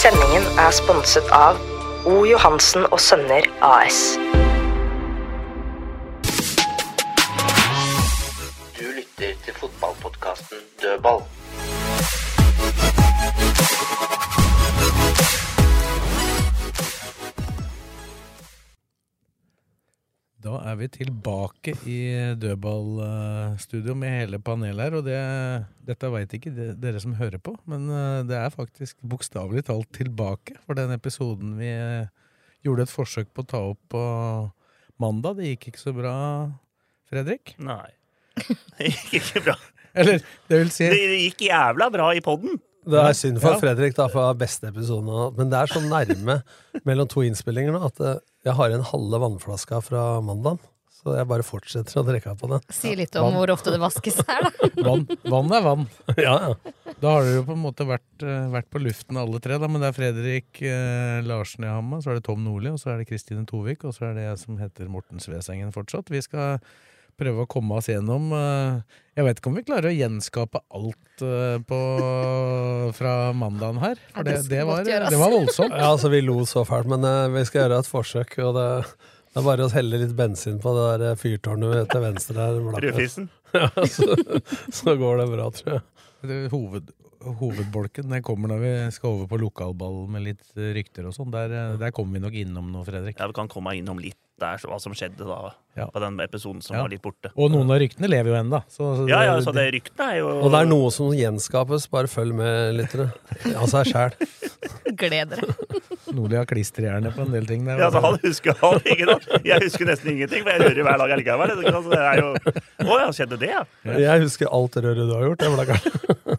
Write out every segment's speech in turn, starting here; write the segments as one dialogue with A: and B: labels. A: Sendingen er sponset av O. Johansen og Sønner AS.
B: Du lytter til fotballpodkasten Dødball.
C: Da er vi tilbake i dødballstudio med hele panelet her, og det, dette veit ikke de- dere som hører på, men eh, det er faktisk bokstavelig talt tilbake for den episoden vi eh, gjorde et forsøk på å ta opp på mandag. Det gikk ikke så bra, Fredrik?
D: Nei. Det gikk ikke bra.
C: Eller, det vil si
D: Det gikk jævla bra i poden.
E: Det er synd for
C: Ja.
E: Fredrik, da, for det var beste episoden. han har hatt. Men det er så nærme mellom to innspillinger nå at eh, jeg har en halve vannflaska fra mandagen. Så jeg bare fortsetter å drikke på den.
F: Si litt om hvor ofte det vaskes her, da.
C: vann, vann er vann.
E: Ja, ja.
C: Da har dere jo på en måte vært, eh, vært på luften alle tre, da, men det er Fredrik eh, Larsen jeg har med, så er det Tom Nordli, og så er det Kristine Tovik, og så er det jeg som heter Morten Svesengen fortsatt. Vi skal prøve å komme oss gjennom eh, Jeg vet ikke om vi klarer å gjenskape alt eh, på, fra mandagen her,
F: Ja,
C: for det,
F: det skal
C: det, var,
F: godt gjøres.
C: det var voldsomt.
E: ja altså, vi lo så fælt, men eh, vi skal gjøre et forsøk. Og det, det er bare å helle litt bensin på det der eh, fyrtårnet til venstre der. Blakker.
D: Rødfisen.
E: Ja, så, så går det bra, tror jeg.
C: Det er Hoved, hovedbolken den kommer når vi skal over på lokalball med litt eh, rykter og sånn. Der, eh, der kommer vi nok innom nå, Fredrik.
D: Ja, vi kan komme innom litt der, så hva som skjedde da,
C: Ja.
D: på den episoden som
C: Ja.
D: var litt borte.
C: Og noen av ryktene lever jo ennå.
D: Ja, ja, så det ryktene er jo
E: Og det er noe som gjenskapes. Bare følg med, lyttere. Av seg sjæl.
F: Gled dere.
C: Nordli har klisterhjerne på en del ting. Der, altså.
D: ja, så han husker han ikke da. Jeg husker nesten ingenting, for jeg hører hver dag allikevel. Altså, det er jo Å ja, skjedde det, ja?
E: Jeg husker alt røret du har gjort. Jeg blakker.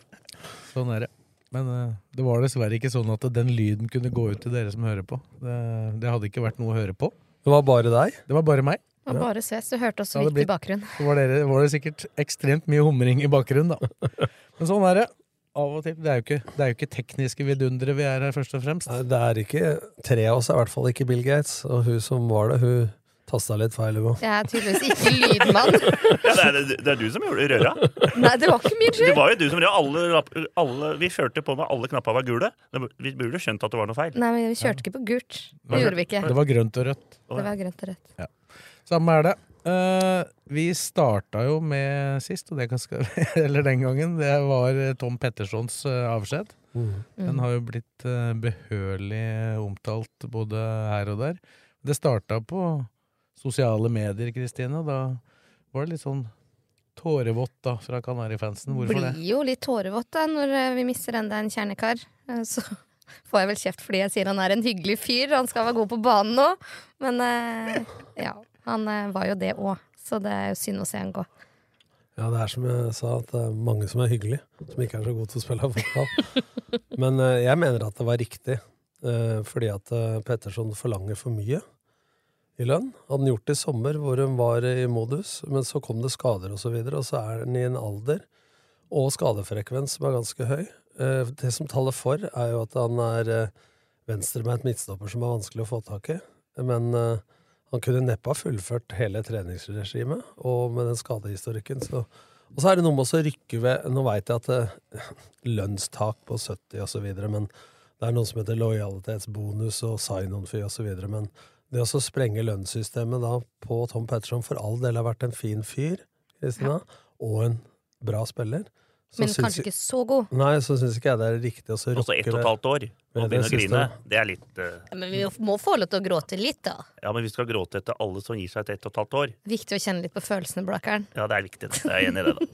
C: Sånn er det. Men eh, det var dessverre ikke sånn at den lyden kunne gå ut til dere som hører på. Det, det hadde ikke vært noe å høre på.
E: Det var bare deg.
C: Det var bare meg.
F: Og bare ses. Du hørte oss så
C: Ja, det
F: vidt
C: blir-
F: i bakgrunnen.
C: Så var, dere, var det sikkert ekstremt mye humring i bakgrunnen, da. Men sånn er det. Av og til. Det er jo ikke, det er jo ikke tekniske vidundere vi er her, først og fremst.
E: Nei, det er ikke Tre av oss er i hvert fall ikke Bill Gates, og hun som var det, hun tasta litt feil. hun.
F: Jeg er tydeligvis ikke lydmann.
D: ja det, er, det er du som gjorde røra.
F: Nei, det var ikke min
D: Det
F: skyld.
D: var jo du som gjorde alle, rapp- alle Vi førte på med alle knappa var gule. Det- Vi burde skjønt at det var noe feil.
F: Nei, men vi kjørte ikke på gult.
C: Var
F: Det gjorde vi ikke.
C: Det var grønt og rødt.
F: Det var grønt og rødt.
C: Samme er det. Eh, vi starta jo med sist, og det kan skal, eller den gangen, det var Tom Pettersons eh, avskjed. Den har jo blitt eh, behørig omtalt både her og der. Det starta på sosiale medier, Kristine. og Da var det litt sånn tårevått da fra Kanarifansen. Hvorfor
F: Blir
C: det?
F: jo litt tårevått da når eh, vi mister enda en kjernekar. Eh, Så får jeg vel kjeft fordi jeg sier han er en hyggelig fyr. Han skal være god på banen nå. Men eh, ja, han eh, var jo det òg. Så det er jo synd å se han gå.
E: Ja, det er som jeg sa, at det er mange som er hyggelige, som ikke er så gode til å spille fotball. Men eh, jeg mener at det var riktig, eh, fordi at eh, Petterson forlanger for mye i lønn. Hadde han gjort det i sommer, hvor hun var i modus, men så kom det skader osv., og, så videre, og så er han i en alder og skadefrekvens som er ganske høy. Eh, Det som taler for, er jo at han er eh, venstrebeint midtstopper som er vanskelig å få tak i. Men eh, han kunne neppe ha fullført hele treningsregimet, og med den skadehistorikken så Og så er det noe med å så rykke ved Nå veit jeg at eh, lønnstak på 70 osv., men det er noe som heter lojalitetsbonus og sign-on-fee osv., men det å så sprenge lønnssystemet da på Tom Petterson for all del har vært en fin fyr, Kristina, og en bra spiller så
F: Men
E: syns
F: kanskje ikke så god.
E: jeg- Nei, så syns ikke jeg det er riktig å så
D: Og så ett og et
E: rokke
D: halvt år.
E: Ja,
D: Og
E: det
D: begynne å
E: synes
D: grine.
E: jeg.
D: Det er litt eh,
F: Men vi må få lov til å gråte litt, da.
D: Ja, men vi skal gråte etter alle som gir seg etter ett og et halvt år.
F: Viktig å kjenne litt på følelsene, Blakkeren.
D: Ja, det er viktig. det. Jeg er enig i det, da.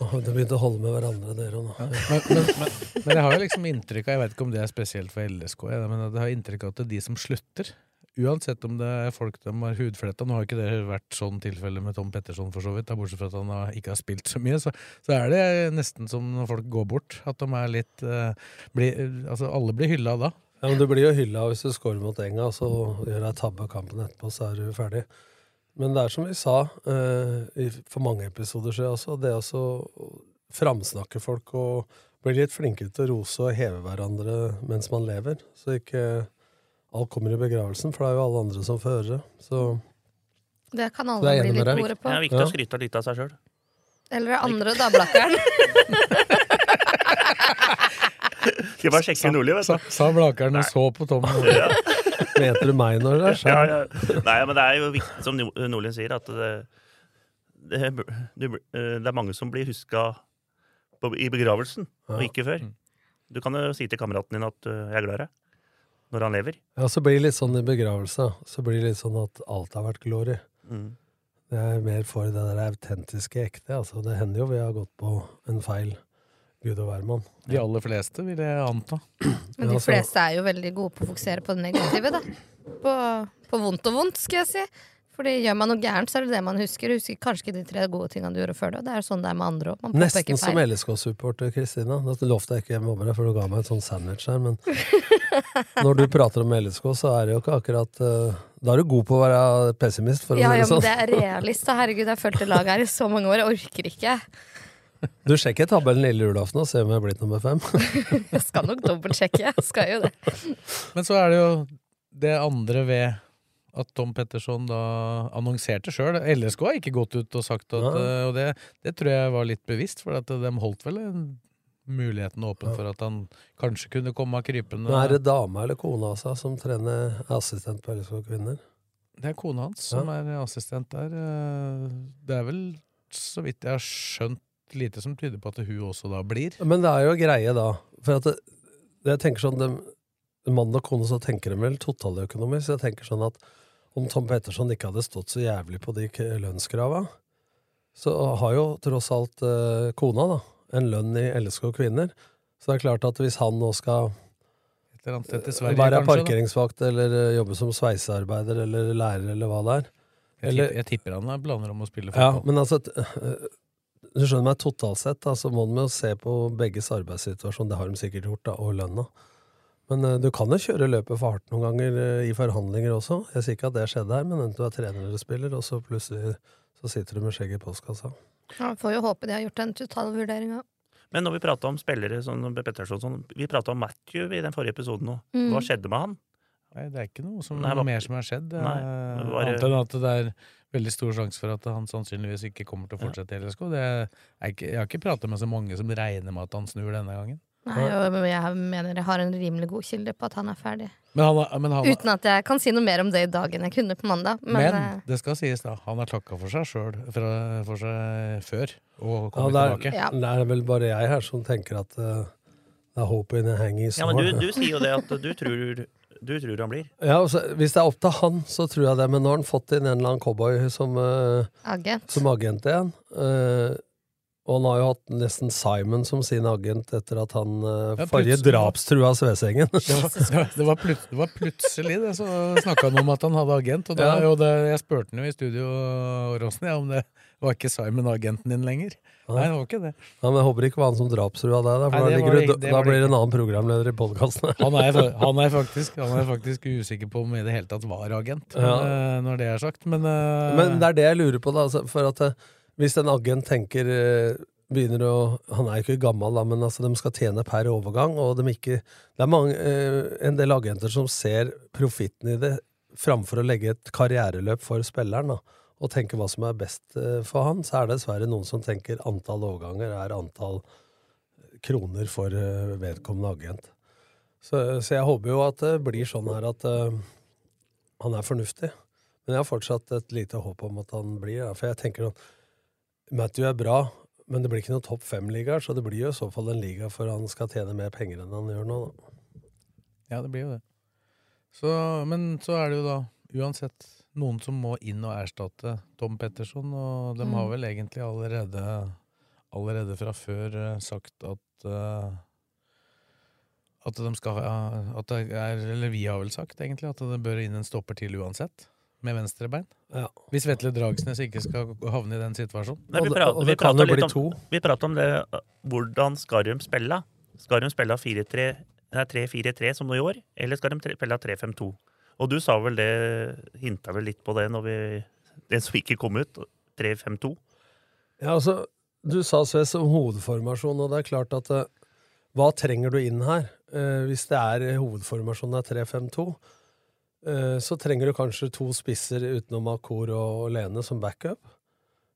E: Åh, Det begynte å holde med hverandre, dere nå.
C: Men, men, men, men jeg har jo liksom inntrykk av, jeg vet ikke om det er spesielt for LSK, jeg, men jeg har inntrykk av at de som slutter, Uansett om det er folk de har hudfletta Nå har ikke det vært sånn tilfelle med Tom Petterson, for så vidt, da, bortsett fra at han har, ikke har spilt så mye. Så, så er det nesten som når folk går bort, at de er litt eh, blir- Altså, alle blir hylla da.
E: Ja, men Du blir jo hylla hvis du scorer mot enga, så gjør jeg tabbe av kampen etterpå, så er du ferdig. Men det er som vi sa eh, i- for mange episoder siden også, det også å framsnakke folk og bli litt flinkere til å rose og heve hverandre mens man lever, så ikke alt kommer i begravelsen, for det er jo alle andre som får høre det. Så
F: Det kan
E: Så
F: alle
E: jeg er
F: bli
E: enig med
F: litt
E: deg.
F: gode på.
D: Det er viktig å skryte litt av seg sjøl.
F: Eller det andre, da, Blakkeren.
D: Skal bare sjekke Nordli, vet du.
C: Sa, sa Blakeren og så på Tom.
E: Mente du meg når det er
D: Ja,
E: skjær?
D: ja. Nei, men det er jo viktig, som Nor- Nordlien sier, at det, det, du, bl- eh, det er mange som blir huska på, i begravelsen, og ikke før. Du kan jo si til kameraten din at eh, 'jeg er glad i deg', når han lever.
E: Ja, så blir det litt sånn i begravelse. Så blir det litt sånn at alt har vært glory.
D: Mm.
E: Jeg er mer for det der autentiske, ekte. Altså, det hender jo vi har gått på en feil, gud og hvermann.
C: De aller fleste, vil jeg anta.
F: Men
E: Ja,
F: de
E: altså-
F: fleste er jo veldig gode på å fokusere på det negative, da. På, på vondt og vondt, skal jeg si. Fordi gjør man noe gærent, så er det det man husker. Du husker kanskje ikke de tre gode tingene du gjorde før det. og Det er jo sånn det er med andre òg. Man påpeker
E: Nesten som
F: feil.
E: LSK-supporter, Kristina. Dette lovte jeg ikke jeg mobber deg, for du ga meg et sånn sandwich her, men når du prater om LSK, så er det jo ikke akkurat eh, Da er du god på å være pessimist, for å
F: Ja,
E: si det
F: ja, men
E: sånn.
F: det er realist. da. Herregud, jeg har fulgt det laget her i så mange år. Jeg orker ikke.
E: Du sjekker tabellen lille julaften og ser om jeg er blitt nummer fem.
F: Jeg skal nok dobbeltsjekke. Jeg skal jo det.
C: Men så er det jo det andre ved at Tom Petterson da annonserte sjøl. LSK har ikke gått ut og sagt at
E: Nei.
C: eh, Og det, det tror jeg var litt bevisst, for at de holdt vel en- muligheten åpen for at han kanskje kunne komme krypende.
E: Men er det dama eller kona altså, som trener er assistent på LSK kvinner?
C: Det er kona hans som er assistent der. eh, Det er vel, så vidt jeg har skjønt, lite som tyder på at hun også da blir.
E: Men det er jo greie, da. For at det, jeg tenker sånn, dem- Mann og kone så tenker de vel totaløkonomi, så jeg tenker sånn at om Tom Petterson ikke hadde stått så jævlig på de k- lønnskrava, så har jo tross alt eh, kona da, en lønn i LSK Kvinner. Så det er klart at hvis han nå skal
C: Et eller annet
E: Eh,
C: sted til Sverige,
E: være
C: kanskje. Da.
E: parkeringsvakt eller eh, jobbe som sveisearbeider eller lærer eller hva det er
C: Jeg,
E: eller-
C: tipper, jeg tipper han har planer om å spille
E: ja,
C: fotball.
E: men altså t- øh, Du skjønner meg, totalt sett da, så må man jo se på begges arbeidssituasjon, det har de sikkert gjort, da, og lønna. Men øh, du kan jo kjøre løpet for hardt noen ganger øh, i forhandlinger også. Jeg sier ikke at det skjedde her, men enten du er trener eller spiller, og så plutselig så sitter du med skjegget i postkassa.
F: Man får jo håpe de har gjort en totalvurdering òg.
D: Men når vi prata om spillere som Petterson, og sånn, vi prata om Matthew i den forrige episoden òg.
F: Mm.
D: Hva skjedde med han?
C: Nei, det er ikke noe, som,
D: Nei, hva-
C: noe mer som har skjedd. eh,
D: Nei, det var-
C: Annet enn at det er veldig stor sjanse for at han sannsynligvis ikke kommer til å fortsette i LSK. Det er ikke, jeg har ikke pratet med så mange som regner med at han snur denne gangen.
F: Nei, og men jeg mener jeg har en rimelig god kilde på at han er ferdig.
C: Men, han, har- men, han, har-
F: Uten at jeg kan si noe mer om det i dag enn jeg kunne på mandag. Men,
C: men
F: eh,
C: det skal sies, da. Han har takka for seg sjøl for seg før og
E: Ja,
C: kommet
E: det, er,
C: tilbake.
F: Ja.
E: det er vel bare jeg her som tenker at øh, det er hope in a hangy
D: Ja, men du, du sier jo det at du tror, du tror han blir.
E: Ja, altså, hvis det er opp til han, så tror jeg det, men nå har han fått inn en eller annen cowboy som øh,
F: agent.
E: som agent igjen. Eh, og han har jo hatt nesten Simon som sin agent etter at han eh,
C: Ja,
E: forrige
C: plutselig.
E: drapstrua Svesengen.
C: Det var, det, var plut, det var plutselig det, så snakka han om at han hadde agent. Og, da,
E: Ja.
C: og det, jeg spurte han jo i studio Åråsen, ja, om det var ikke Simon agenten din lenger.
E: Ja.
C: Nei, det var ikke det.
E: Ja, men jeg håper ikke det var han som drapstrua deg, da,
C: Nei,
E: for
C: det
E: da,
C: var
E: ligger
C: det
E: du,
C: ikke- det
E: da
C: var det
E: blir det
C: ikke.
E: en annen programleder i podkasten.
C: Han er, fa- han, er faktisk, han er faktisk usikker på om han i det hele tatt var agent, men,
E: Ja.
C: eh, når det er sagt. Men, eh,
E: Men det er det jeg lurer på, da. Altså, for at eh, hvis en agent tenker eh, Begynner å Han er jo ikke gammel, da, men altså, de skal tjene per overgang, og de ikke Det er mange, eh, en del agenter som ser profitten i det framfor å legge et karriereløp for spilleren, da. Og tenke hva som er best eh, for han, så er det dessverre noen som tenker antall overganger er antall kroner for eh, vedkommende agent. Så, så jeg håper jo at det blir sånn her at eh, han er fornuftig. Men jeg har fortsatt et lite håp om at han blir det. For jeg tenker at Matthew er bra, men det blir ikke noen topp fem-ligaer, så det blir jo i så fall en liga for han skal tjene mer penger enn han gjør nå. Da.
C: ja, det blir jo det. Så, men så er det jo da uansett noen som må inn og erstatte Tom Petterson, og de
E: Mm.
C: har vel egentlig allerede, allerede fra før eh, sagt at eh, At, de skal, ha- at det er, eller vi har vel sagt egentlig, at det bør inn en stopper til uansett, med venstrebein.
E: Ja.
C: Hvis Vetle Dragsnes ikke skal havne i den situasjonen.
D: Nei, vi prater- vi prater litt om, Vi prater om det, eh, hvordan skal de spille? Skal de spille 4-3 nei, 3-4-3 som nå i år, eller skal de tre- spille 3-5-2? Og du sa vel det, hinta vel litt på det når vi Det som ikke kom ut, 3-5-2.
E: Ja, altså, du sa Sves om hovedformasjon, og det er klart at eh, hva trenger du inn her? Eh, hvis det er eh, hovedformasjonen er 3-5-2, eh, så trenger du kanskje to spisser utenom Akor og Lene som backup.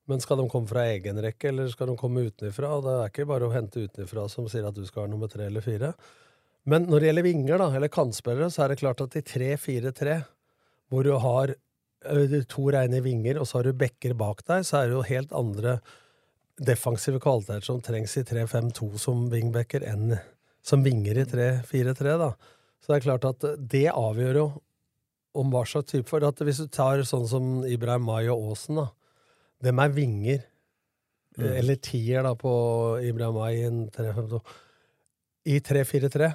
E: Men skal de komme fra egen rekke, eller skal de komme utenfra? Det er ikke bare å hente utenfra som sier at du skal ha nummer tre eller fire. Men når det gjelder vinger, da, eller kantspillere, så er det klart at i 3-4-3, hvor du har ø, to reine vinger, og så har du bekker bak deg, så er det jo helt andre defensive kvaliteter som trengs i 3-5-2 som wingbacker enn som vinger i 3-4-3, da. Så det er klart at det avgjør jo om hva slags type for at Hvis du tar sånn som Ibrahim May og Aasen, da. Dem er vinger.
G: Mm.
E: Eller tier, da, på Ibrahim May i en 3-5-2. I 3-4-3.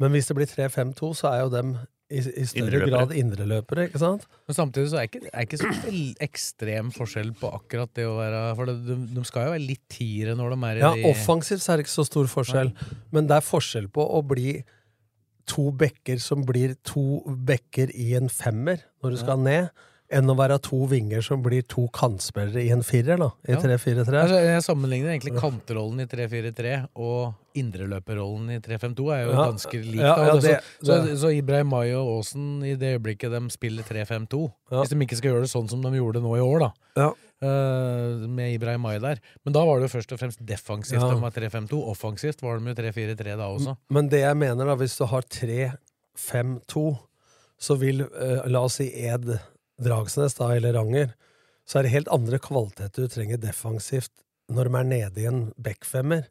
E: Men hvis det blir 3-5-2, så er jo dem i, i større
C: Indreløpere.
E: grad indreløpere, ikke sant?
C: Men samtidig så er ikke, er ikke så vel- ekstrem forskjell på akkurat det å være For det, de, de skal jo være litt tiere når de er i
E: Ja,
C: de-
E: offensivt så er det ikke så stor forskjell, men det er forskjell på å bli to bekker som blir to bekker i en femmer når du skal
C: Ja.
E: ned, enn å være to vinger som blir to kantspillere i en firer, da, i
C: Ja.
E: 3-4-3.
C: Altså, jeg sammenligner egentlig kantrollen i 3-4-3 og indreløperrollen i 3-5-2 er jo
E: Ja.
C: ganske lik.
E: Ja, ja,
C: da. Altså,
E: det-
C: så,
E: det-
C: så, så Ibrahim May og Aasen, i det øyeblikket de spiller 3-5-2 Hvis de ikke skal gjøre det sånn som de gjorde nå i år, da. eh, med Ibrahim May der. Men da var det jo først og fremst defensivt
E: Ja.
C: de var 3-5-2. Offensivt var de jo 3-4-3 da også.
E: Men det jeg mener, da, hvis du har 3-5-2, så vil, eh, la oss si Ed Dragsnes da, eller Ranger, så er det helt andre kvaliteter du trenger defensivt når de er nede i en backfemmer,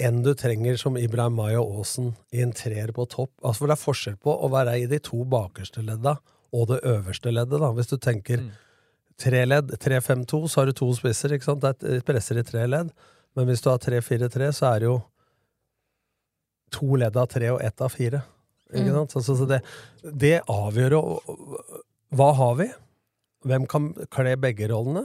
E: enn du trenger som Ibrahim May og Aasen i en treer på topp. Altså, for det er forskjell på å være i de to bakerste ledda og det øverste leddet, da, hvis du tenker tre ledd, 3-5-2, så har du to spisser, ikke sant? Det er et- presser i tre ledd. Men hvis du har 3-4-3, så er det jo to ledd av tre og ett av fire. Ikke
G: Mm.
E: sant? Så, så, så det, det avgjør jo Hva har vi? Hvem kan kle begge rollene?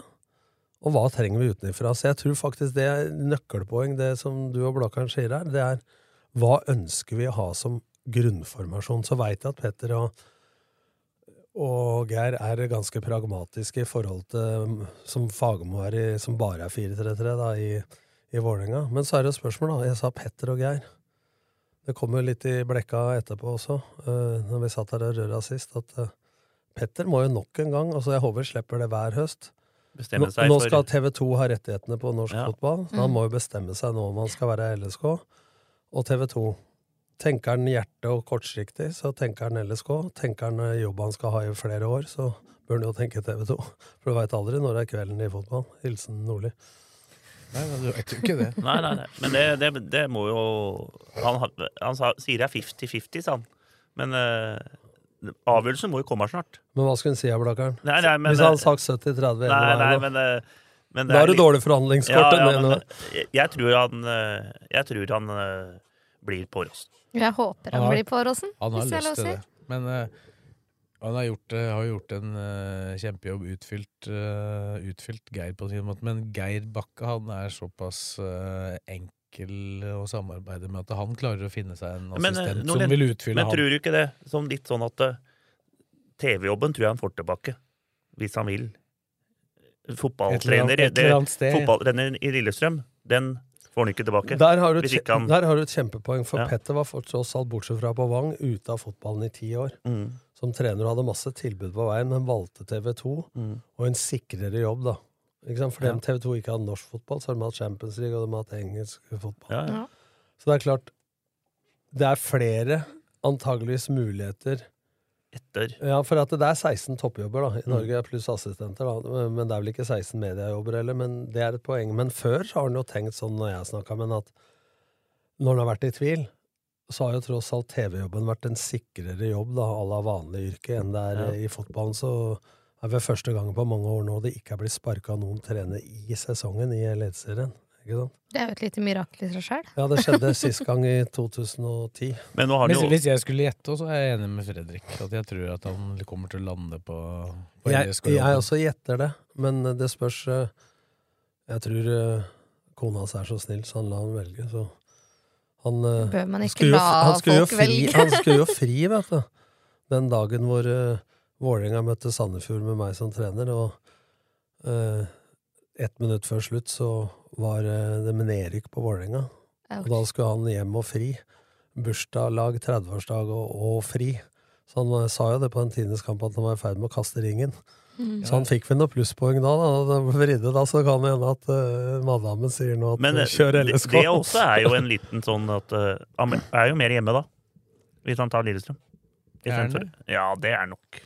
E: Og hva trenger vi utenfra? Så jeg tror faktisk det er nøkkelpoeng, det som du og Blakkaren sier her, det er hva ønsker vi å ha som grunnformasjon? Så veit jeg at Petter og, og Geir er ganske pragmatiske i forhold til um, som Fagermo er i, som bare er 4-3-3 da, i, i Vålerenga. Men så er det et spørsmål, da. Jeg sa Petter og Geir. Det kom jo litt i blekka etterpå også, eh, når vi satt her og røra sist, at eh, Petter må jo nok en gang, altså jeg håper slipper det hver høst.
D: Bestemme
E: Nå-
D: seg
E: nå
D: for-
E: skal TV 2 ha rettighetene på norsk
D: Ja.
E: fotball, så
D: Mm.
E: han må jo bestemme seg nå om han skal være LSK og TV 2. Tenker han hjerte og kortsiktig, så tenker han LSK. Tenker han eh, jobb han skal ha i flere år, så bør han jo tenke TV 2. For du veit aldri når det er kvelden i fotball. Hilsen Nordli.
C: Nei, du vet jo ikke det.
D: Nei, nei, nei. Men det, det, det må jo Han, ha- han sa, sier det er 50-50, sa han. Men eh, avgjørelsen må jo komme snart.
E: Men hva skulle hun si, Blakkaren?
D: Nei, nei, men- eh,
E: Hvis han hadde sagt 70-30 ene
D: Nei,
E: veien,
D: nei,
E: da?
D: men, eh, men
E: Da har du
D: litt-
E: dårlig forhandlingskort,
D: Ja,
E: den
D: ja, men
E: ene.
D: jeg, jeg tror han, eh, jeg tror han eh, blir på Rossen.
F: Jeg håper han,
C: har-
F: blir på Rosen.
C: Han har
F: hvis jeg
C: lyst
F: har lov å
C: til
F: si.
C: det. Men eh, han har gjort, eh, har gjort en eh, kjempejobb, utfylt, eh, utfylt Geir på sin måte. Men Geir Bakke han er såpass eh, enkel å samarbeide med at han klarer å finne seg en
D: Men, eh,
C: assistent
D: Nordlien,
C: som vil utfylle
D: men
C: han.
D: tror du ikke det? Som litt sånn at eh, TV-jobben tror jeg han får tilbake, hvis han vil. Fotballtrener
E: Et eller annet- et
D: det-
E: eller annet sted.
D: Fotballtreneren i Lillestrøm, den får han ikke tilbake.
E: Der har, du et
D: hvis
E: kje-
D: ikke han
E: der har du et kjempepoeng, for
D: Ja.
E: Petter var for- tross alt, bortsett fra på Vang, ute av fotballen i ti år.
D: Mm.
E: Som trener og hadde masse tilbud på veien, men valgte TV 2,
D: Mm.
E: og en sikrere jobb, da. Ikke sant? For
D: Ja.
E: dem TV 2 ikke hadde norsk fotball, så har de hatt Champions League, og de har hatt engelsk fotball.
D: Ja, ja.
E: Så det er klart, det er flere antageligvis muligheter
D: Etter.
E: Ja, for at det er 16 toppjobber da, i
D: Mm.
E: Norge, pluss assistenter, da. men det er vel ikke 16 mediejobber heller, men det er et poeng. Men før så har han jo tenkt sånn, når jeg snakka med han, at når han har vært i tvil, så har jo tross alt TV-jobben vært en sikrere jobb da, à la vanlig yrke enn det er
D: Ja.
E: eh, i fotballen. Så er det første gangen på mange år nå det ikke er blitt sparka noen trener i sesongen i Eliteserien. Ikke sant?
F: Det er jo et lite mirakel i seg sjøl.
E: Ja, det skjedde sist gang i 2010.
D: Men nå har han
C: hvis,
D: jo-
C: hvis jeg skulle gjette, så er jeg enig med Fredrik. At jeg tror at han kommer til å lande på, på
E: Jeg,
C: LSK.
E: jeg også gjetter det, men det spørs eh, Jeg tror eh, kona hans er så snill, så han lar han velge, så han, eh,
F: Bør man ikke
E: skulle jo f-
F: la
E: han skulle jo
F: folk
E: fri,
F: velge?
E: Han skulle jo fri, vet du. Den dagen hvor uh, Vålerenga møtte Sandefjord med meg som trener, og eh, ett minutt før slutt så var eh, det med nedrykk på Vålerenga. Og da skulle han hjem og fri. Bursdag, lag, 30-årsdag og, og fri. Så han eh, sa jo det på en tiendeskamp at han var i ferd med å kaste ringen.
D: Mm.
E: Så han fikk vel noen plusspoeng da, da, da vridde da, så kan det hende at eh, madammen sier nå at
D: Men
E: eh,
D: eh,
E: kjør
D: det,
E: LSK.
D: det også er jo en liten sånn at eh, Han er jo mer hjemme, da. Hvis han tar Lillestrøm. I
C: Er han
D: stedet for- Ja, det er nok.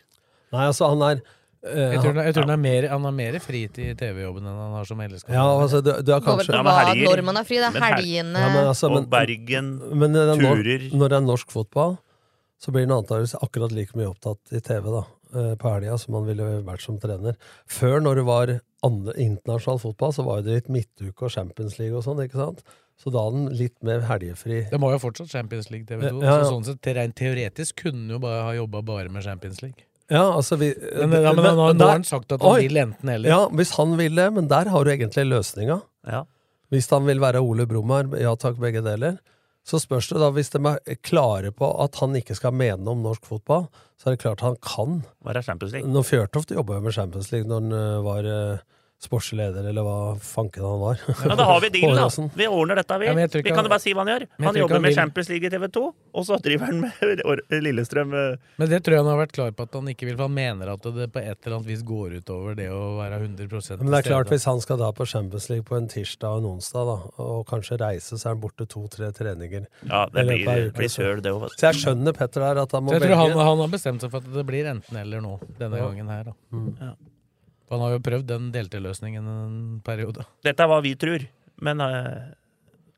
E: Nei, altså, han er eh,
C: Jeg tror, han- jeg tror han, er mer, han har mer fritid i TV-jobben enn han har som LSK.
E: Ja, altså, du, du er
F: Går vel
E: kanskje
F: på
D: men
F: hva
D: helger-
F: når man er fri. Det
D: men
F: er
D: hel-
F: helgene
E: Ja, men altså,
D: Og
E: men-
D: Bergen.
E: Men det er nor-
D: Turer.
E: når det er norsk fotball, så blir han antakeligvis akkurat like mye opptatt i TV da, eh, på helga som han ville vært som trener. Før, når det var andre, internasjonal fotball, så var jo det litt midtuke og Champions League og sånn, ikke sant? Så da hadde han litt mer helgefri.
C: Det må jo fortsatt Champions League TV2.
E: Ja, ja.
C: Så sånn sett, te- rent teoretisk kunne han jo bare ha jobba bare med Champions League.
E: Ja, altså vi,
C: Men, ja, men, nå, nå har han sagt at han
E: Oi.
C: vil enten eller.
E: Ja, hvis han vil det, men der har du egentlig løsninga.
D: Ja.
E: Hvis han vil være Ole Brummar, ja takk, begge deler. Så spørs det da, hvis de er klare på at han ikke skal mene noe om norsk fotball, så er det klart han kan.
D: Hva er Champions League?
E: Når Fjørtoft jobba med Champions League når han ø, var ø, sportsleder, eller hva fanken han var.
D: Ja, da har vi dealen, da.
E: Håråsen.
D: Vi ordner dette,
C: sånn.
D: vi.
C: Ja, men jeg tror
D: vi
C: ikke
D: kan
C: han-
D: jo bare si hva han gjør.
C: Men jeg
D: Han
C: tror ikke
D: jobber
C: han
D: med
C: vil-
D: Champions League i TV 2, og så driver han med Or- Lillestrøm. eh.
C: Men det tror jeg han har vært klar på at han ikke vil, for han mener at det på et eller annet vis går utover det å være 100 til stede.
E: Men det er klart, hvis han skal da på Champions League på en tirsdag og en onsdag, da, og kanskje reise, så er han borte to-tre treninger.
D: Ja,
E: i
D: det
E: løpet av
D: blir,
E: uka,
D: blir
E: så-
D: søl, det òg.
E: Så jeg skjønner Petter her, at han må
C: Så jeg tror han,
E: velge.
C: han har bestemt seg for at det blir enten eller nå, denne
E: Ja.
C: gangen her. da.
E: Mm.
D: Ja.
C: For han har jo prøvd den delteløsningen en periode.
D: Dette er hva vi tror, men eh,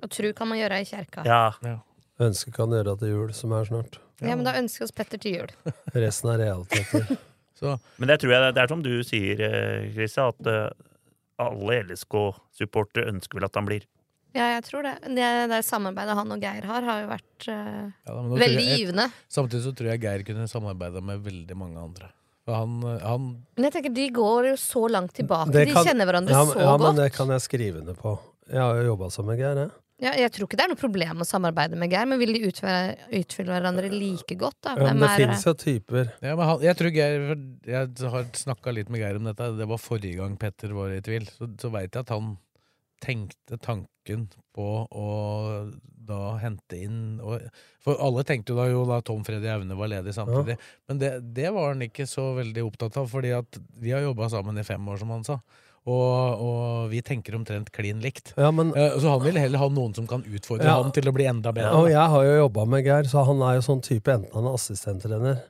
F: Og tru kan man gjøre i kjerka. Ja.
D: ja.
E: Ønsker kan gjøre til jul, som er snart.
F: men da ønsker vi oss Petter til jul.
E: Resten er realiteter.
C: Så
D: Men det tror jeg det er som du sier, eh, Christian, at eh, alle LSK-supportere ønsker vel at han blir.
F: Ja, jeg tror det. Det, det samarbeidet han og Geir har, har jo vært eh,
C: Ja, da, men nå tror
F: veldig
C: jeg-
F: givende.
C: Samtidig så tror jeg Geir kunne samarbeida med veldig mange andre. For han, han
F: Men jeg tenker, de går jo så langt tilbake.
E: Det kan-
F: de kjenner hverandre
E: ja, men-
F: så
E: ja,
F: godt.
E: men det kan jeg skrive under på. Jeg har jo jobba sammen med Geir, jeg.
F: Ja, jeg tror ikke det er noe problem å samarbeide med Geir, men vil de utfylle, utfylle hverandre like godt? Da?
E: Ja, men
F: Hvem
E: det
F: er-
E: finnes jo typer.
C: Ja, men han, jeg tror Geir for Jeg har snakka litt med Geir om dette. Det var forrige gang Petter var i tvil. Så, så veit jeg at han tenkte tanken på å da hente inn og, For alle tenkte jo da jo da Tom Freddy Aune var ledig samtidig. Men det, det var han ikke så veldig opptatt av, fordi at vi har jobba sammen i fem år, som han sa. Og, og vi tenker omtrent klin likt.
E: Ja, men
C: Eh, Så han vil heller ha noen som kan utfordre
E: Ja.
C: han til å bli enda bedre.
E: Og jeg har jo jobba med Geir, så han er jo sånn type enten han er assistenttrener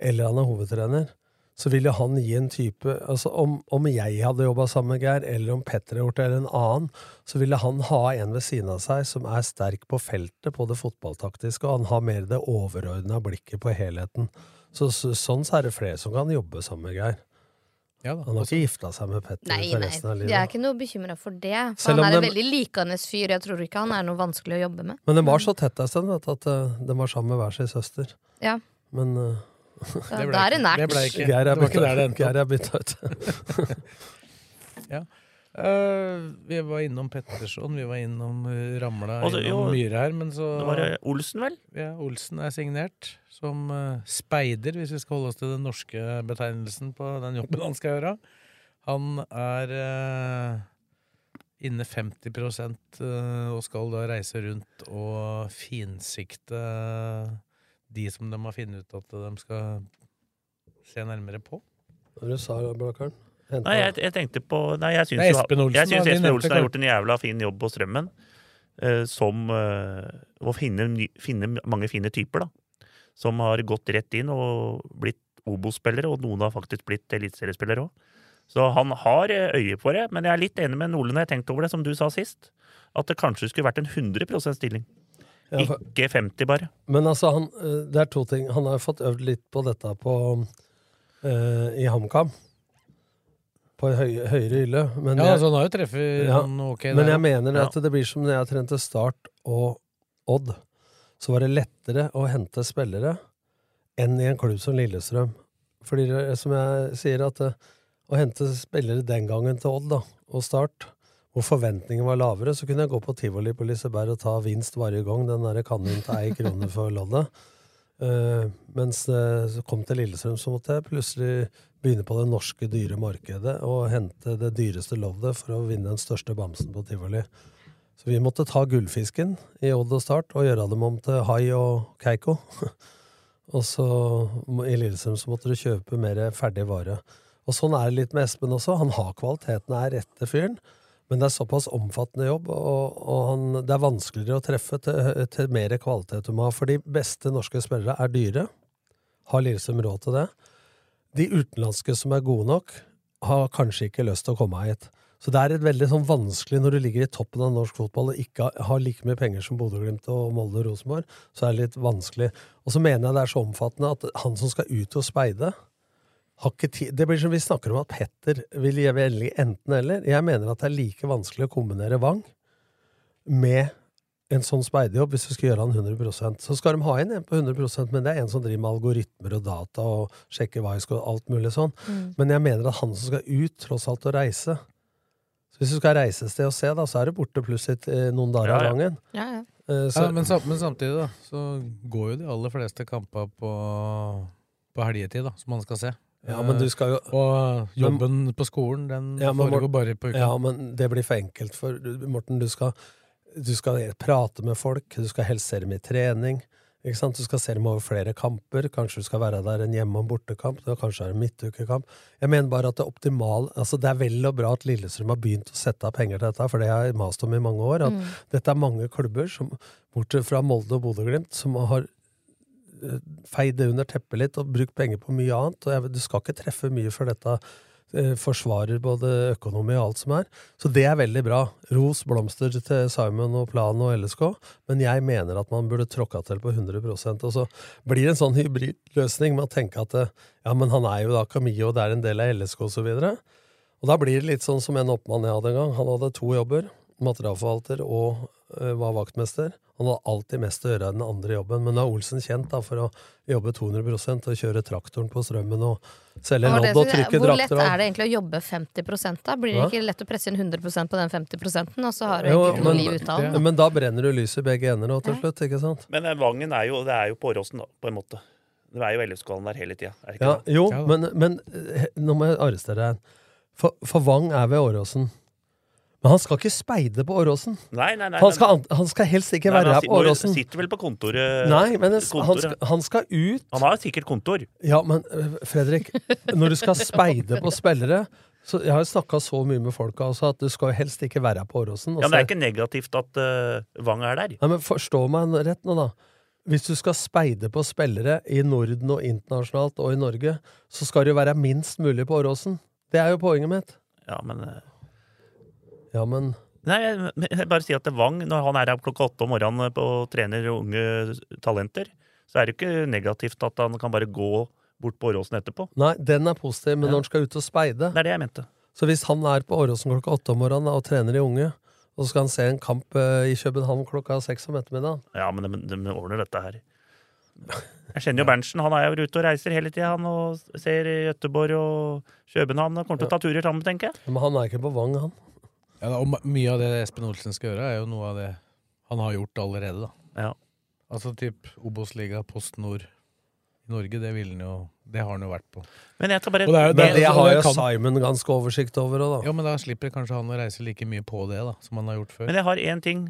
E: eller han er hovedtrener. Så ville han gi en type altså Om, om jeg hadde jobba sammen med Geir, eller om Petter hadde gjort det, eller en annen, så ville han ha en ved siden av seg som er sterk på feltet, på det fotballtaktiske, og han har mer det overordna blikket på helheten. Så, så sånn så er det flere som kan jobbe sammen med Geir.
C: Ja da.
E: Han har ikke gifta seg med Petter
F: Nei,
E: for
F: nei,
E: resten av
F: jeg er
E: livet.
F: ikke noe bekymra for det. For
E: Selv
F: han
E: om
F: er en
E: dem-
F: veldig likende fyr. Jeg tror ikke han er noe vanskelig å jobbe med.
E: Men den var så tett en stund vet du, at eh, den var sammen med hver sin søster.
F: Ja,
E: Men eh,
F: da,
C: Det ble
F: da
C: ikke-
F: er det nært.
C: det ble ikke-
E: Geir
C: det
E: er
C: var ikke
E: bytta
C: der
E: ut.
C: det endte opp.
E: Geir er bytta ut.
C: Eh, vi var innom Petterson, vi var innom eh, Ramla,
D: Altså,
C: innom
D: jo,
C: Myhre her, men så
D: Det var eh, Olsen, vel?
C: ja, Olsen er signert som eh, speider, hvis vi skal holde oss til den norske betegnelsen på den jobben han skal gjøre. Han er eh, inne 50 eh, og skal da reise rundt og finsikte de som de har funnet ut at de skal se nærmere på.
E: Hva du sa Blakkaren? Hentet-
D: Nei, jeg, jeg tenkte på Nei, jeg syns
C: Det er
D: jo-
C: Espen Olsen,
D: jeg
C: da,
D: syns
C: vi
D: Espen
C: nevnte
D: Olsen
C: kort.
D: har gjort en jævla fin jobb på Strømmen. eh, som eh, Å finne, ny- finne mange fine typer, da. Som har gått rett inn og blitt Obos-spillere, og noen har faktisk blitt eliteseriespillere òg. Så han har eh, øye på det, men jeg er litt enig med Ole når jeg tenkte over det, som du sa sist. At det kanskje skulle vært en 100 stilling.
E: Ja, for-
D: Ikke 50, bare.
E: Men altså, han, eh, det er to ting. Han har jo fått øvd litt på dette på, eh, i HamKam. På en høy, høyere hylle. Men
C: Ja, altså, han har jo treffet han ok
E: Men
C: der,
E: jeg
C: da.
E: mener
C: Ja.
E: at det blir som når jeg trente Start og Odd. Så var det lettere å hente spillere enn i en klubb som Lillestrøm. Fordi, det- som jeg sier, at eh, å hente spillere den gangen til Odd da, og Start, hvor forventningene var lavere, så kunne jeg gå på tivoli på Liseberg og ta vinst hver gang. Den der kanin til ei krone for loddet. Eh, mens eh, så kom til Lillestrøm, så måtte jeg plutselig begynne på det norske dyre markedet og hente det dyreste loddet for å vinne den største bamsen på tivoli. Så vi måtte ta gullfisken i Odd og Start og gjøre dem om til hai og keiko. og så må- i Lillestrøm så måtte du kjøpe mer ferdig vare. Og sånn er det litt med Espen også. Han har kvaliteten, er rette fyren. Men det er såpass omfattende jobb, og, og han, det er vanskeligere å treffe til, til mer kvalitet du må ha. For de beste norske spillere er dyre. Har Lillestrøm råd til det? De utenlandske som er gode nok, har kanskje ikke lyst til å komme hit. Så det er et veldig sånn vanskelig når du ligger i toppen av norsk fotball og ikke har- har like mye penger som Bodø-Glimt og Molde og Rosenborg, så er det litt vanskelig. Og så mener jeg det er så omfattende at han som skal ut og speide, har ikke tid Det blir som vi snakker om at Petter vil gjøre veldig enten-eller. Jeg mener at det er like vanskelig å kombinere Wang med en sånn speiderjobb hvis du skal gjøre han 100 Så skal de ha inn en på 100 men det er en som driver med algoritmer og data og sjekker hva jeg skal og alt mulig sånn.
G: Mm.
E: Men jeg mener at han som skal ut, tross alt, og reise Så Hvis du skal reise et sted og se, da, så er du borte plutselig eh, noen dager
C: Ja,
E: av
C: ja.
E: gangen.
F: Ja, ja.
E: Eh, så-
C: ja, men, sam- men samtidig da så går jo de aller fleste kamper på, på helgetid, da, som man skal se.
E: Ja, men du skal jo
C: Eh, Og jobben på skolen, den
E: Ja, men
C: foregår
E: Morten-
C: bare på uka.
E: Ja, men det blir for enkelt for Morten, du skal, du skal prate med folk, du skal helst se dem i trening. Ikke sant? Du skal se dem over flere kamper, kanskje du skal være der en hjemme- og bortekamp, du kanskje er det en midtukekamp. Jeg mener bare at det optimale altså Det er vel og bra at Lillestrøm har begynt å sette av penger til dette, for det har jeg mast om i mange år. At
G: Mm.
E: dette er mange klubber, som, bortsett fra Molde og Bodø-Glimt, som har eh, feid det under teppet litt og brukt penger på mye annet. Og jeg, du skal ikke treffe mye for dette eh, forsvarer både økonomi og alt som er. Så det er veldig bra. Ros, blomster til Simon og Plan og LSK. Men jeg mener at man burde tråkka til på 100 Og så blir det en sånn hybridløsning med å tenke at eh, ja, men han er jo da Camillo, det er en del av LSK osv. Og da blir det litt sånn som en oppmann jeg hadde en gang. Han hadde to jobber. Materialforvalter og eh, var vaktmester. Han hadde alltid mest å gjøre i den andre jobben, men da er Olsen kjent da, for å jobbe 200 og kjøre traktoren på strømmen og selge
F: Og det
E: lodd og
F: synes jeg-
E: trykke
F: Hvor lett
E: drakter.
F: er det egentlig å jobbe 50 da? Blir det
E: Hæ?
F: ikke lett å presse inn 100 på den 50 og så har du
E: Jo,
F: ikke noe
E: men,
F: liv ut av den? da?
E: men da brenner du lyset i begge ender nå til slutt, ikke sant?
D: Men eh, Vangen er jo, det er jo på Åråsen, da, på en måte. Det er jo LSK-hallen der hele tida. Er det ikke
E: Ja,
D: det?
E: jo, men, men eh, nå må jeg arrestere deg. For, for Wang er ved Åråsen. Men han skal ikke speide på Åråsen.
D: Nei, nei, nei,
E: Han
D: nei,
E: skal,
D: nei.
E: an- han skal helst ikke
D: Nei, men
E: være
D: han
E: her
D: sit-
E: på
D: må jo-
E: Åråsen.
D: sitter vel på kontoret-
E: Nei, men det- han,
D: eh, kontoret.
E: skal, han skal ut.
D: Han har sikkert kontor.
E: Ja, men eh, Fredrik, når du skal speide på spillere så Jeg har jo snakka så mye med folka også, at du skal jo helst ikke være her på Åråsen. og
D: Ja, men det er
E: se-
D: ikke negativt at eh, Wang er der.
E: Nei, men Forstå meg rett nå, da. Hvis du skal speide på spillere i Norden og internasjonalt og i Norge, så skal du være minst mulig på Åråsen. Det er jo poenget mitt.
D: Ja, men eh,
E: Ja, men
D: Nei, jeg, men jeg bare sier at det er Wang, når han er her klokka åtte om morgenen eh, på, og trener unge talenter, så er det jo ikke negativt at han kan bare gå bort på Åråsen etterpå.
E: Nei, den er positiv, men
D: Ja.
E: når han skal ut og speide
D: Det er det jeg mente.
E: Så hvis han er på Åråsen klokka åtte om morgenen da, og trener de unge, og så skal han se en kamp eh, i København klokka seks om ettermiddagen
D: Ja, men de, de ordner dette her. Jeg kjenner jo Berntsen. Han er jo ute og reiser hele tida. Han og ser Gøteborg og København. Han kommer til å ta turer sammen, tenker jeg.
E: Men han er ikke på Vang, han.
C: Ja, da, og ma- mye av det Espen Olsen skal gjøre, er jo noe av det han har gjort allerede.
D: da.
C: Altså typ Obos-liga, Post Nord i Norge, det, vil han jo, det har han jo vært på.
D: Men jeg tar bare-
C: Og det er jo-
E: Men
C: det
E: det
C: er-
E: har
C: og
E: jo
C: det kan-
E: Simon ganske oversikt over òg, da.
C: Ja, men da slipper kanskje han å reise like mye på det da, som han har gjort før.
D: Men jeg har én ting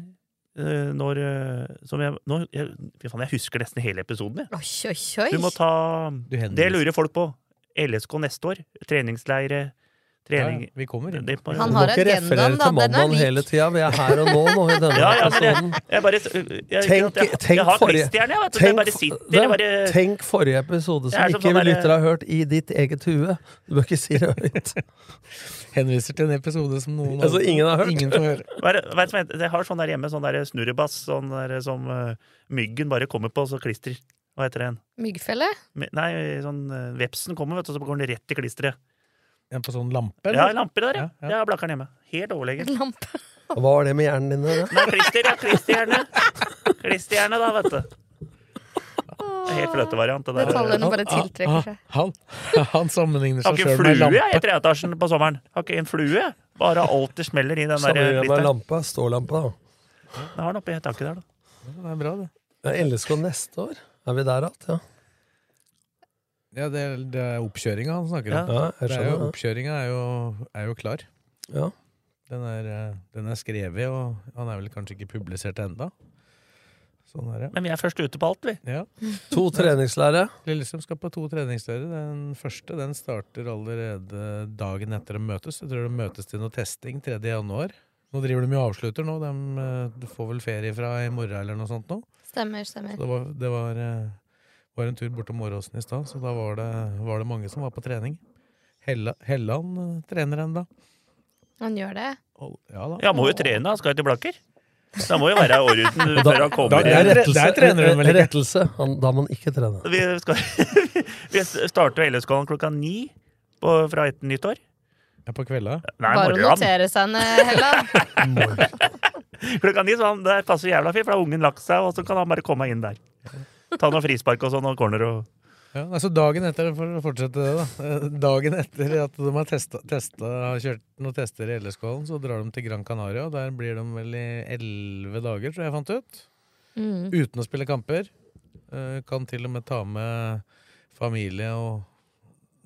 D: eh, når, eh, som jeg, nå, jeg Fy faen, jeg husker nesten hele episoden, jeg.
F: Oi, oi, oi.
D: Du må ta
C: Du henviser.
D: Det lurer folk på. LSK neste år. Treningsleire. Trening
C: Ja, vi kommer inn.
D: Det-
F: Han har
E: Ikke referere til mandagen hele tida. Vi er her og nå, nå i denne
D: Ja, ja, men jeg,
E: episoden.
D: jeg bare jeg, jeg,
E: Tenk,
D: jeg,
E: tenk,
D: har
E: forrige,
D: klisterhjerne, jeg, vet du. Jeg
E: tenk,
D: bare sitter jeg
E: Nei,
D: bare,
E: tenk forrige episode
D: Jeg er
E: som
D: som
E: ikke
D: sånn
E: vi
D: der-
E: lytter har hørt, i ditt eget hue. Du bør ikke si det høyt.
C: Henviser til en episode som noen
E: Altså, ingen har hørt.
C: Ingen får høre.
D: Hva er det- hva er det som heter? Jeg har sånn der hjemme, sånn der snurrebass sånn der, som eh, myggen bare kommer på, så klistrer. Hva heter den?
F: Myggfelle?
D: Me- Nei, sånn eh, vepsen kommer, vet du, og så går den rett i klisteret.
C: En på sånn lampe?
D: Ja,
C: eller?
D: lamper der, ja.
C: Ja,
D: Jeg har blakkeren hjemme. Helt overlegen.
F: Lampe.
E: Hva var det med hjernen din der, da?
D: Nei, klister, ja. Klisterhjerne. Klisterhjerne, da, vet du. Det er Helt fløtevariant. Det der.
F: Detaljene bare
C: Ah, ah,
F: tiltrekker seg.
C: Han, han sammenligner
D: Jeg har
C: seg sjøl
D: ikke
C: med
D: flue jeg, i
C: lampe.
D: treetasjen på sommeren. Jeg har ikke en flue. jeg. Bare alt det smeller i den der
E: Sammenligna med
D: klisteren.
E: lampa. Stålampa, da.
D: Jeg har den oppe i taket der, da.
C: Det er bra, det.
E: Ja, LSK neste år. Er vi der igjen? Ja.
C: Ja, det, er- det er oppkjøringa han snakker om.
E: ja, jeg
C: Det er jo,
E: skjønner.
C: oppkjøringa er jo, er jo klar.
E: det. Ja.
C: Den er, eh, den er skrevet, og han er vel kanskje ikke publisert enda. Sånn er det.
D: Men vi er først ute på alt, vi.
C: Ja.
E: To treningslære.
C: Lillestrøm skal på to treningsdører. Den første den starter allerede dagen etter de møtes. Jeg tror de møtes til noe testing 3. januar. Nå driver de jo og avslutter nå. De eh, du får vel ferie fra i morgen eller noe sånt nå.
F: Stemmer, stemmer.
C: Så det var, det var, eh, var en tur bortom Åråsen i stad, så da var det, var det mange som var på trening. Hella, Helland eh, trener ennå.
F: Han gjør det.
C: Ja da.
D: Ja, må jo trene, han skal jo til Blakker. Da må jo være åruten før han
C: da-
D: kommer.
C: der-
D: igjen.
C: der trener hun vel ikke?
E: Rettelse. Han, da må han ikke trene.
D: Vi, skal, vi starter jo LSK-en klokka ni på, fra etter nyttår.
C: Ja, på kvelda.
D: Nei,
F: Bare å
D: morgenen.
F: notere seg ned, Hella.
D: Klokka ni, så han, det passer jævla fint, for da har ungen lagt seg, og så kan han bare komme inn der. Ta noen frispark og sånn, og corner og
C: Ja, altså dagen etter, for å fortsette det, da. Eh, Dagen etter at de har testa, testa, har kjørt noen tester i LSK-hallen, så drar de til Gran Canaria. og Der blir de vel i elleve dager, tror jeg jeg fant ut.
F: Mm.
C: Uten å spille kamper. Eh, Kan til og med ta med familie og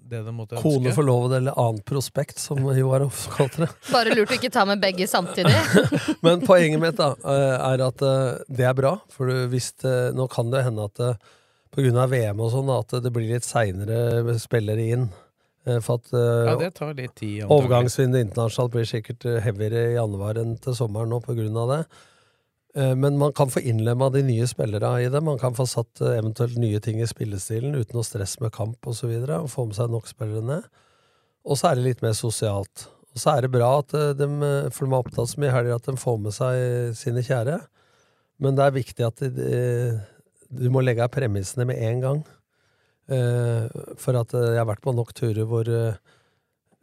C: det de måtte
E: Kone,
C: ønske.
E: forlovede eller annet prospekt, som Joar ofte kalte det.
F: Bare lurt å ikke ta med begge samtidig.
E: Men poenget mitt da, eh, er at eh, det er bra. For du- hvis det, nå kan det hende at eh, på grunn av VM og sånn, at det blir litt seinere spillere inn. eh, For at eh,
C: Ja, det tar litt tid. antagelig.
E: Overgangsvinduet internasjonalt blir sikkert eh, heavyere i januar enn til sommeren nå pga. det. Eh, Men man kan få innlemma de nye spillerne i det. Man kan få satt eh, eventuelt nye ting i spillestilen uten noe stress med kamp osv. Og, så videre, og få med seg nok spillere ned. Og så er det litt mer sosialt. Og så er det bra at eh, de, eh, for de er opptatt så mye i helger at de får med seg eh, sine kjære. Men det er viktig at de, eh, de- du må legge av premissene med en gang. Eh, For at eh, jeg har vært på nok turer hvor eh,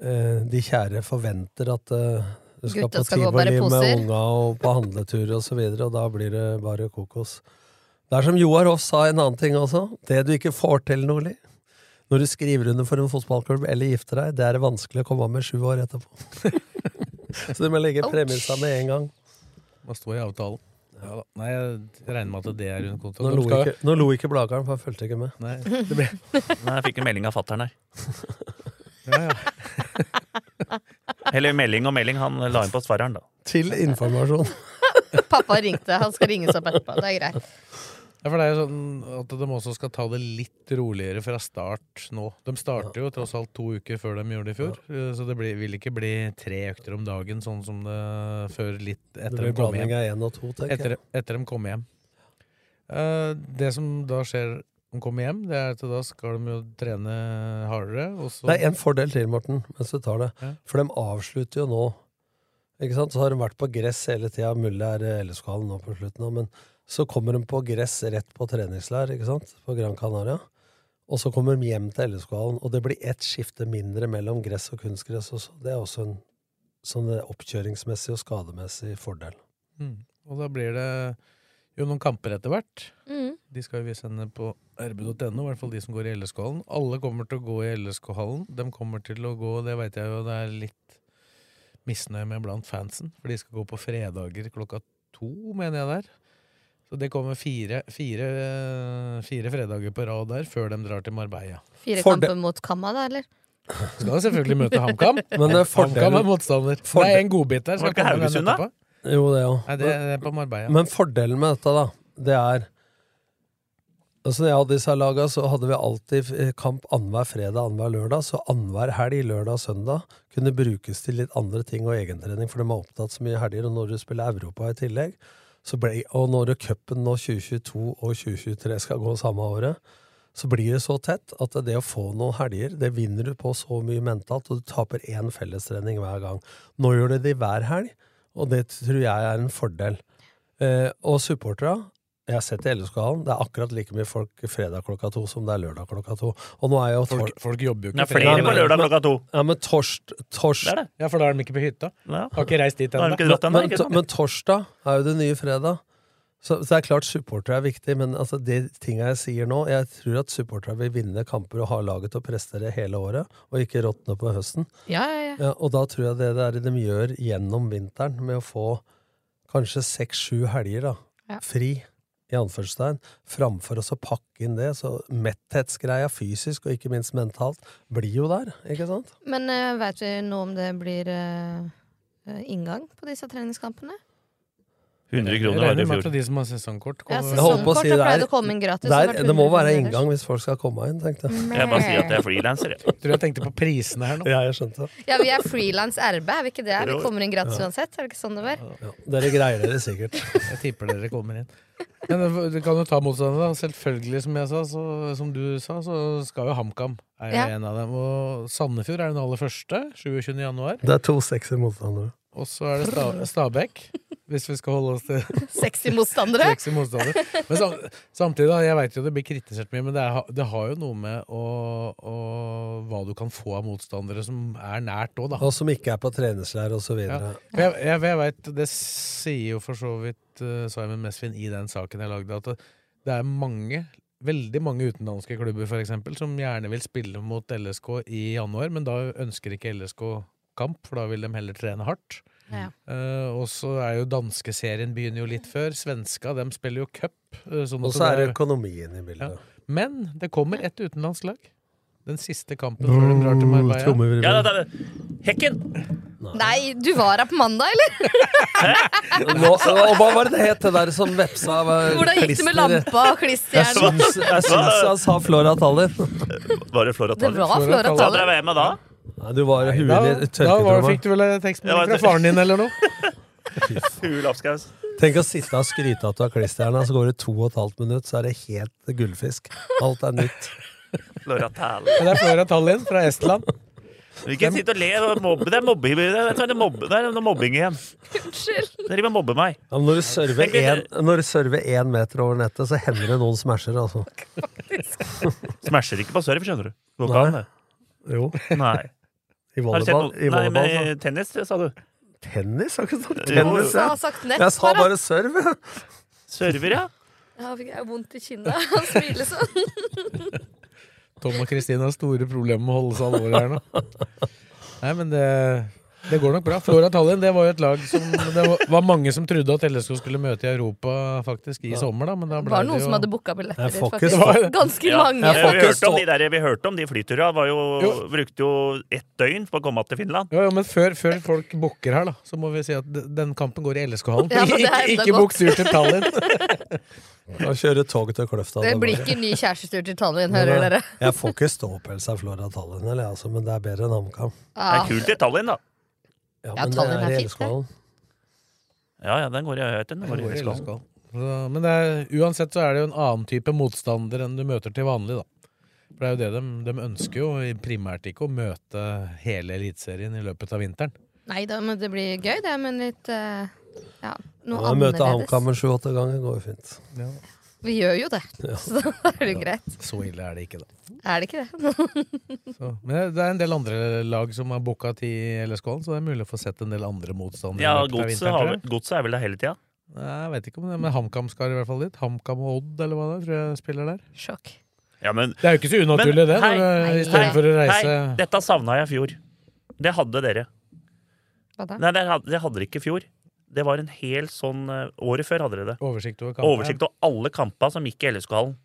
E: eh, de kjære forventer at eh, du skal
F: Gutta
E: på
F: skal gå og bære
E: tivoli med
F: poser.
E: unga og på handletur og så videre, og da blir det bare kokos. Det er som Joar Hoff sa en annen ting også. Det du ikke får til, Nordli, når du skriver under for en fotballklubb eller gifter deg, det er det vanskelig å komme av med sju år etterpå. så du må legge
F: Ouch.
E: premissa med en gang.
C: Hva står i avtalen? Ja, da. Nei, jeg regner med at det er under
E: Nå
C: kontroll.
E: lo
C: De skal-
E: ikke, nå lo ikke Blakaren, for han fulgte ikke med.
C: Nei, det ble...
D: Nei, jeg fikk en melding av fattern her.
C: ja, ja.
D: Eller melding og melding, han la inn på svareren, da.
E: Til informasjon.
F: Pappa ringte, han skal ringes opp etterpå. Det er greit.
C: Ja, for det er jo sånn at de også skal ta det litt roligere fra start nå. De starter jo tross alt to uker før de gjorde det i fjor, eh, så det blir, vil ikke bli tre økter om dagen, sånn som det før litt
E: Det
C: etter
E: blir
C: de kom
E: blanding
C: hjem.
E: av én og to, tenker
C: Etter,
E: jeg.
C: etter de kom hjem. Eh, Det som da skjer de kommer hjem, det er at da skal de jo trene hardere, og så
E: Det er en fordel til, Morten, mens du tar det.
C: Ja.
E: For de avslutter jo nå. Ikke sant? Så har de vært på gress hele tida. Mulig er eh, LSK-hallen nå på slutten, da, men så kommer de på gress rett på treningslær ikke sant? på Gran Canaria. Og så kommer de hjem til LSK-hallen, og det blir ett skifte mindre mellom gress og kunstgress. Også. Det er også en sånn eh, oppkjøringsmessig og skademessig fordel.
C: Mm. Og da blir det jo noen kamper etter hvert.
F: Mm.
C: De skal jo vi sende på rb.no, i hvert fall de som går i LSK-hallen. Alle kommer til å gå i LSK-hallen. De kommer til å gå, det veit jeg jo det er litt misnøye med blant fansen, for de skal gå på fredager klokka to, mener jeg der. Så det kommer fire, fire, fire fredager på rad der før de drar til Marbella.
F: Fire
E: Fordel-
F: kamper mot Kamma, da, eller?
C: Skal selvfølgelig møte HamKam.
E: Men det er
C: HamKam er
E: fordelen,
C: motstander.
E: Fordel-
C: Det er en godbit der.
D: Var
C: Skal
D: det ikke
C: komme den
D: Haugesund, da?
C: etterpå.
E: jo, det òg.
C: Nei, det det er på Marbella.
E: Men fordelen med dette, da, det er Altså når jeg hadde disse laga, så hadde vi alltid eh, kamp annenhver fredag, annenhver lørdag. Så annenhver helg, lørdag og søndag, kunne brukes til litt andre ting og egentrening, for de er opptatt så mye helger. Og når du spiller Europa i tillegg, så ble, og når cupen nå 2022 og 2023 skal gå samme året, så blir det så tett at det å få noen helger, det vinner du på så mye mentalt, og du taper én fellestrening hver gang. Nå gjør du det i hver helg, og det tror jeg er en fordel. Eh, og supporterne Jeg har sett i LSK-hallen. Det er akkurat like mye folk fredag klokka to som det er lørdag klokka to. Og nå er jo tor-
C: Folk, folk jobber jo
E: Nei,
C: ikke
E: flere
C: fredag.
E: på lørdag
C: Men-
E: klokka to. Ja, men torst, torst.
C: Ja, for da er de ikke på hytta. Har ikke reist dit
E: Da har de
C: ennå.
E: ikke dratt ennå, Men- ikke sant? men torsdag er jo det nye fredag. Så, så det er klart supportere er viktig, men altså, de tinga jeg sier nå Jeg tror at supportere vil vinne kamper og ha laget til å prestere hele året, og ikke råtne på høsten.
G: Ja, ja, ja.
E: Ja, og da tror jeg det der de gjør gjennom vinteren, med å få kanskje seks-sju helger da,
G: Ja.
E: fri, i anførselstegn, framfor oss å pakke inn det. Så metthetsgreia fysisk, og ikke minst mentalt, blir jo der, ikke sant?
F: Men uh, veit vi nå om det blir eh, eh, inngang på disse treningskampene?
D: 100
C: Jeg
D: kroner var
C: regner
D: det i
C: med
D: fjor.
C: at de som har sesongkort,
F: Ja,
C: kommer-
E: Jeg holdt på å si
F: Sesongkort har
E: det
F: pleid å komme inn gratis,
E: det
F: har
E: er-
F: vært
E: det må
F: 100
E: være
F: kroner
E: inngang hvis folk skal komme inn, tenkte jeg.
F: Jeg bare sier at jeg er
D: frilanser, jeg.
C: Tror jeg tenkte på prisene her nå.
E: Ja, jeg skjønte det.
F: Ja, vi er frilans RB, er vi ikke det? Vi
E: Jo.
F: kommer inn gratis
E: Ja.
F: uansett, er det ikke sånn det var?
E: Dere greier dere sikkert.
C: Jeg tipper dere kommer inn. Men eh, du kan jo ta motstanderne, da. Selvfølgelig, som jeg sa, så, som du sa, så skal jo HamKam. Er jo
E: Ja.
C: en av dem. Og Sandefjord er den aller første. 27. januar.
E: Det er to sekser motstandere.
C: Og så er det Sta Stabæk, hvis vi skal holde oss til
F: Sexy motstandere.
C: Sexy motstandere. Men sam samtidig, da, jeg veit jo det blir kritisert mye, men det, er, det har jo noe med å, å, hva du kan få av motstandere som er nært òg, da.
E: Og som ikke er på treningsleir og så videre.
C: For Jeg, jeg, jeg vet, Det sier jo for så vidt eh, Simon Mesvin i den saken jeg lagde, at det- det er mange, veldig mange utenlandske klubber for eksempel, som gjerne vil spille mot LSK i januar, men da ønsker ikke LSK kamp, for da vil de heller trene hardt.
G: Ja.
C: Eh, og så er jo danskeserien begynner jo litt før. Svenska dem spiller jo cup. eh, sånn
E: Og
C: at
E: så er det økonomien i bildet.
C: Men det kommer et utenlandslag. Den siste kampen før de drar til Marbella.
E: trommevirvel. Ja,
D: da, Hekken!
F: Nei, du var her på mandag, eller?
E: Nå, og hva var det det het, det der som vepsa var
F: Hvordan gikk det med
E: klister-
F: lampa og
E: Jeg
F: klisterhjernen?
E: syns, jeg syns han sa Flora Tallinn.
D: Var det Flora
F: Det var Flora Tallinn.
D: Hva drev jeg med da?
E: Nei, du var huet
C: Da,
E: i
C: da var,
E: tørketromma.
C: fikk du vel en tekstmelding fra
D: Jeg var-
C: faren din eller noe?
D: Fugl Apskaus.
E: Tenk å sitte og skryte at du har klisterhjerne, så går det to og et halvt minutt, så er det helt gullfisk. Alt er nytt.
D: Flora Tallinn.
C: Men Det er Flora Tallinn fra Estland.
D: Du Ikke sitt og le og mobbe. Det er mobbing, det er, det er mobbe, det er noe mobbing igjen.
F: Unnskyld.
D: Dere driver og mobber meg.
E: Ja, men når du server en- når du server én meter over nettet, så hender det noen smasher, altså.
D: Smasher ikke på serve, skjønner du. Går
E: Nei.
D: ikke an, det.
E: Jo.
D: Nei.
E: I
D: Har du sett
E: volleyball.
D: noe-
E: I
D: Nei,
E: volleyball
D: men eh, tennis, sa du.
E: så- Tennis? Har ikke sagt
D: Jo, jo.
E: tennis,
D: Han
E: jeg.
D: har sagt nett,
E: Jeg sa
D: bare.
E: bare serve.
D: Server, ja.
F: Ja, fikk jeg vondt i kinnet av å smile sånn.
C: Tom og Kristine har store problemer med å holde seg alvorlig her nå. Nei, men det, det går nok bra. Flora Tallinn det var jo et lag som det var- var mange som trodde at LSK skulle møte i Europa faktisk i sommer. da, men da
F: Det
C: ble
F: var noen
C: jo...
F: som hadde booka billetter
C: Jeg
F: dit,
C: får ikke
F: faktisk.
C: stå-
F: Ganske
C: Ja.
F: mange.
C: Jeg får
D: vi,
C: ikke
D: hørte om
C: stå-
D: de der, vi hørte om de flyturene. Var jo, Brukte jo ett døgn på å komme til Finland.
C: Ja, ja, men før, før folk booker her, da, så må vi si at de- den kampen går i LSK-hallen.
F: Ja, men det er
C: ikke
F: enda
C: ikke
F: godt.
C: bukk tur til Tallinn!
E: Da kjører tog til Kløfta.
F: Det blir ikke ny kjærestetur til Tallinn, hører dere.
E: Jeg får ikke ståpels av Flora Tallinn, eller, jeg, altså, men det er bedre enn HamKam.
F: Ja.
D: Det er kult i Tallinn, da.
F: Ja,
E: men det er
F: Tallinn er
E: i
F: fint, det.
E: Elskålen.
D: Ja, ja, den går i jeg vet den. Den går i Elskålen.
C: Så, men det er, uansett så er det jo en annen type motstander enn du møter til vanlig, da. For det er jo det de, de ønsker jo i primært ikke å møte hele Eliteserien i løpet av vinteren.
F: Nei da, men det blir gøy, det, men litt eh, ja, noe
E: Ja, Jeg møter HamKam
F: annerledes.
E: en sju-åtte ganger, går jo fint.
F: Vi gjør jo det, så da er det jo greit.
C: Så ille er det ikke, da.
F: Er det ikke det?
C: Så, men det er en del andre lag som har booka til LSK-hallen, så det er mulig å få sett en del andre motstandere.
D: Ja,
C: i løpet av
D: godset
C: vinteren,
D: har
C: tror
D: vel-
C: jeg.
D: Godset er vel der hele tida.
C: Nei, jeg vet ikke om det, men HamKam skal i hvert fall dit. HamKam og Odd, eller hva det er, tror jeg spiller der.
F: Sjokk.
D: Ja, men,
C: Det er jo ikke så unaturlig, det, når du- i stedet for å reise-
D: Hei, dette savna jeg i fjor. Det hadde dere.
F: Hva da?
D: Nei, det hadde, det hadde dere ikke i fjor. Det var en hel sånn eh, Året før hadde dere det.
C: Oversikt over kampen.
D: Oversikt over alle kampa som gikk i LSK-hallen.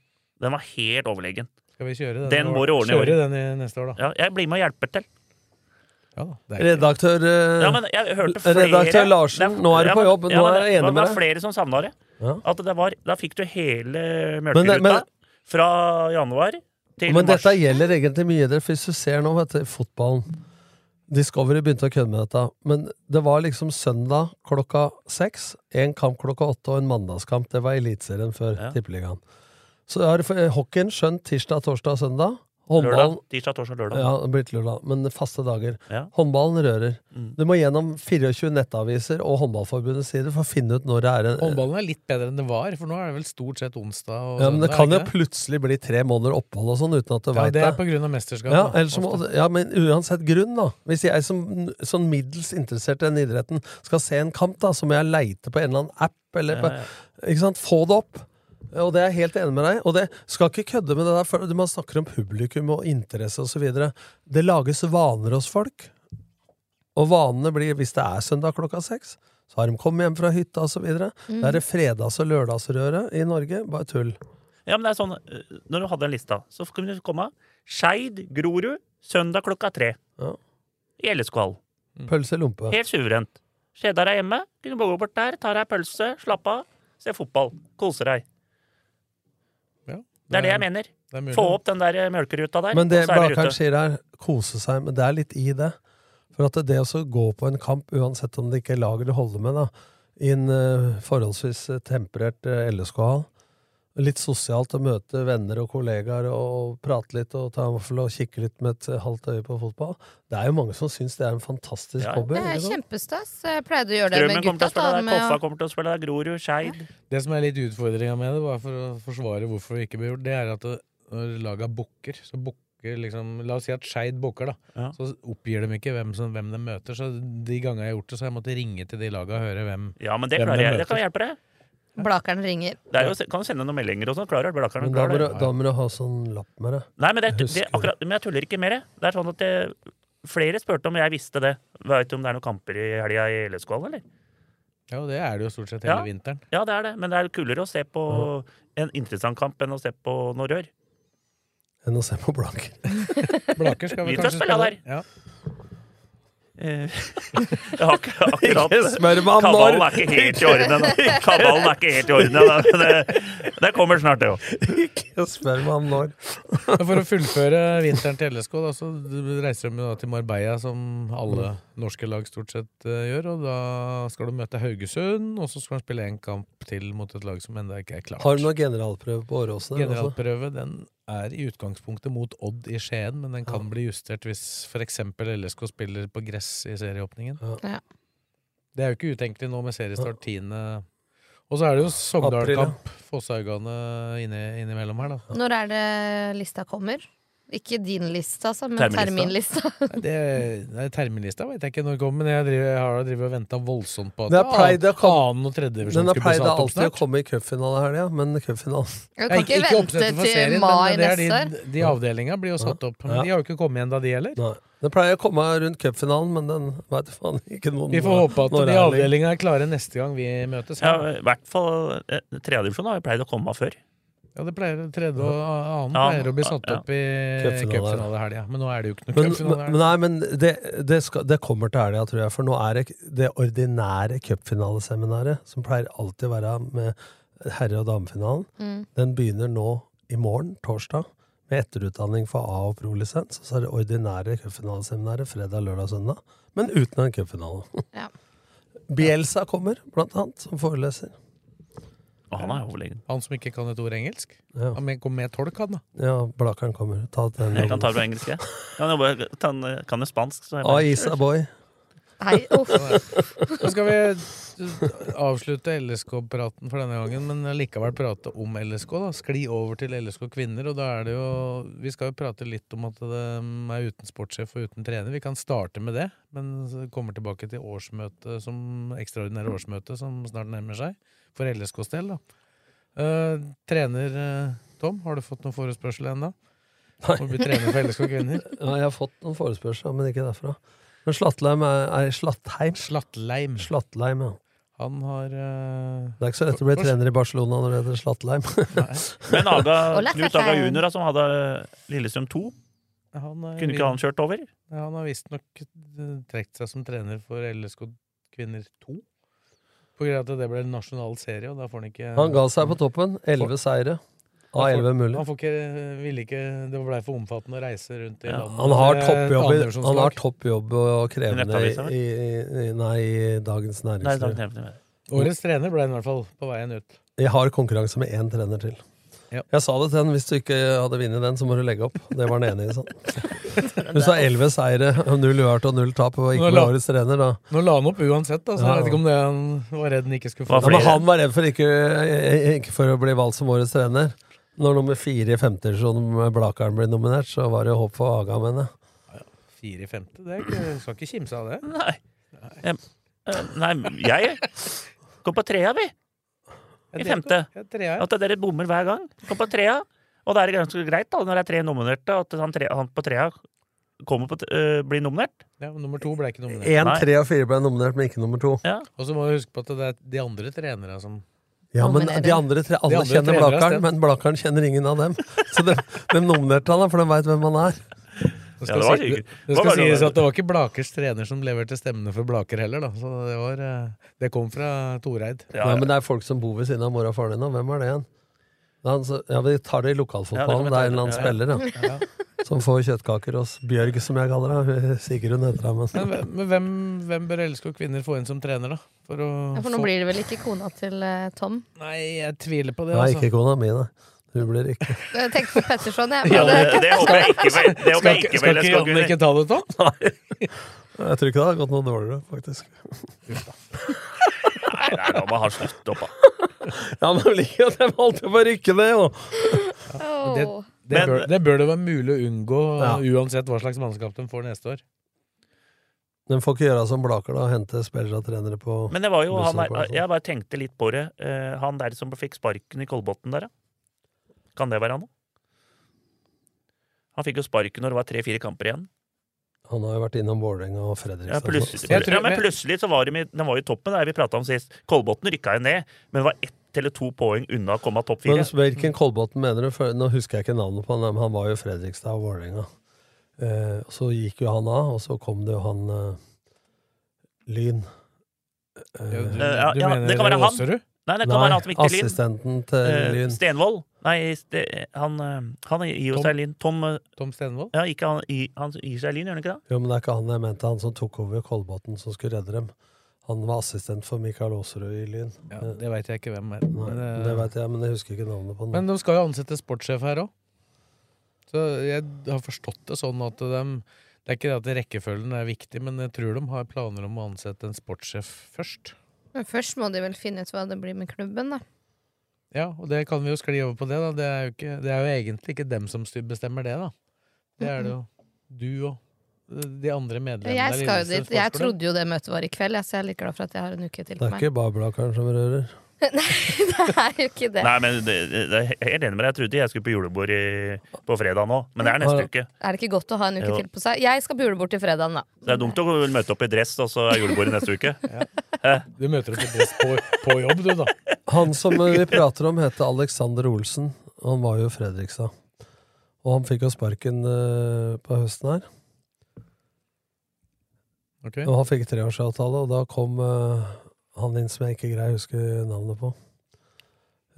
D: Den var helt overlegen.
C: Skal vi kjøre den,
D: Den
C: i år?
D: må du ordne i år.
C: Kjøre den i neste år, da.
D: Ja, jeg blir med og hjelper til.
E: Redaktør, eh,
D: Ja, men jeg hørte flere
E: redaktør Larsen, nå er du
D: Ja,
E: på
D: men-
E: jobb.
D: ja,
E: Nå
D: men
E: er
D: det-
E: jeg enig
D: Det
E: med
D: var
E: deg.
D: flere som savna det.
E: Ja.
D: At det var, da fikk du hele
E: Men det- men-
D: mjølkeruta fra januar til
E: Men
D: mars.
E: dette gjelder egentlig mye. Dere, for hvis du ser nå, vet du, fotballen Discovery begynte å kødde med dette. Men det var liksom søndag klokka seks, en kamp klokka åtte og en mandagskamp. Det var Eliteserien før Tippeligaen. Så jeg har for- hockeyen skjønt tirsdag, torsdag og søndag. Håndballen-
D: Lørdag, tirsdag, torsdag, lørdag.
E: Ja, det blir til lørdag, men faste dager.
D: Ja.
E: Håndballen rører. Du må gjennom 24 nettaviser og Håndballforbundets sider for å finne ut når det er en
C: Håndballen er litt bedre enn det var, for nå er det vel stort sett onsdag og
E: ja, men Det
C: søndag,
E: kan
C: er
E: jo
C: ikke det?
E: plutselig bli tre måneder opphold og sånn uten at du
C: Ja,
E: veit
C: det
E: det.
C: er på grunn av mesterskap.
E: Ja,
C: da,
E: ellers må,
C: ofte.
E: ja, men uansett grunn, da. Hvis jeg som sånn middels interessert i den idretten skal se en kamp, da, så må jeg leite på en eller annen app eller på,
D: Ja,
E: Ikke sant? Få det opp. Og det er jeg helt enig med deg Og det skal ikke kødde med det der, for man snakker om publikum og interesse osv. Det lages vaner hos folk, og vanene blir hvis det er søndag klokka seks. Så har de kommet hjem fra hytta osv.
D: Mm.
E: Da er det fredags- og lørdagsrøre i Norge. Bare tull.
D: Ja, men det er sånn, eh, Når du hadde den lista, så kunne du komme Skeid, Grorud, søndag klokka tre. I LSK-hall.
E: Pølse i lompe.
D: Helt suverent. Skjedar er hjemme, kunne bare gå bort der, ta deg en pølse, slappe av, se fotball. Kose deg. det er det jeg mener.
C: det er mulig.
D: Få opp den der eh, melkeruta der,
E: Men det
D: og så er vi
E: Blakeren
D: ute.
E: sier her, kose seg, men det er litt i det. For at det å så gå på en kamp, uansett om det ikke er lager det holder med, da, i en eh, forholdsvis eh, temperert eh, LSK-hall, litt sosialt å møte venner og kollegaer og, og prate litt og ta en vaffel og kikke litt med et eh, halvt øye på fotball, det er jo mange som syns det er en fantastisk hobby.
F: Det er
E: ikke sant?
F: kjempestas. Jeg pleide å gjøre det
D: Strømmen
F: med
D: kommer til å
F: gutta.
D: spille
F: da,
D: der,
F: med å-
D: Koffa kommer til å spille der, Grorud, Skeid.
C: Det som er litt utfordringa med det, bare for å forsvare hvorfor det ikke blir gjort, det er at det- når laga booker, så booker liksom La oss si at Skeid booker, da. Så oppgir de ikke hvem, som, hvem de møter. Så de gangene jeg har gjort det, så har jeg måttet ringe til de laga og høre hvem
D: Ja, men det
C: hvem
D: klarer
C: de
D: jeg. Det
C: møter.
D: kan vi hjelpe deg.
F: Blakeren ringer.
D: Det er jo, kan du sende noen meldinger og sånn? Klarer du Blakeren?
E: Men da må,
D: klarer
E: du,
D: det.
E: da må du ha sånn lapp med det.
D: Nei, men, det, er- det, er akkurat, men jeg tuller ikke mer. jeg. Det er sånn at det, Flere spurte om jeg visste det. Veit du om det er noen kamper i helga i LSK-hallen, eller?
C: Ja, og det er det jo stort sett hele vinteren.
D: Ja, det er det. Men det er kulere å se på en interessant kamp enn å se på noe rør.
E: Enn å se på Blaker.
C: Blaker skal vi
D: Vi skal
C: kanskje
D: spille der.
C: Ja.
D: Eh, ak akkurat
E: Ikke spør meg om
D: Kabalen
E: når.
D: er ikke helt i orden ennå. Kabalen er ikke helt i orden ennå. men Det, det kommer snart, det òg.
E: Ikke spør meg om når.
C: Men For å fullføre vinteren til LSK, da, så reiser de jo da til Marbella, som
E: Mm.
C: alle norske lag stort sett eh, gjør. Og da skal du møte Haugesund, og så skal du spille en kamp til mot et lag som ennå ikke er klart.
E: Har du noe altså- generalprøve på Åråsen? eller noe sånt?
C: Generalprøve den er i utgangspunktet mot Odd i Skien, men den kan bli justert hvis f.eks. LSK spiller på gress i serieåpningen.
F: Ja.
C: Det er jo ikke utenkelig nå med seriestart 10. Og så er det jo Sogndal-kamp, Fosshaugane inne- innimellom her, da.
F: Når er det lista kommer? Ikke din liste, altså, men
C: Terminlista.
F: terminlista.
C: Nei, Det, nei, terminlista vet jeg ikke når det kommer, men jeg, driver, jeg har da drivet og venta voldsomt på at
E: Den har pleid å komme-
C: annen og tredje divisjon
E: Den har
C: skulle bli
E: pleid
C: satt opp
E: alltid å
C: snart.
E: komme i cupfinalehelga, men cupfinalen
F: Jeg
C: Ja,
F: kan ikke, vente
C: oppsettet for
F: til
C: serien, men
F: mai
C: det er
F: neste år.
C: De, de avdelinga blir jo satt opp, men
E: Ja.
C: de har jo ikke kommet igjen da de heller.
E: Nei. Den pleier å komme rundt cupfinalen, men den veit faen ikke noen
C: Vi får håpe at
E: når
C: de
E: er lenger.
C: avdelinga er klare neste gang vi møtes.
D: Ja,
C: her.
D: I hvert fall eh, tredje divisjon har jo pleid å komme av før.
C: Ja, det pleier tredje og annen
D: Ja,
C: pleier å bli satt
D: ja.
C: opp i
E: Cupfinale.
C: cupfinalehelga, men nå er det jo ikke noe
E: Men, men,
C: cupfinale.
E: men nei, men det, det, skal, det kommer til helga, tror jeg. For nå er det det ordinære cupfinaleseminaret, som pleier alltid å være med herre- og damefinalen,
F: Mm.
E: den begynner nå i morgen, torsdag, med etterutdanning for A- og prolisens. Og så er det ordinære cupfinaleseminaret fredag, lørdag og søndag, men uten en cupfinale.
F: Ja.
E: Bielsa kommer, blant annet, som foreleser.
D: Å, Han er overlegen.
C: Han som ikke kan et ord engelsk?
E: Ja.
C: Han kom med tolk, han, da.
E: Ja, Blakeren kommer. Ta den.
D: Jeg kan ta det på engelsk, jeg. Kan jo bare- Kan kan jo spansk, så jeg
E: Ah, Isa boy.
F: Hei, uff.
C: Nå skal vi avslutte LSK-praten for denne gangen, men likevel prate om LSK. da Skli over til LSK kvinner. Og da er det jo Vi skal jo prate litt om at de er uten sportssjef og uten trener. Vi kan starte med det, men så kommer tilbake til årsmøtet som ekstraordinære årsmøte som snart nærmer seg, for LSKs del. da Eh, Trener eh, Tom, har du fått noen forespørsel ennå?
E: Nei.
C: Må bli trener for LSK kvinner.
E: Ja, jeg har fått noen forespørsler, men ikke derfra. Men Slattheim er, er Slattheim?
C: Slattleim.
E: Slattheim, ja.
C: Han har eh,
E: Det er ikke så lett å bli
C: For-
E: trener i Barcelona når det heter Slattheim.
D: Men Aga,
F: Hola,
D: Knut Aga
F: Slattheim.
D: junior, da, som hadde Lillestrøm 2,
C: han er-
D: kunne ikke han kjørt over?
C: Ja, han har visstnok eh, trukket seg som trener for LSK kvinner 2. På grunn av at det ble en nasjonal serie, og da får han ikke
E: Han ga seg på toppen. Elleve seire av
C: han får-
E: elleve mulig.
C: Han får ikke, eh, ville ikke Det blei for omfattende å reise rundt i
D: Ja,
C: landet.
E: Han har
C: med
E: toppjobb, i-
C: andredivisjonslag.
E: han har toppjobb og krevende i,
D: Nettavisa, vel?
E: i, i, nei, i Dagens
D: Nei, da,
E: Næringsliv.
D: nevnte jeg det.
C: Årets trener ble han i hvert fall på veien ut.
E: Jeg har konkurranse med én trener til. Jeg sa det til henne, hvis du ikke hadde vunnet den, så må du legge opp. Det var han enig i. sånn. Hun sa elleve seire, null uart og null tap, og ikke
C: Nå
E: ble
C: la-
E: årets trener, da.
C: Nå la han opp uansett, da, så
E: Ja.
C: jeg vet ikke om det han var redd han ikke skulle
E: Ja,
C: få.
E: men han var redd for ikke, eh, ikke for å bli valgt som årets trener. Når nummer fire i femte divisjon Blakaren ble nominert, så var det jo håp for Aga, mener jeg.
C: Fire i femte, det er ikke, skal ikke kimse av det.
D: Nei. Jeg, eh, nei, jeg går på trea, vi. I
C: Jeg
D: femte.
C: deltok. Ja, trea, ja.
D: At dere bommer hver gang. Går på trea. Og da er det ganske greit, da, når det er tre nominerte, at han, tre, han på trea kommer på, t- eh, blir nominert.
C: Ja, men nummer to ble ikke nominert.
E: Én,
D: Nei.
E: tre og fire ble nominert, men ikke nummer to.
C: Og så må du huske på at det er de andre trenerne som
E: Ja, men
C: Nominerer.
E: de andre tre,
C: De
E: Alle
C: andre
E: kjenner
C: trenere har
E: Blakaren,
C: stemt.
E: men Blakaren kjenner ingen av dem. Så de, de nominerte han, da, for de veit hvem han er.
C: Det
D: Ja,
C: skal,
D: det var
C: si-
D: hyggelig.
C: det
D: Hva
C: skal
D: var det-
C: sies at det var ikke Blakers trener som leverte stemmene for Blaker heller, da. Så det, var, eh, det kom fra Toreid.
D: Ja,
E: Nei, men det er folk som bor ved siden av mor og faren din, og hvem er det igjen? Det er han som- ja, vi tar det i
D: Ja,
E: lokalfotballen. det
D: det
E: er
D: kan
E: en eller annen
D: vi ta.
E: spiller, da. Som får kjøttkaker hos Bjørg, som jeg kaller henne. Sigrun heter altså. hun. men-
C: Men, hvem- men hvem, hvem bør elske og kvinner få inn som trener, da? For å
F: Ja, for nå
C: få-
F: blir det vel ikke kona til eh, Tom?
C: Nei, jeg tviler på det,
E: Nei,
C: altså.
E: ikke kona mi, nei. Hun blir ikke
F: Jeg tenkte på Petterson, jeg.
D: Ja,
F: Men,
D: det, det håper jeg ikke vel. Det håper
C: Skal
D: jeg
C: ikke,
D: ikke
C: skal ikke
D: vel. Jeg skal
C: Janne
D: ikke
C: ikke ta det, Tom?
E: Jeg tror ikke det har gått noe dårligere, faktisk.
D: Nei, nei, da må han slutte opp, da.
E: Ja, men like, at jeg valgte å bare rykke ned, jo!
F: Åh.
C: det- Det
D: Men-
C: bør, det bør det være mulig å unngå,
E: Ja.
C: uansett hva slags mannskap de får neste år.
E: Den får ikke gjøre som Blaker, da. Hente spillere og trenere på
D: Men det var jo
E: Bussen
D: han
E: på
D: der,
E: hvert fall.
D: Jeg bare tenkte litt på det. Eh, Han der som fikk sparken i Kolbotn der, ja. Kan det være han òg? Han fikk jo sparken når det var tre-fire kamper igjen.
E: Han har jo vært innom Vålerenga og
D: Ja,
E: Fredrikstad.
D: plutselig,
C: Jeg tror-
D: ja, men plutselig så var de, i- den var jo i toppen, der vi prata om sist. Kolbotn rykka jo ned, men var ett eller to poeng unna å komme av topp
E: Men
D: fire.
E: hvilken Kolbotn mener du? For, nå husker jeg ikke navnet på han, men han var jo Fredrikstad og Vålerenga. Eh, og så gikk jo han av, og så kom det jo han eh, Lyn. Eh,
C: Du,
D: ja, ja, det kan være han.
C: Åserud?
D: Nei, det kan
E: nei,
D: være han som gikk til Lyn.
E: assistenten til
D: Eh,
E: Lyn.
D: Stenvold. Nei, Ste- han, eh, han gir jo
C: Tom.
D: seg Lyn. Tom eh,
C: Tom Stenvold?
D: Ja, ikke han, i- han gir seg Lyn, gjør han ikke det?
E: Jo, men det er ikke han jeg mente, han som tok over Kolbotn, som skulle redde dem. Han var assistent for Mikael Aasrud i Lyn.
C: Ja, det veit jeg ikke hvem er.
E: Nei,
C: Men, eh,
E: det veit jeg, men jeg husker ikke navnet på han.
C: men de skal jo ansette sportssjef her òg. Så jeg har forstått det sånn at de Det er ikke det at rekkefølgen er viktig, men jeg tror de har planer om å ansette en sportssjef først.
F: men først må de vel finne ut hva det blir med klubben, da.
C: Ja, og det kan vi jo skli over på det, da. Det er jo, ikke, det er jo egentlig ikke dem som styr- bestemmer det, da. Det er det jo du og eh, de andre medlemmene
F: Jeg
C: der i
F: skal
C: Lillestrøm
F: jo dit.
C: Sportsklubb.
F: Jeg trodde jo det møtet var i kveld, jeg, så jeg er litt glad for at jeg har en uke til
E: det
F: på
E: er
F: meg.
E: ikke bare Blakeren som rører.
F: Det er jo ikke det.
D: Nei, men det, det, det er helt enig med deg. Jeg trodde jeg skulle på julebord i, på fredag nå, men det er neste
E: Ja.
D: uke.
F: Er det ikke godt å ha en uke
D: Jo.
F: til på seg? Jeg skal på julebord til fredagen, da.
D: Det er dumt å møte opp i dress, og så er julebordet neste uke.
C: Du møter opp i dress på, på jobb, du, da.
E: Han som vi prater om, heter Alexander Olsen. Han var jo i Fredrikstad. Og han fikk jo sparken eh, på høsten her.
C: Ok.
E: Og han fikk treårsavtale, og da kom eh, han inn som jeg ikke greier å huske navnet på.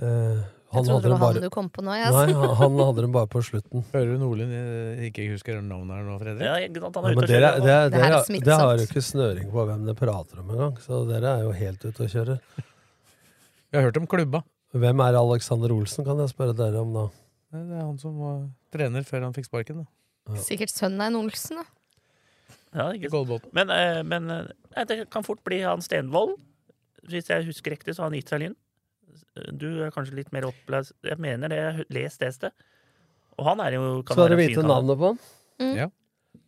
E: Eh,
F: Jeg
E: han
F: trodde
E: hadde
F: det
E: dem
F: var han
E: bare,
F: du kom på nå. Jeg,
E: nei,
F: altså.
E: han han hadde dem bare på slutten.
C: Hører du Nordlund eh, ikke husker navnet her nå, Fredrik?
D: Ja, ikke sant? Han
E: Nei,
D: er
E: men
D: ute og
E: dere,
D: kjører.
E: dere,
F: Det her er
E: dere,
F: smittsomt.
E: dere har jo ikke snøring på hvem dere prater om engang, så dere er jo helt ute å kjøre.
C: Jeg har hørt om klubba.
E: Hvem er Alexander Olsen, kan jeg spørre dere om da?
C: Nei, Det er han som var trener før han fikk sparken. da.
F: Sikkert sønnen av en Olsen, da.
D: Ja, ikke sant?
C: Goldbotn.
D: Men, eh, men eh, nei, det kan fort bli han Stenvold. Hvis jeg husker riktig, så har han gitt seg Lyn. Du er kanskje litt mer opplært Jeg mener det, jeg har lest det sted. Og han er jo kan
E: Skal
D: være
E: dere
D: en fin
E: vite
D: kandidat.
E: navnet på han?
F: Mm.
C: Ja.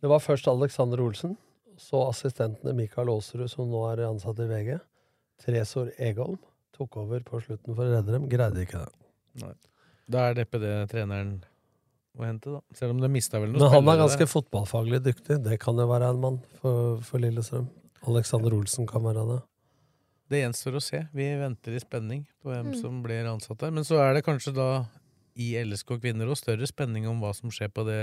E: Det var først Alexander Olsen, så assistentene Mikael Aasrud, som nå er ansatt i VG. Tresor Egholm tok over på slutten for å redde dem. Greide ikke det.
C: Da er neppe det treneren å hente, da. Selv om de mista vel noe
E: Men han er
C: spillere
E: ganske fotballfaglig dyktig. Det kan jo være en mann for, for Lillestrøm. Alexander Olsen kan være det.
C: der. Det gjenstår å se. Vi venter i spenning på hvem
F: Mm.
C: som blir ansatt der. Men så er det kanskje da i LSK Kvinner og større spenning om hva som skjer på det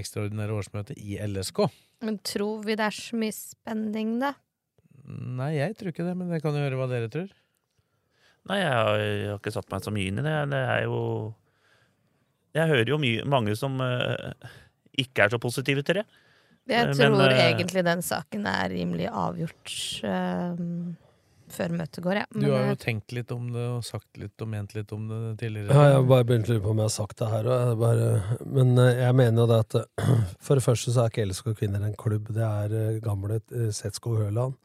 C: ekstraordinære årsmøtet i LSK.
F: Men tror vi det er så mye spenning, da?
C: Nei, jeg tror ikke det, men jeg kan jo høre hva dere tror.
D: Nei, jeg har, jeg har ikke satt meg så mye inn i det. Det er jo Jeg hører jo mye, mange som eh, ikke er så positive til det.
F: Jeg
D: Men,
F: tror
D: eh,
F: egentlig den saken er rimelig avgjort. eh, før møtet går, jeg.
C: Du
F: Men,
C: har
F: eh,
C: jo tenkt litt om det, og sagt litt og ment litt om det tidligere.
E: Ja, jeg har bare begynt å lure på om jeg har sagt det her. Og jeg bare, men eh, jeg mener jo det at eh, For det første så er ikke Elskog Kvinner en klubb. Det er eh, gamle eh, Setskog Høland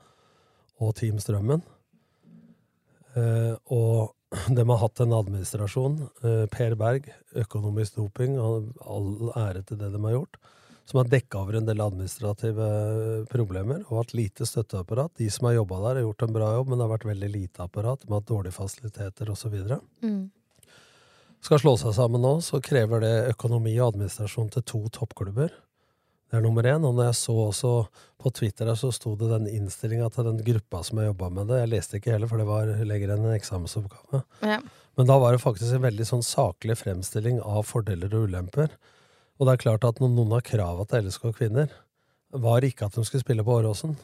E: og Team Strømmen. Eh, og de har hatt en administrasjon, eh, Per Berg, økonomisk doping, og all ære til det de har gjort, som har dekka over en del administrative eh, problemer og hatt lite støtteapparat. De som har jobba der, har gjort en bra jobb, men det har vært veldig lite apparat. De har hatt dårlige fasiliteter osv
F: Mm.
E: skal slå seg sammen nå, så krever det økonomi og administrasjon til to toppklubber. Det er nummer én. Og når jeg så også på Twitter her, så sto det den innstillinga til den gruppa som jeg jobba med det. Jeg leste ikke heller, for det var lenger enn en eksamensoppgave.
F: Ja.
E: Men da var det faktisk en veldig sånn saklig fremstilling av fordeler og ulemper. Og det er klart at noen- noen av krava til LSK kvinner var ikke at de skulle spille på Åråsen,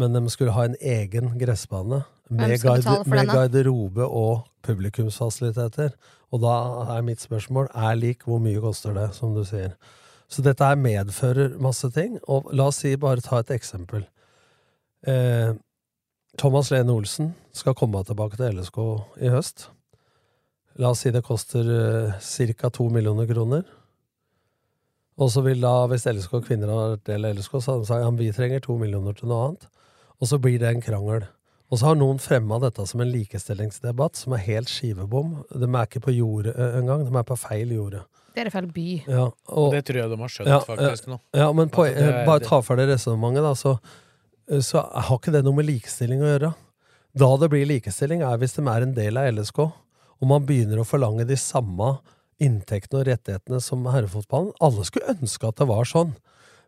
E: men de skulle ha en egen gressbane
F: Hvem
E: med,
F: skal
E: garde
F: betale for
E: med
F: den, da?
E: garderobe og publikumsfasiliteter. Og da er mitt spørsmål er lik hvor mye koster det, som du sier. Så dette her medfører masse ting. Og la oss si, bare ta et eksempel. Eh, Thomas Lene Olsen skal komme tilbake til LSK i høst. La oss si det koster ca. to millioner kroner. Og så vil da, hvis LSK kvinner har vært del av LSK, så har de sagt ja, men vi trenger to millioner til noe annet. Og så blir det en krangel. Og så har noen fremma dette som en likestillingsdebatt som er helt skivebom. De er ikke på jordet eh, engang, de er på feil jorde.
F: Det er i feil by.
E: Ja, og-
C: Det tror jeg de har skjønt
E: Ja,
C: faktisk nå.
E: Ja, men poen-
C: At det er-
E: bare ta for deg resonnementet, da, så, eh, så har ikke det noe med likestilling å gjøre. Da det blir likestilling, er hvis de er en del av LSK, og man begynner å forlange de samme inntektene og rettighetene som herrefotballen. Alle skulle ønske at det var sånn.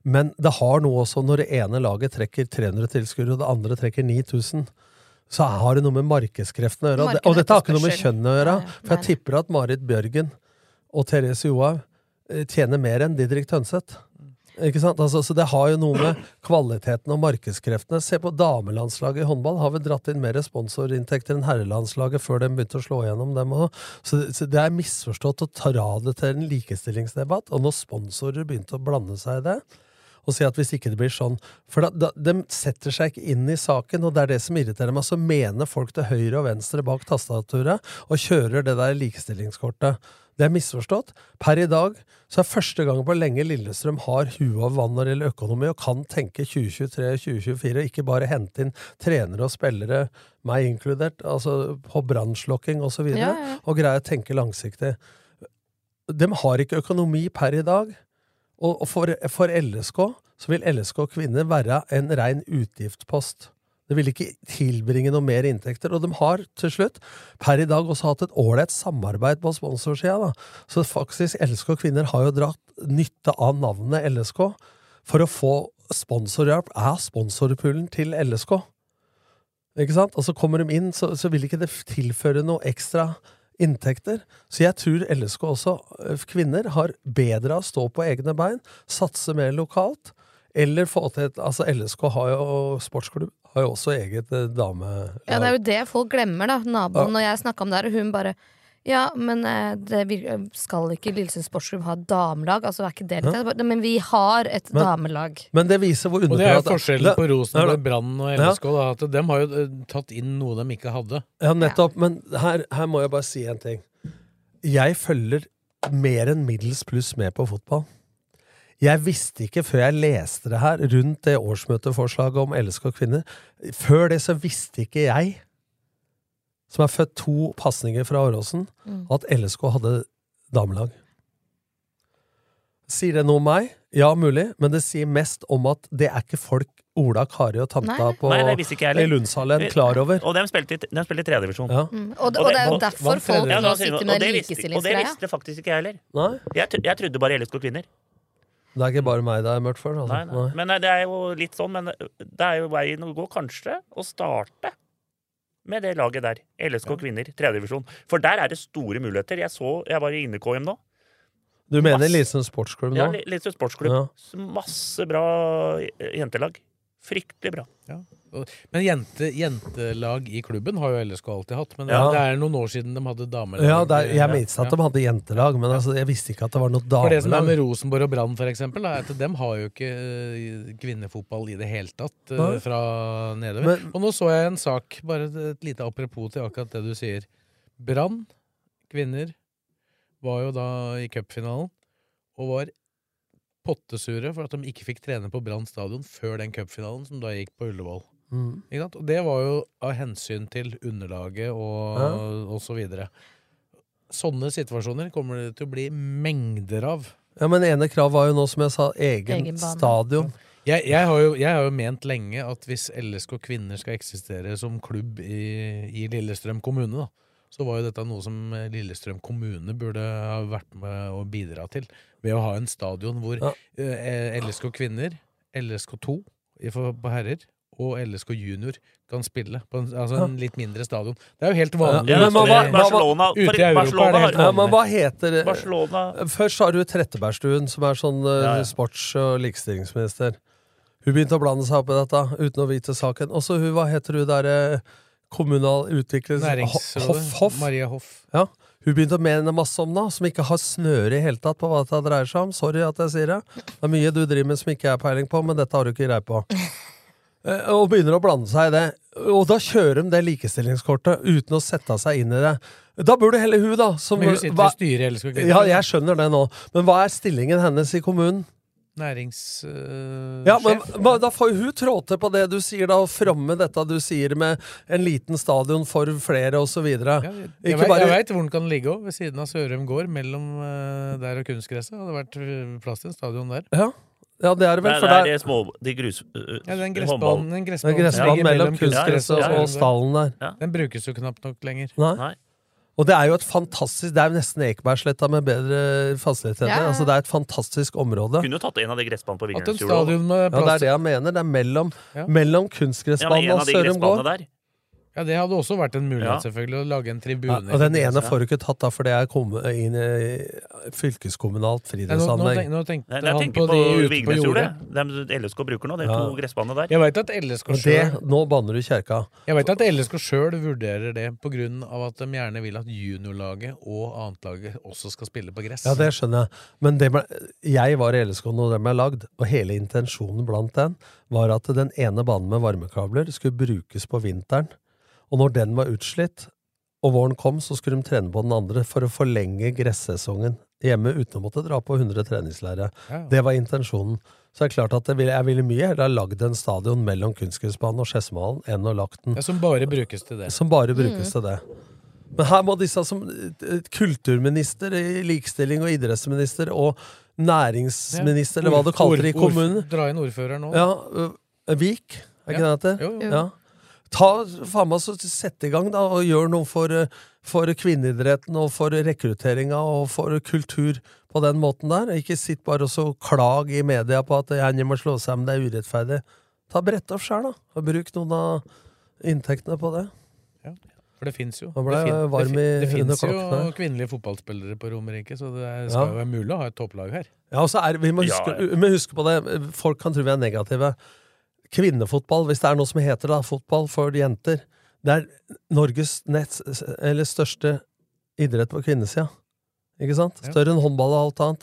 E: Men det har noe også når det ene laget trekker 300 tilskuere, og det andre trekker 9000. Så har det noe med markedskreftene å gjøre. Og det- Og dette har ikke noe med kjønn å gjøre. For jeg tipper at Marit Bjørgen og Therese Johaug eh, tjener mer enn Didrik Tønseth. Ikke sant? Altså, så det har jo noe med kvaliteten og markedskreftene. Se på damelandslaget i håndball. Har vel dratt inn mer sponsorinntekter enn herrelandslaget før de begynte å slå gjennom dem. også. Så, så det er misforstått å dra det til en likestillingsdebatt. Og når sponsorer begynte å blande seg i det, og si at hvis ikke det blir sånn For da, da, de setter seg ikke inn i saken, og det er det som irriterer meg. Så mener folk til høyre og venstre bak tastaturet og kjører det der likestillingskortet. Det er misforstått. Per i dag så er første gang på lenge Lillestrøm har huet av vann når det gjelder økonomi, og kan tenke 2023-2024, ikke bare hente inn trenere og spillere, meg inkludert, altså på brannslokking osv., og,
F: Ja,
E: ja,
F: ja.
E: og greie å tenke langsiktig. De har ikke økonomi per i dag. Og og for, for LSK så vil LSK kvinner være en rein utgiftspost. Det vil ikke tilbringe noe mer inntekter. Og de har til slutt per i dag også hatt et ålreit samarbeid på sponsorsida. da. Så faktisk LSK kvinner har jo dratt nytte av navnet LSK for å få sponsorhjelp. Er sponsorpoolen til LSK? Ikke sant? Og så kommer de inn, så, så vil ikke det f- tilføre noe ekstra inntekter. Så jeg tror LSK også, ø, kvinner, har bedre av å stå på egne bein, satse mer lokalt, eller få til et Altså, LSK har jo sportsklubb, har jo også eget eh, ø, damelag.
F: Ja, det er jo det folk glemmer, da.
E: Ja.
F: Naboen og jeg snakka om det her, og hun bare ja, men eh, det vir- skal ikke Lillesund Sportsklubb ha damelag? Altså, er ikke det litt
E: Ja.
F: Jeg bare, Men vi har et
E: Men-
F: damelag.
E: Men det viser hvor
C: Og det er jo
E: underprata
C: forskjellen på
E: Ja, da.
C: Rosenborg, Brann og
E: Ja.
C: LSK. Da, at de har jo eh, tatt inn noe de ikke hadde.
E: Ja, nettopp. Men her, her må jeg bare si en ting. Jeg følger mer enn middels pluss med på fotball. Jeg visste ikke før jeg leste det her, rundt det årsmøteforslaget om LSK kvinner Før det så visste ikke jeg, som er født to pasninger fra Åråsen,
F: Mm.
E: at LSK hadde damelag. Sier det noe om meg? Ja, mulig, men det sier mest om at det er ikke folk Ola, Kari og tanta
F: Nei.
E: på
D: Nei, det visste ikke jeg heller.
E: Lundshallen klar over.
D: Og de spilte i, de spilte i tredjedivisjon.
E: Ja.
F: Mm. Og, det- og det er jo
D: Og det-
F: derfor
C: vant
F: folk
C: tredje.
D: Ja,
F: nå
D: da sier vi-
F: sitter
D: og
F: med
D: det
F: den
D: visste- Og det
F: likestillingsgreia.
D: visste faktisk ikke jeg heller.
E: Nei?
D: Jeg, tro- jeg trodde bare LSK kvinner.
E: Det er ikke bare meg det er mørkt for. Altså.
D: Nei, nei. Men eh, det er jo litt sånn, men det er jo veien å gå, kanskje, å starte med det laget der. LSK kvinner, tredjedivisjon. For der er det store muligheter. Jeg så, jeg var i Inne-KM nå.
E: Du mener
D: Masse.
E: Lillesund sportsklubb nå?
D: Ja, Litt sportsklubb.
E: Ja.
D: Masse bra eh, jentelag. Fryktelig bra.
C: og- Men jente, jentelag i klubben har jo LSK alltid hatt. Men
E: Ja.
C: det er noen år siden de hadde damelag.
E: Ja, det er, jeg minnes at
C: Ja.
E: de hadde jentelag, men altså, jeg visste ikke at det var noe
C: For det som er
E: damelag.
C: med Rosenborg og Brann, for eksempel, er at dem har jo ikke eh, kvinnefotball i det hele tatt eh,
E: Nei.
C: fra nedover.
E: Men-
C: og nå så jeg en sak, bare et lite apropos til akkurat det du sier. Brann, kvinner, var jo da i cupfinalen og var pottesure for at de ikke fikk trene på Brann stadion før den cupfinalen, som da gikk på Ullevål.
E: Mm.
C: Ikke sant? Og det var jo av hensyn til underlaget og, og så videre. Sånne situasjoner kommer det til å bli mengder av.
E: Ja, men ene krav var jo nå, som jeg sa, egen,
C: Egen bane.
E: stadion.
C: Jeg, jeg, har jo, jeg har jo ment lenge at hvis LSK Kvinner skal eksistere som klubb i, i Lillestrøm kommune, da, så var jo dette noe som eh, Lillestrøm kommune burde ha vært med å bidra til. Ved å ha en stadion hvor eh, LSK Kvinner, LSK 2 i for- på herrer og LSK Junior kan spille på en, altså en litt mindre stadion. Det er jo helt vanlig. Eh,
E: Ja, men hva- hva-
D: Barcelona,
C: ute i Europa er det helt
E: Ja, men
C: vanlig.
E: hva heter det?
D: Barcelona.
E: Først har du Trettebergstuen, som er sånn eh,
D: Ja, ja.
E: sports- og likestillingsminister. Hun begynte å blande seg opp i dette uten å vite saken. Og så hun, hva heter hun derre kommunal utviklings...
C: Næringsrådet,
E: Hoff, Hoff.
C: Maria Hoff.
E: Ja. Hun begynte å mene masse om det, som ikke har snøre i hele tatt på hva dette dreier seg om. Sorry at jeg sier det. Det er mye du driver med som ikke jeg har peiling på, men dette har du ikke greie på. Eh, Og begynner å blande seg i det. Og da kjører de det likestillingskortet uten å sette seg inn i det. Da burde heller hun, da som,
C: Men hun sitter i
E: hva-
C: styret i LSK Kvinner.
E: Ja, jeg skjønner det nå. Men hva er stillingen hennes i kommunen?
C: Næringssjef.
E: Ja, men hva- Da får hun trå til på det du sier, da, og fromme dette du sier med en liten stadion for flere osv.
C: Jeg vet- Jeg veit hvor den kan ligge òg, ved siden av Sørum gård, mellom eh, der og kunstgresset. Hadde vært eh, plass til en stadion der.
E: Ja, ja det er det
D: Nei,
E: vel. For
D: det er
E: der,
D: de små De grus... øh,
C: Ja, den
D: håndballen.
C: gressbanen, den gressbanen,
E: Den gressbanen
C: som ligger
E: mellom kunstgresset
C: kunstgresset
E: og stallen der.
D: Ja.
C: Den brukes jo knapt nok lenger.
E: Nei. Og det er jo et fantastisk Det er jo nesten Ekebergsletta med bedre fasiliteter.
D: Ja, ja.
E: Altså, det er et fantastisk område.
D: Kunne jo tatt en av de gressbanene på
E: At en
D: Vinjernsfjord.
E: stadion med plass Ja, det er det jeg mener. Det er mellom, mellom kunstgressbanen og Sørum gård.
C: Ja, det hadde også vært en mulighet,
E: Ja.
C: selvfølgelig, å lage en tribune.
E: Ja, og den
C: i
E: ene
C: forbindelse.
E: får du ikke tatt, da, for det er kommet inn i fylkeskommunalt
C: Nei, nå, nå, tenk,
E: friidrettsanlegg.
C: nå tenkte
D: Nei, jeg
C: han på
D: tenker på,
C: de ute på jordet.
D: Vigernesfjordet. De LSK bruker nå, de
E: Ja.
D: to gressbanene der.
C: Jeg veit at LSK
E: Og
C: sjøl
E: det, nå banner du kjerka.
C: Jeg vet at LSK sjøl vurderer det på grunn av at de gjerne vil at juniorlaget og annetlaget også skal spille på gress.
E: Ja, det skjønner jeg. Men det ble, jeg var i LSK når den ble lagd, og hele intensjonen blant den var at den ene banen med varmekabler skulle brukes på vinteren. Og når den var utslitt, og våren kom, så skulle de trene på den andre for å forlenge gressesongen hjemme uten å måtte dra på 100 treningslære.
C: Ja.
E: Det var intensjonen. Så det er klart at jeg ville, jeg ville mye heller ha lagd en stadion mellom kunstgressbanen og Skedsmohallen enn å lagt den
C: Ja, som bare brukes til det.
E: som bare brukes til det. Men her må disse som eh, kulturminister, eh, likestilling og idrettsminister og næringsminister, eller hva du kaller det i
C: Ord- ord-
E: kommunen
C: Dra inn ordføreren nå.
E: ja, ø, Vik, er ikke
C: Ja.
E: det det
C: Jo, jo.
E: heter? Ja. Ta, faen meg, så sett i gang, da, og gjør noe for, ø, for kvinneidretten og for rekrutteringa og for kultur på den måten der. Ikke sitt bare og så klag i media på at jeg må slå seg, men det er urettferdig. Ta brett opp sjøl, da, og bruk noen av inntektene på det.
C: For det fins jo.
E: Nå ble
C: det
E: jeg
C: fin-
E: varm
C: det
E: i-
C: fin- det
E: under
C: fins jo
E: klokken her.
C: kvinnelige fotballspillere på Romerike, så det er,
E: Ja.
C: skal jo være mulig å ha et topplag her.
E: Ja, og så er, vi må
C: Ja,
E: huske,
C: ja.
E: vi må huske på det. Folk kan tro vi er negative. Kvinnefotball, hvis det er noe som heter da, fotball for jenter, det er Norges nett, eller største idrett på kvinnesida. Ikke sant? Større enn håndball og alt annet.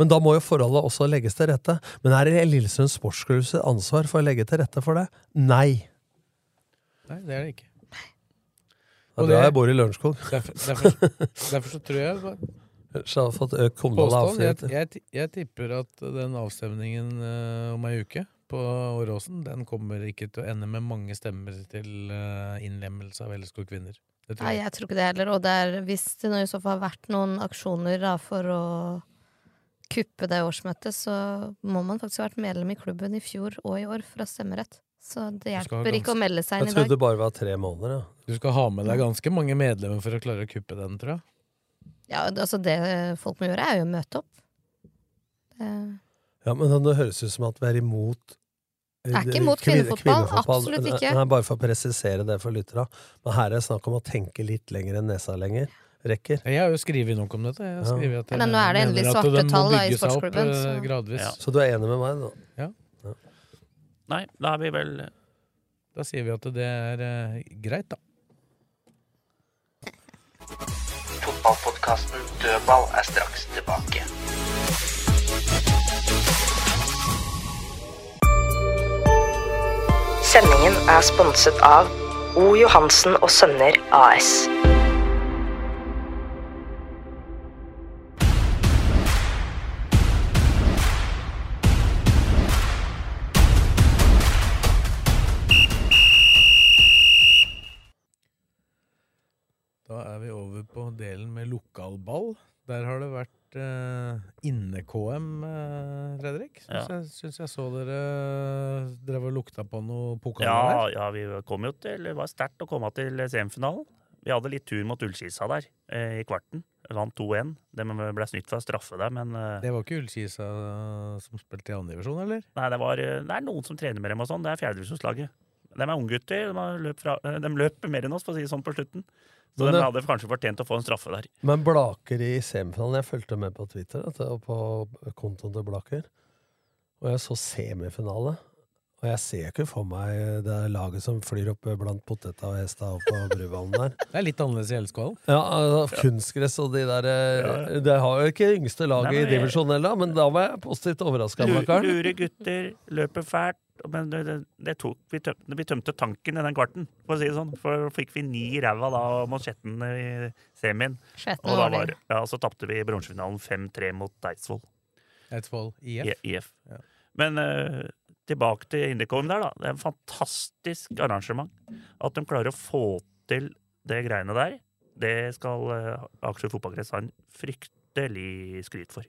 E: Men da må jo forholdet også legges til rette. Men er det Lillestrøm Sportsklubbs ansvar for å legge til rette for det? Nei.
C: Nei, det er det ikke.
E: Det
C: Og
E: er bra
C: det-
E: jeg bor i Lørenskog.
C: Derfor, derfor, derfor så tror jeg
E: Så jeg har fått økt kommunal
C: Påstand, jeg,
E: avfrihet.
C: jeg, jeg tipper at den avstemningen eh, om ei uke på Åråsen, den kommer ikke til å ende med mange stemmer til eh, innlemmelse av LSK kvinner. Det tror
F: Nei, jeg tror ikke det heller. Og det er, hvis det nå i så fall har vært noen aksjoner da, for å kuppe det årsmøtet, så må man faktisk ha vært medlem i klubben i fjor og i år for å ha stemmerett. Så det
C: Du skal ha
F: hjelper ikke
C: ganske-
F: å melde seg
E: Jeg
F: inn i dag.
E: trodde det bare var tre måneder. Ja.
C: Du skal ha med deg ganske mange medlemmer for å klare å kuppe den, tror jeg.
F: Ja, altså det folk må gjøre, er jo å møte opp. Det-
E: Ja, men det høres ut som at vi er imot eh,
F: Jeg er ikke imot
E: Kvinne-
F: kvinnefotball, absolutt
E: Nei,
F: ikke.
E: Nei, bare for å presisere det for lytterne. Men her er det snakk om å tenke litt lenger enn nesa lenger rekker.
C: Jeg har jo skrevet nok om dette. Jeg har
E: Ja.
C: skrevet at jeg
F: Men nå er det
C: mener
F: endelig
C: at
F: svarte
C: de må
F: tall, da, i
C: bygge seg opp,
F: sportsklubben,
C: eh,
F: så-
C: Gradvis.
D: Ja.
E: Så du er enig med meg, da?
C: Ja.
D: Nei, da er vi vel
C: Da sier vi at det er eh, greit, da.
B: Fotballpodkasten Dødball er straks tilbake.
A: Sendingen er sponset av O. Johansen og Sønner AS.
C: Da er vi over på delen med lokalball. Der har det vært eh, inne-KM, eh, Fredrik. Syns,
D: Ja.
C: jeg, syns jeg så dere eh, drev og lukta på noe pokal
D: Ja,
C: der.
D: ja, vi kom jo til Det var sterkt å komme til semifinalen. Vi hadde litt tur mot Ullskisa der eh, i kvarten. Vant 2-1. De ble snytt for å straffe der, men eh,
C: Det var ikke Ullkisa eh, som spilte i andredivisjon, eller?
D: Nei, det, var, eh, det er noen som trener med dem og sånn. Det er fjerdedivisjonslaget. De er unggutter. De, har løpt fra- eh, de løper mer enn oss, for å si det sånn, på slutten. Så
E: Men
C: eh,
D: de
E: det-
D: hadde kanskje fortjent å få en straffe der.
E: Men Blaker i semifinalen Jeg fulgte med på Twitter vet du, og på kontoen til Blaker. Og jeg så semifinale. Og jeg ser ikke for meg det laget som flyr opp blant poteta og hesta opp på Bruvallen der.
C: Det er litt annerledes i Elskålen.
E: Ja, altså, kunstgress og de der eh,
D: Ja.
E: Det har jo ikke yngste laget
D: Nei, men
E: i
D: jeg-
E: divisjon heller, men da var jeg positivt overraska.
D: Lure, lure gutter, løper fælt. Men det, det, det tok, vi, tømte, vi tømte tanken i den kvarten, for å si det sånn. For fikk vi ni i ræva da og mansjetten i semien.
F: Skjetten
D: Og da
F: var
D: var,
F: det.
D: ja, så tapte vi i bronsefinalen 5-3 mot Eidsvoll
C: Eidsvoll IF.
D: I- IF. Men eh, tilbake til Indicom der, da. Det er en fantastisk arrangement. At de klarer å få til det greiene der, det skal uh, Akershus fotballkrets ha en fryktelig skryt for.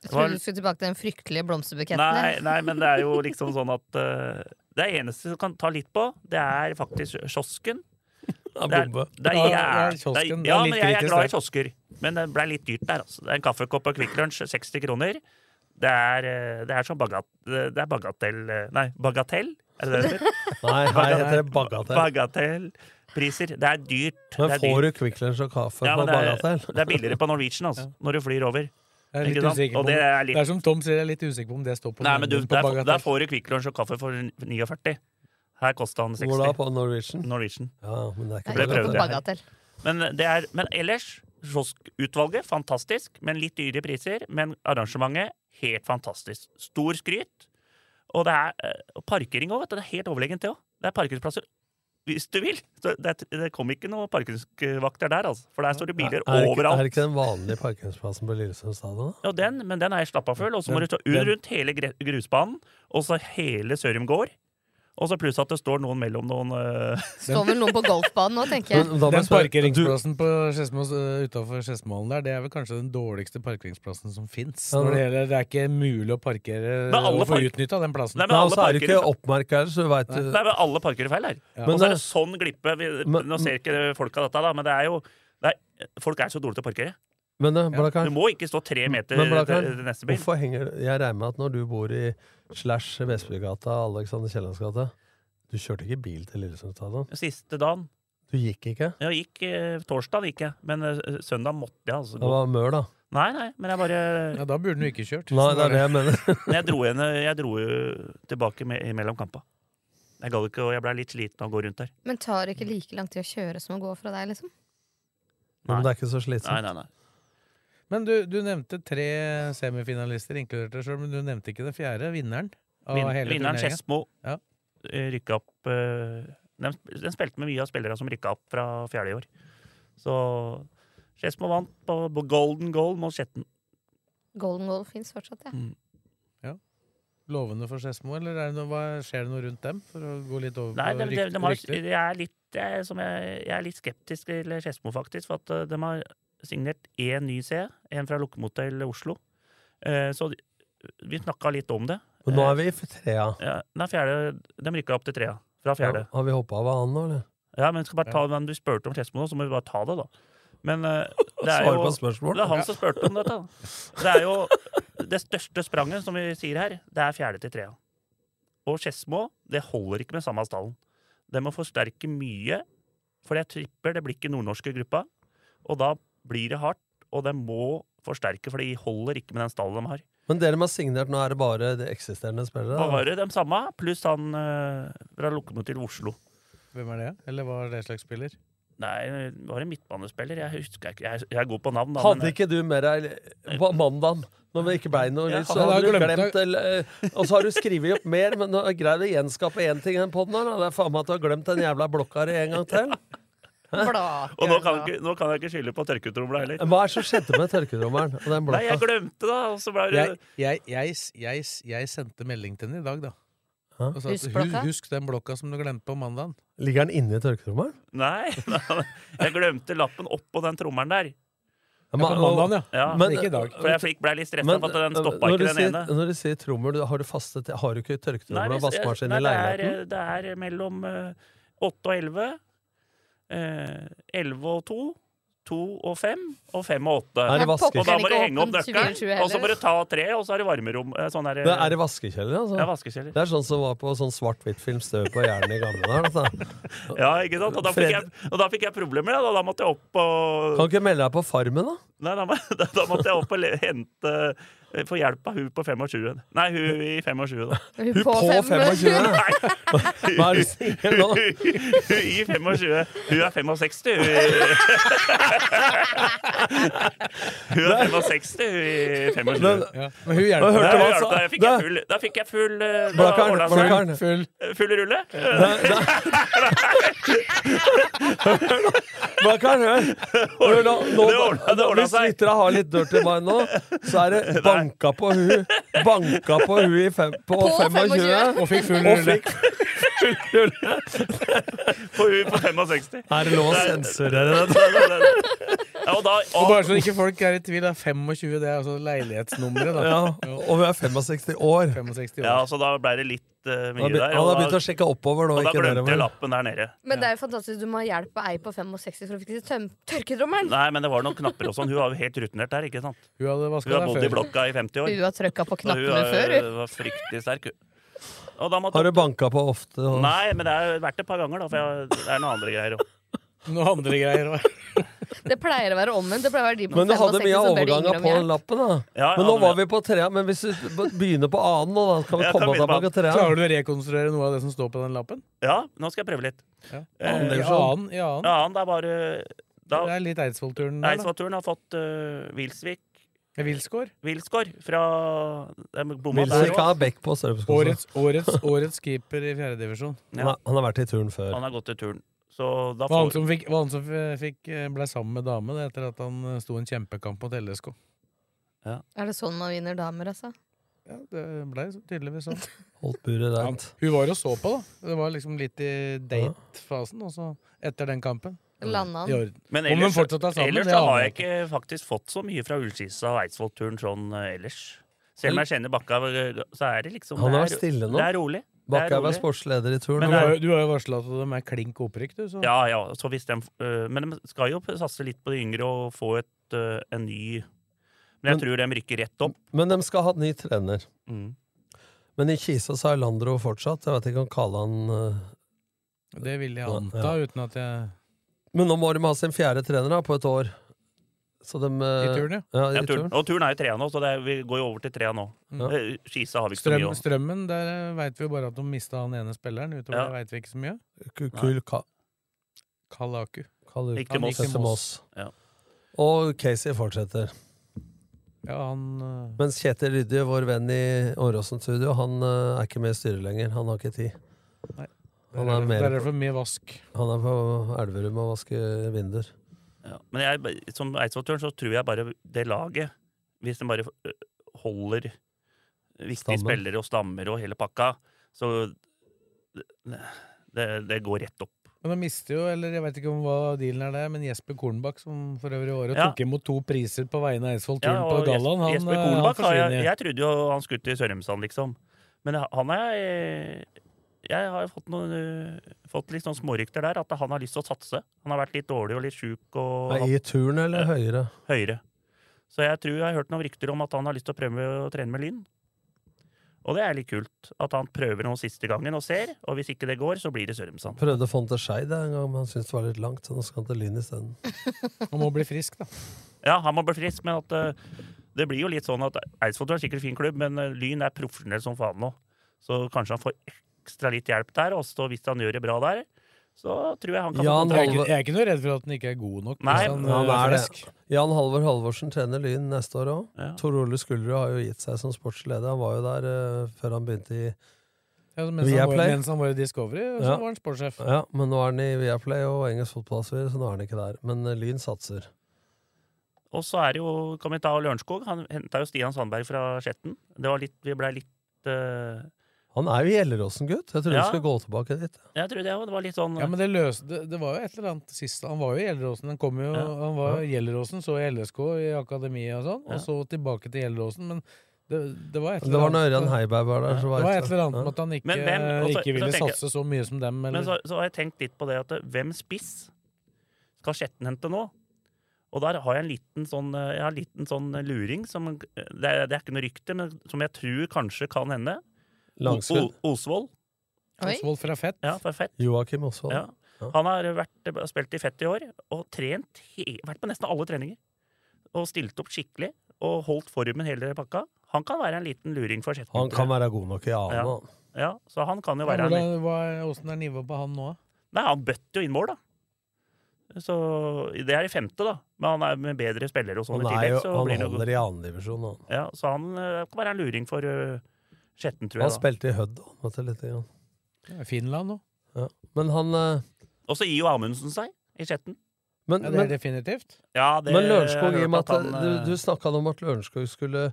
F: Jeg
D: Det var-
F: trodde du skulle tilbake til den fryktelige blomsterbuketten.
D: Nei,
F: din.
D: nei, men det er jo liksom sånn at eh, Det eneste du kan ta litt på, det er faktisk kiosken. Det er,
E: bombe.
D: det er,
C: Ja,
D: jæ-
C: ja, kiosken,
D: det er-
C: det er
D: ja,
C: litt
D: men jeg er
C: kritisk,
D: glad i
C: det.
D: kiosker. Men det ble litt dyrt der, altså. Det er en kaffekopp og Kvikk Lunsj, 60 kroner. Det er, eh, det er som bagat, det er bagatell eh, Nei, bagatell? Er det det det heter?
E: Nei, her heter det bagatell.
D: Bagatellpriser. Det er dyrt.
E: Men
D: det er
E: får
D: dyrt.
E: du Quick Lunch og kaffe
D: Ja,
E: på
D: men det er,
E: bagatell?
D: det er billigere på Norwegian altså, når du flyr over.
C: Jeg er litt
D: Ikke sant?
C: usikker
D: Og
C: på
D: det
C: om-
D: er litt
C: det er som Tom sier, jeg er litt usikker på om det står på
D: Nei, men du,
C: menyen på
D: der,
C: Bagatell.
D: der får du Kvikk Lunsj og kaffe for 49. Her kosta han
E: Hvor da?
D: 60.
E: På Norwegian?
D: Norwegian.
E: Ja, men det er
F: Nei,
E: ikke
D: Det prøvde
F: på
D: jeg.
F: bagatell.
D: Men, det er, men ellers, kioskutvalget, fantastisk, men litt dyre priser. Men arrangementet, helt fantastisk. Stor skryt. Og det er eh, og parkering òg, vet du. Det er helt overlegent, det òg. Det er parkeringsplasser hvis du vil. Så det, det kom ikke noen parkeringsvakter der, altså. For der står det biler
E: Er det ikke-
D: overalt.
E: Er det ikke den vanlige parkeringsplassen på Lillesund stadion? da?
D: Ja, den, men den er slappa full. Og så må
C: Den-
D: du ta ut
C: den-
D: rundt hele gre- grusbanen, og så hele Sørum gård. Og så pluss at det står noen mellom noen øh,
F: Står vel noen på golfbanen nå, tenker jeg.
E: Men da må jeg
C: Den
E: spørre- du-
C: parkeringsplassen på Skedsmos, øh, utenfor Skedsmoen der, det er vel kanskje den dårligste parkeringsplassen som fins.
E: Ja,
C: Når det
E: det-
C: gjelder, det er ikke mulig å parkere
D: Men alle
C: og få
D: park-
C: utnytta den plassen.
D: Nei, men
E: Nei,
D: alle
E: og så er det ikke
D: parkerer
E: oppmerka her, så du veit
D: Nei, men alle parkerer feil her.
E: Men
D: og så er
E: det-
D: det sånn glippe. Vi,
E: Men-
D: nå ser ikke folk av dette, da, men det er jo det er, Folk er så dårlige til å parkere.
E: Men eh, Blakkaren,
D: Du må ikke stå tre meter
E: Men Blakkaren,
D: til til neste bil.
E: hvorfor henger du Jeg regner med at når du bor i slash Vestbygata, Alexander Kiellands gate Du kjørte ikke bil til Lillesund stadion?
D: Siste dagen
E: Du gikk ikke?
D: Jeg gikk eh, torsdag, gikk jeg. Men eh, søndag måtte jeg altså
E: Det
D: gå.
E: var mør, da.
D: Nei, nei, men jeg bare
C: Ja, da burde den jo ikke kjørt.
E: Nei,
C: Så
E: det er det jeg mener.
D: Men jeg dro, henne, jeg dro jo tilbake me mellom kampa. Jeg gadd ikke, og jeg blei litt sliten av å gå rundt der.
F: Men tar det ikke like lang tid å kjøre som å gå fra deg, liksom?
E: Men det er ikke så
D: Nei,
E: slitsomt.
D: nei, nei.
C: Men du, du nevnte tre semifinalister, inkludert deg sjøl, men du nevnte ikke den fjerde, vinneren. Av
D: Vin
C: hele
D: vinneren
C: turneringen.
D: Skedsmo
C: Ja.
D: eh, rykka opp eh, den, sp- den spilte med mye av spillerne som rykka opp fra fjerde i år. Så Skedsmo vant på, på golden goal mot Skjetten.
F: Golden goal fins fortsatt, ja.
C: Lovende for Skedsmo, eller er det noe, hva, skjer det noe rundt dem? For å gå litt over
D: Nei,
C: på
D: de, de,
C: rykt-
D: de har,
C: rykter.
D: jeg, er litt, jeg, er som jeg, jeg er litt skeptisk til Skedsmo, faktisk. For at eh, de har signert én ny C, en fra Lokkemotell Oslo. Eh, så de, vi snakka litt om det.
E: Men nå er vi i trea.
D: Ja, nei, fjerde, de rykka opp til trea. Fra fjerde.
E: Har vi hoppa av han nå, eller?
D: Ja, men skal bare ta, men Du spurte om Skedsmo nå, så må vi bare ta det, da. Men eh, det er
E: Svarer
D: jo
E: på spørsmål.
D: Det er han som spurte om dette. da. Det er jo det største spranget, som vi sier her, det er fjerde til trea. Og Skedsmo, det holder ikke med samme stallen. Det må forsterke mye, for jeg tripper det blir ikke nordnorske gruppa. Og da blir det hardt, og det må forsterke, for de holder ikke med den stallen de har.
E: Men dere som har signert, nå er det bare de eksisterende spillere? da?
D: Bare de samme, pluss han eh, fra Lokomotiv Oslo.
C: Hvem er det? Eller hva er det slags spiller?
D: Nei, det var en midtbanespiller. Jeg husker ikke. Jeg, jeg er god på navn, da.
E: Hadde ikke du med deg på mandagen, når det ikke ble noe
D: Jeg
E: lyd, så
D: hadde-
E: hadde du
D: jeg
E: glemt
D: glemte-
E: eller, eh, Og så har du skrevet opp mer, men nå har jeg greid å gjenskape én ting i den poden her, da. Det er faen meg at du har glemt den jævla blokka di en gang til.
D: Og nå kan, ikke, nå kan jeg ikke skylde på tørketromla heller.
E: Hva er det som skjedde med tørketrommelen og den
D: Nei, jeg
E: blokka?
D: glemte det, og så ble det
C: Jeg, jeg, jeg, s- jeg, s- jeg sendte melding til henne i dag, da.
E: Hæ?
C: Og sa at,
E: Husk
C: "Hu-
E: blokka?"
C: husk den blokka som du glemte på mandagen.
E: Ligger den inni tørketrommelen?
D: Nei, nei, jeg glemte lappen oppå den trommelen der.
E: Ja, men- Ja, på mandagen, ja. Men- Ikke i dag.
D: For jeg fikk, ble litt stressa for at den stoppa
E: når du
D: ikke den
E: sier,
D: ene.
E: Når du sier trommel, du- har du faste til Har du ikke
D: Nei,
E: tørketrommel og
D: hvis- jeg-
E: vaskemaskin i
D: nei, det
E: leiligheten?
D: er, eh, det er mellom eh, åtte og elleve. Eh, Elleve og to. To og fem, og fem og åtte.
E: Er det
D: Og
E: vaskemaskin?
D: da må du
E: Ikke
D: henge opp
E: åpent
D: nøkkelen,
E: 24
D: og så må du ta tre, og så er det varmerom. eh, Sånn er,
E: Det er i vaskekjeller, altså?
D: Ja, vaskekjeller.
E: Det er sånn som var på sånn svart-hvitt-film Støv på hjernen i gamle dager. altså.
D: Ja, ikke sant? Og da fikk jeg, og da fikk jeg problemer, da. Da måtte jeg opp og
E: Kan du ikke melde deg på Farmen, da?
D: Nei, da, må- da, da måtte jeg opp og le- hente eh, Få hjelp av hun på 25. Nei, hun i 25, da.
F: Hun
E: på på 25? 25? Hva er det du sier nå?
D: Hun i 25. Hun er 65, hun. i- Hun er 65, hun i 25.
C: Men- ja, men hun hjelper.
D: Nei,
C: Hørte du hva han
D: hørte
C: sa?
D: Da fikk jeg full, da fikk jeg full eh, da
C: Blakkaren,
D: ordnet seg.
C: blakkaren. Full-
D: Full rulle?
E: Hva kan jeg høre? Hør nå, nå,
D: Det ordna- det ordna
E: hvis
D: seg.
E: lytterne har litt dirty mind nå, så er det banka på hun Banka på hun i fem, på,
D: På
E: 25,
D: 25. Og fikk full rulle. På hun på 65.
E: Er det lov å
D: Nei,
E: sensurere det?
D: Ja, og da,
C: Og bare så ikke folk er i tvil, da. 25 det er altså leilighetsnummeret, da.
E: Ja, og hun er 65 år.
D: ja, så da ble det litt eh,
E: Han har
D: mye
E: begynt-
D: der.
E: han har
D: og da-
E: begynt å sjekke oppover nå,
D: Og da
E: ikke
D: glemte
E: nedover.
D: jeg lappen der nede.
F: Men det er jo fantastisk. Du må ha hjelp av ei på 65 for å fikse tøm- tørketrommelen.
D: Nei, men det var noen knapper og sånn. Hun var jo helt rutinert der, ikke sant?
C: Hun hadde vasket
D: Hun har
C: der
D: bodd i
C: før.
D: blokka i 50 år.
F: Hun har trykka på
D: Og hun
F: knappene
D: var-
F: før, hun.
D: var fryktelig sterk. hun. Og da måtte
E: Har du banka på ofte? og-
D: Nei, men det har vært et par ganger, da, for jeg, det er noen andre greier òg.
C: Noen andre greier òg.
F: Det pleier å være omvendt. Det pleier å være de på
E: Men du hadde
F: 65
E: mye
F: som ber de
E: overganger
F: yngre om
E: på
F: hjelp.
E: lappen, da.
D: Ja,
E: men nå
C: hadde
E: var vi på trea. Men hvis du b- begynner på annen nå, da, kan vi komme oss tilbake til trea.
C: Klarer du å rekonstruere noe av det som står på den lappen?
D: Ja, nå skal jeg prøve litt.
C: Ja.
D: Eh,
C: I annen, i annen.
D: Ja, annen, det er bare da,
C: Det er litt Eidsvoll-turen der, da.
D: Eidsvollturen har fått eh, Wilsvik
C: Vilsgård.
D: Wilsgård fra de bomma der
E: Wilsvik har
D: også.
E: bekk på Sørumskog.
C: Årets, årets, årets keeper i fjerdedivisjon.
E: Han har- han har vært i turn før.
D: Han har gått i turn. Så da
C: Var han
D: får
C: som, fikk, var han som f- fikk, eh, ble sammen med dame det, etter at han eh, sto en kjempekamp mot LSK.
F: Er det sånn man vinner damer, altså?
C: Det ble så- tydeligvis sånn.
E: Holdt buret
C: Han,
E: rent.
C: hun var og så på, da. Det var liksom litt i date-fasen, og så etter den kampen.
E: Mm.
F: Landa han.
C: I orden.
D: Men
C: Om de
D: ellers,
C: fortsatt er sammen,
D: ellers
C: det
D: da har
C: aner
D: jeg ikke faktisk fått så mye fra Ullskisa og Eidsvollturen sånn eh, ellers. Selv om jeg kjenner Bakka, eh, så er det liksom
E: Han har
D: det
E: vært stille nå.
D: Det er rolig. Det er
E: Bakkhaug er
D: rolig.
E: sportsleder i turn.
D: Men
C: Du
D: det
C: har
D: er-
C: jo- Du har jo varsla at de er klink opprykk, du. Så.
D: Ja, ja, så hvis de, eh, men de skal jo satse litt på de yngre og få et, eh, en ny Men jeg tror de rykker rett opp.
E: Men de skal ha ny trener.
D: Mm.
E: Men i Kisa så er Landro fortsatt. Jeg vet ikke om kaller han eh,
C: Det vil jeg
E: Ja,
C: anta, uten at jeg
E: Men nå må de ha sin fjerde trener da, på et år. Så de, eh,
C: I turn, ja.
E: ja.
D: Ja,
E: i
D: turen.
E: turn.
D: Og turen er i trea nå, så det er, vi går jo over til trea nå.
E: Ja.
D: Eh, Skisa har vi ikke så mye
C: Strøm,
D: om.
C: Strømmen, der veit vi jo bare at de mista han ene spilleren. Utover
D: Ja.
C: det veit vi ikke så mye.
E: Ku- Kul Ka-
C: Kalaku.
E: Kalu-
D: Gikk til Moss.
E: Gikk til Moss.
D: Ja.
E: Og Casey fortsetter.
C: Ja, han eh,
E: Mens Kjetil Rydje, vår venn i Åråsen studio, han eh, er ikke med i styret lenger. Han har ikke tid.
C: Nei.
E: Han
C: Der
E: er,
C: er det-
E: mer,
C: der er det for mye vask.
E: han er på Elverum og vasker vinduer.
D: Ja. Men jeg, som Eidsvoll-turen så tror jeg bare det laget, hvis de bare øh, holder viktige
E: Stammen.
D: spillere og stammer og hele pakka, så det, det går rett opp.
C: Men de mister jo, eller jeg vet ikke om hva dealen er der, men Jesper Kornbakk, som for øvrig i året
D: Ja.
C: tok imot to priser på vegne av Eidsvoll Turn
D: Ja,
C: på
D: og
C: gallaen, han,
D: Jesper
C: eh, han
D: Kornbakk har jeg,
C: forsvinner.
D: jeg trodde jo han skulle til Sørumsand, liksom. Men han er eh, Jeg har fått, noen, eh, fått litt sånn smårykter der, at han har lyst til å satse. Han har vært litt dårlig og litt sjuk og
E: Nei, I turn eller høyere?
D: høyere. Så jeg tror jeg har hørt noen rykter om at han har lyst til å prøve å trene med Lyn. Og det er litt kult at han prøver noe siste gangen og ser, og hvis ikke det går, så blir det Sørumsand.
E: Prøvde å få han til Skeid en gang, men han syntes det var litt langt. Så nå skal han til Lyn isteden.
C: Han må bli frisk, da.
D: Ja, han må bli frisk, men at eh, Det blir jo litt sånn at Eidsvoll er sikkert en fin klubb, men eh, Lyn er profesjonell som faen nå. Så kanskje han får ekstra litt hjelp der, og så hvis han gjør det bra der, så tror jeg han kan få
C: jeg, er
D: kontrakt.
C: ikke, jeg er ikke noe redd for at den ikke er god nok.
D: Nei,
C: hvis han,
D: han
C: eh,
D: er det.
C: frisk.
E: Jan Halvor Halvorsen trener Lyn neste år òg. Tor Ole Skuldrud har jo gitt seg som sportsleder. Han var jo der eh, før han begynte i
C: Ja, så mens, han var, mens han var i Discovery, så
E: Ja.
C: var han sportssjef.
E: Ja, men nå er han i Viaplay og engelsk fotballspiller, så nå er han ikke der. Men eh, Lyn satser.
D: Og så er det jo, kan vi ta Lørenskog. Han henta jo Stian Sandberg fra Skjetten. Det var litt, vi blei litt eh,
E: Han er jo Gjelleråsen-gutt. Jeg trodde
D: Ja.
E: han skulle gå tilbake dit.
D: Jeg tror det, det var litt sånn
C: Ja, men det, løs, det, det var jo et eller annet sist Han var jo i Gjelleråsen. Han, kom jo, han var i Gjelleråsen, så i LSK i akademiet og sånn,
E: Ja.
C: og så tilbake til Gjelleråsen. Men det, det var et
E: Det
C: eller
E: var når
C: annet eh,
E: Ørjan Heiberg var der. Så
C: Det
E: var
C: var
E: jeg-
C: et eller annet
E: Ja.
C: med at han ikke,
D: Men hvem- altså,
C: ikke ville
D: så tenker jeg-
C: satse så mye som dem. Eller,
D: Men så, så har jeg tenkt litt på det at eh, hvem spiss skal Skjetten hente nå? Og der har jeg en liten sånn, eh, jeg har en liten sånn luring som eh, det er, det er ikke noe rykte, men som jeg tror kanskje kan hende. O-
E: Langskudd.
D: O- Osvold.
C: Oi. Osvold fra Fett.
D: Ja, fra Fett.
E: Joakim Osvold.
D: Ja. Han har vært, eh, spilt i Fett i år og trent, he- vært på nesten alle treninger. Og stilt opp skikkelig og holdt formen hele pakka. Han kan være en liten luring for Skjetten.
E: Han
D: tror
E: kan
D: jeg.
E: være god nok i annen.
D: ja.
E: da.
D: ja, så han kan jo være en
C: hvordan, hva, er- hvordan er nivået på han nå?
D: Nei, han bøtte jo inn mål, da. Så det er i femte, da. Men han er med bedre spillere og sånn i
E: Han, er jo,
D: tillegg. Så blir
E: han
D: det jo
E: holder i annendivisjon nå.
D: Ja, så han eh, kan være en luring for eh, Skjetten, tror
E: Han
D: jeg. da.
E: spilte i Hødd da, vet du, lite grann.
C: Finland nå.
E: Ja. Men han eh,
D: Og så gir jo Amundsen seg i Skjetten.
E: Men,
C: Ja, det
E: men,
C: er definitivt.
D: Ja, det
E: men
D: har
E: Lørenskog,
D: jeg
E: i og med
D: hørt
E: at
D: at han, eh,
E: du, du snakka om at Lørenskog skulle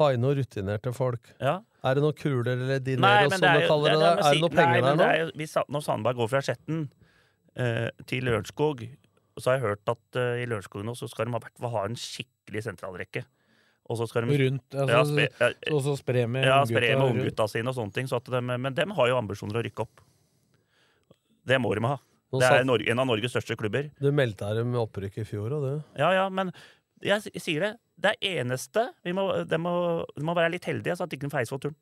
E: ha inn noen rutinerte folk.
D: Ja.
E: Er det noen kuler eller dinero, som du kaller det? der?
D: men
E: Er
D: si-
E: det noen
D: nei,
E: penger der
D: men
E: nå?
D: det er jo- hvis Sa- når Sandberg går fra Skjetten eh, til Lørenskog, så har jeg hørt at eh, i Lørenskog nå så skal de ha, hvert fall ha en skikkelig sentralrekke. Og så skal de
C: Rundt, altså,
D: Mm. Ja, spe- ja,
C: og så spre med
D: ja,
C: unggutta
D: spre med
C: rundt.
D: unggutta sine og sånne ting. Så at dem- men dem har jo ambisjoner å rykke opp. Det må de ha.
E: Nå
D: Det er
E: satt-
D: Nor- en av Norges største klubber.
E: Du meldte deg med opprykk i fjor, og du.
D: Ja, ja, men jeg s- sier det. Det er eneste vi må, de, må, de må være litt heldige, så at de ikke feiser for turen.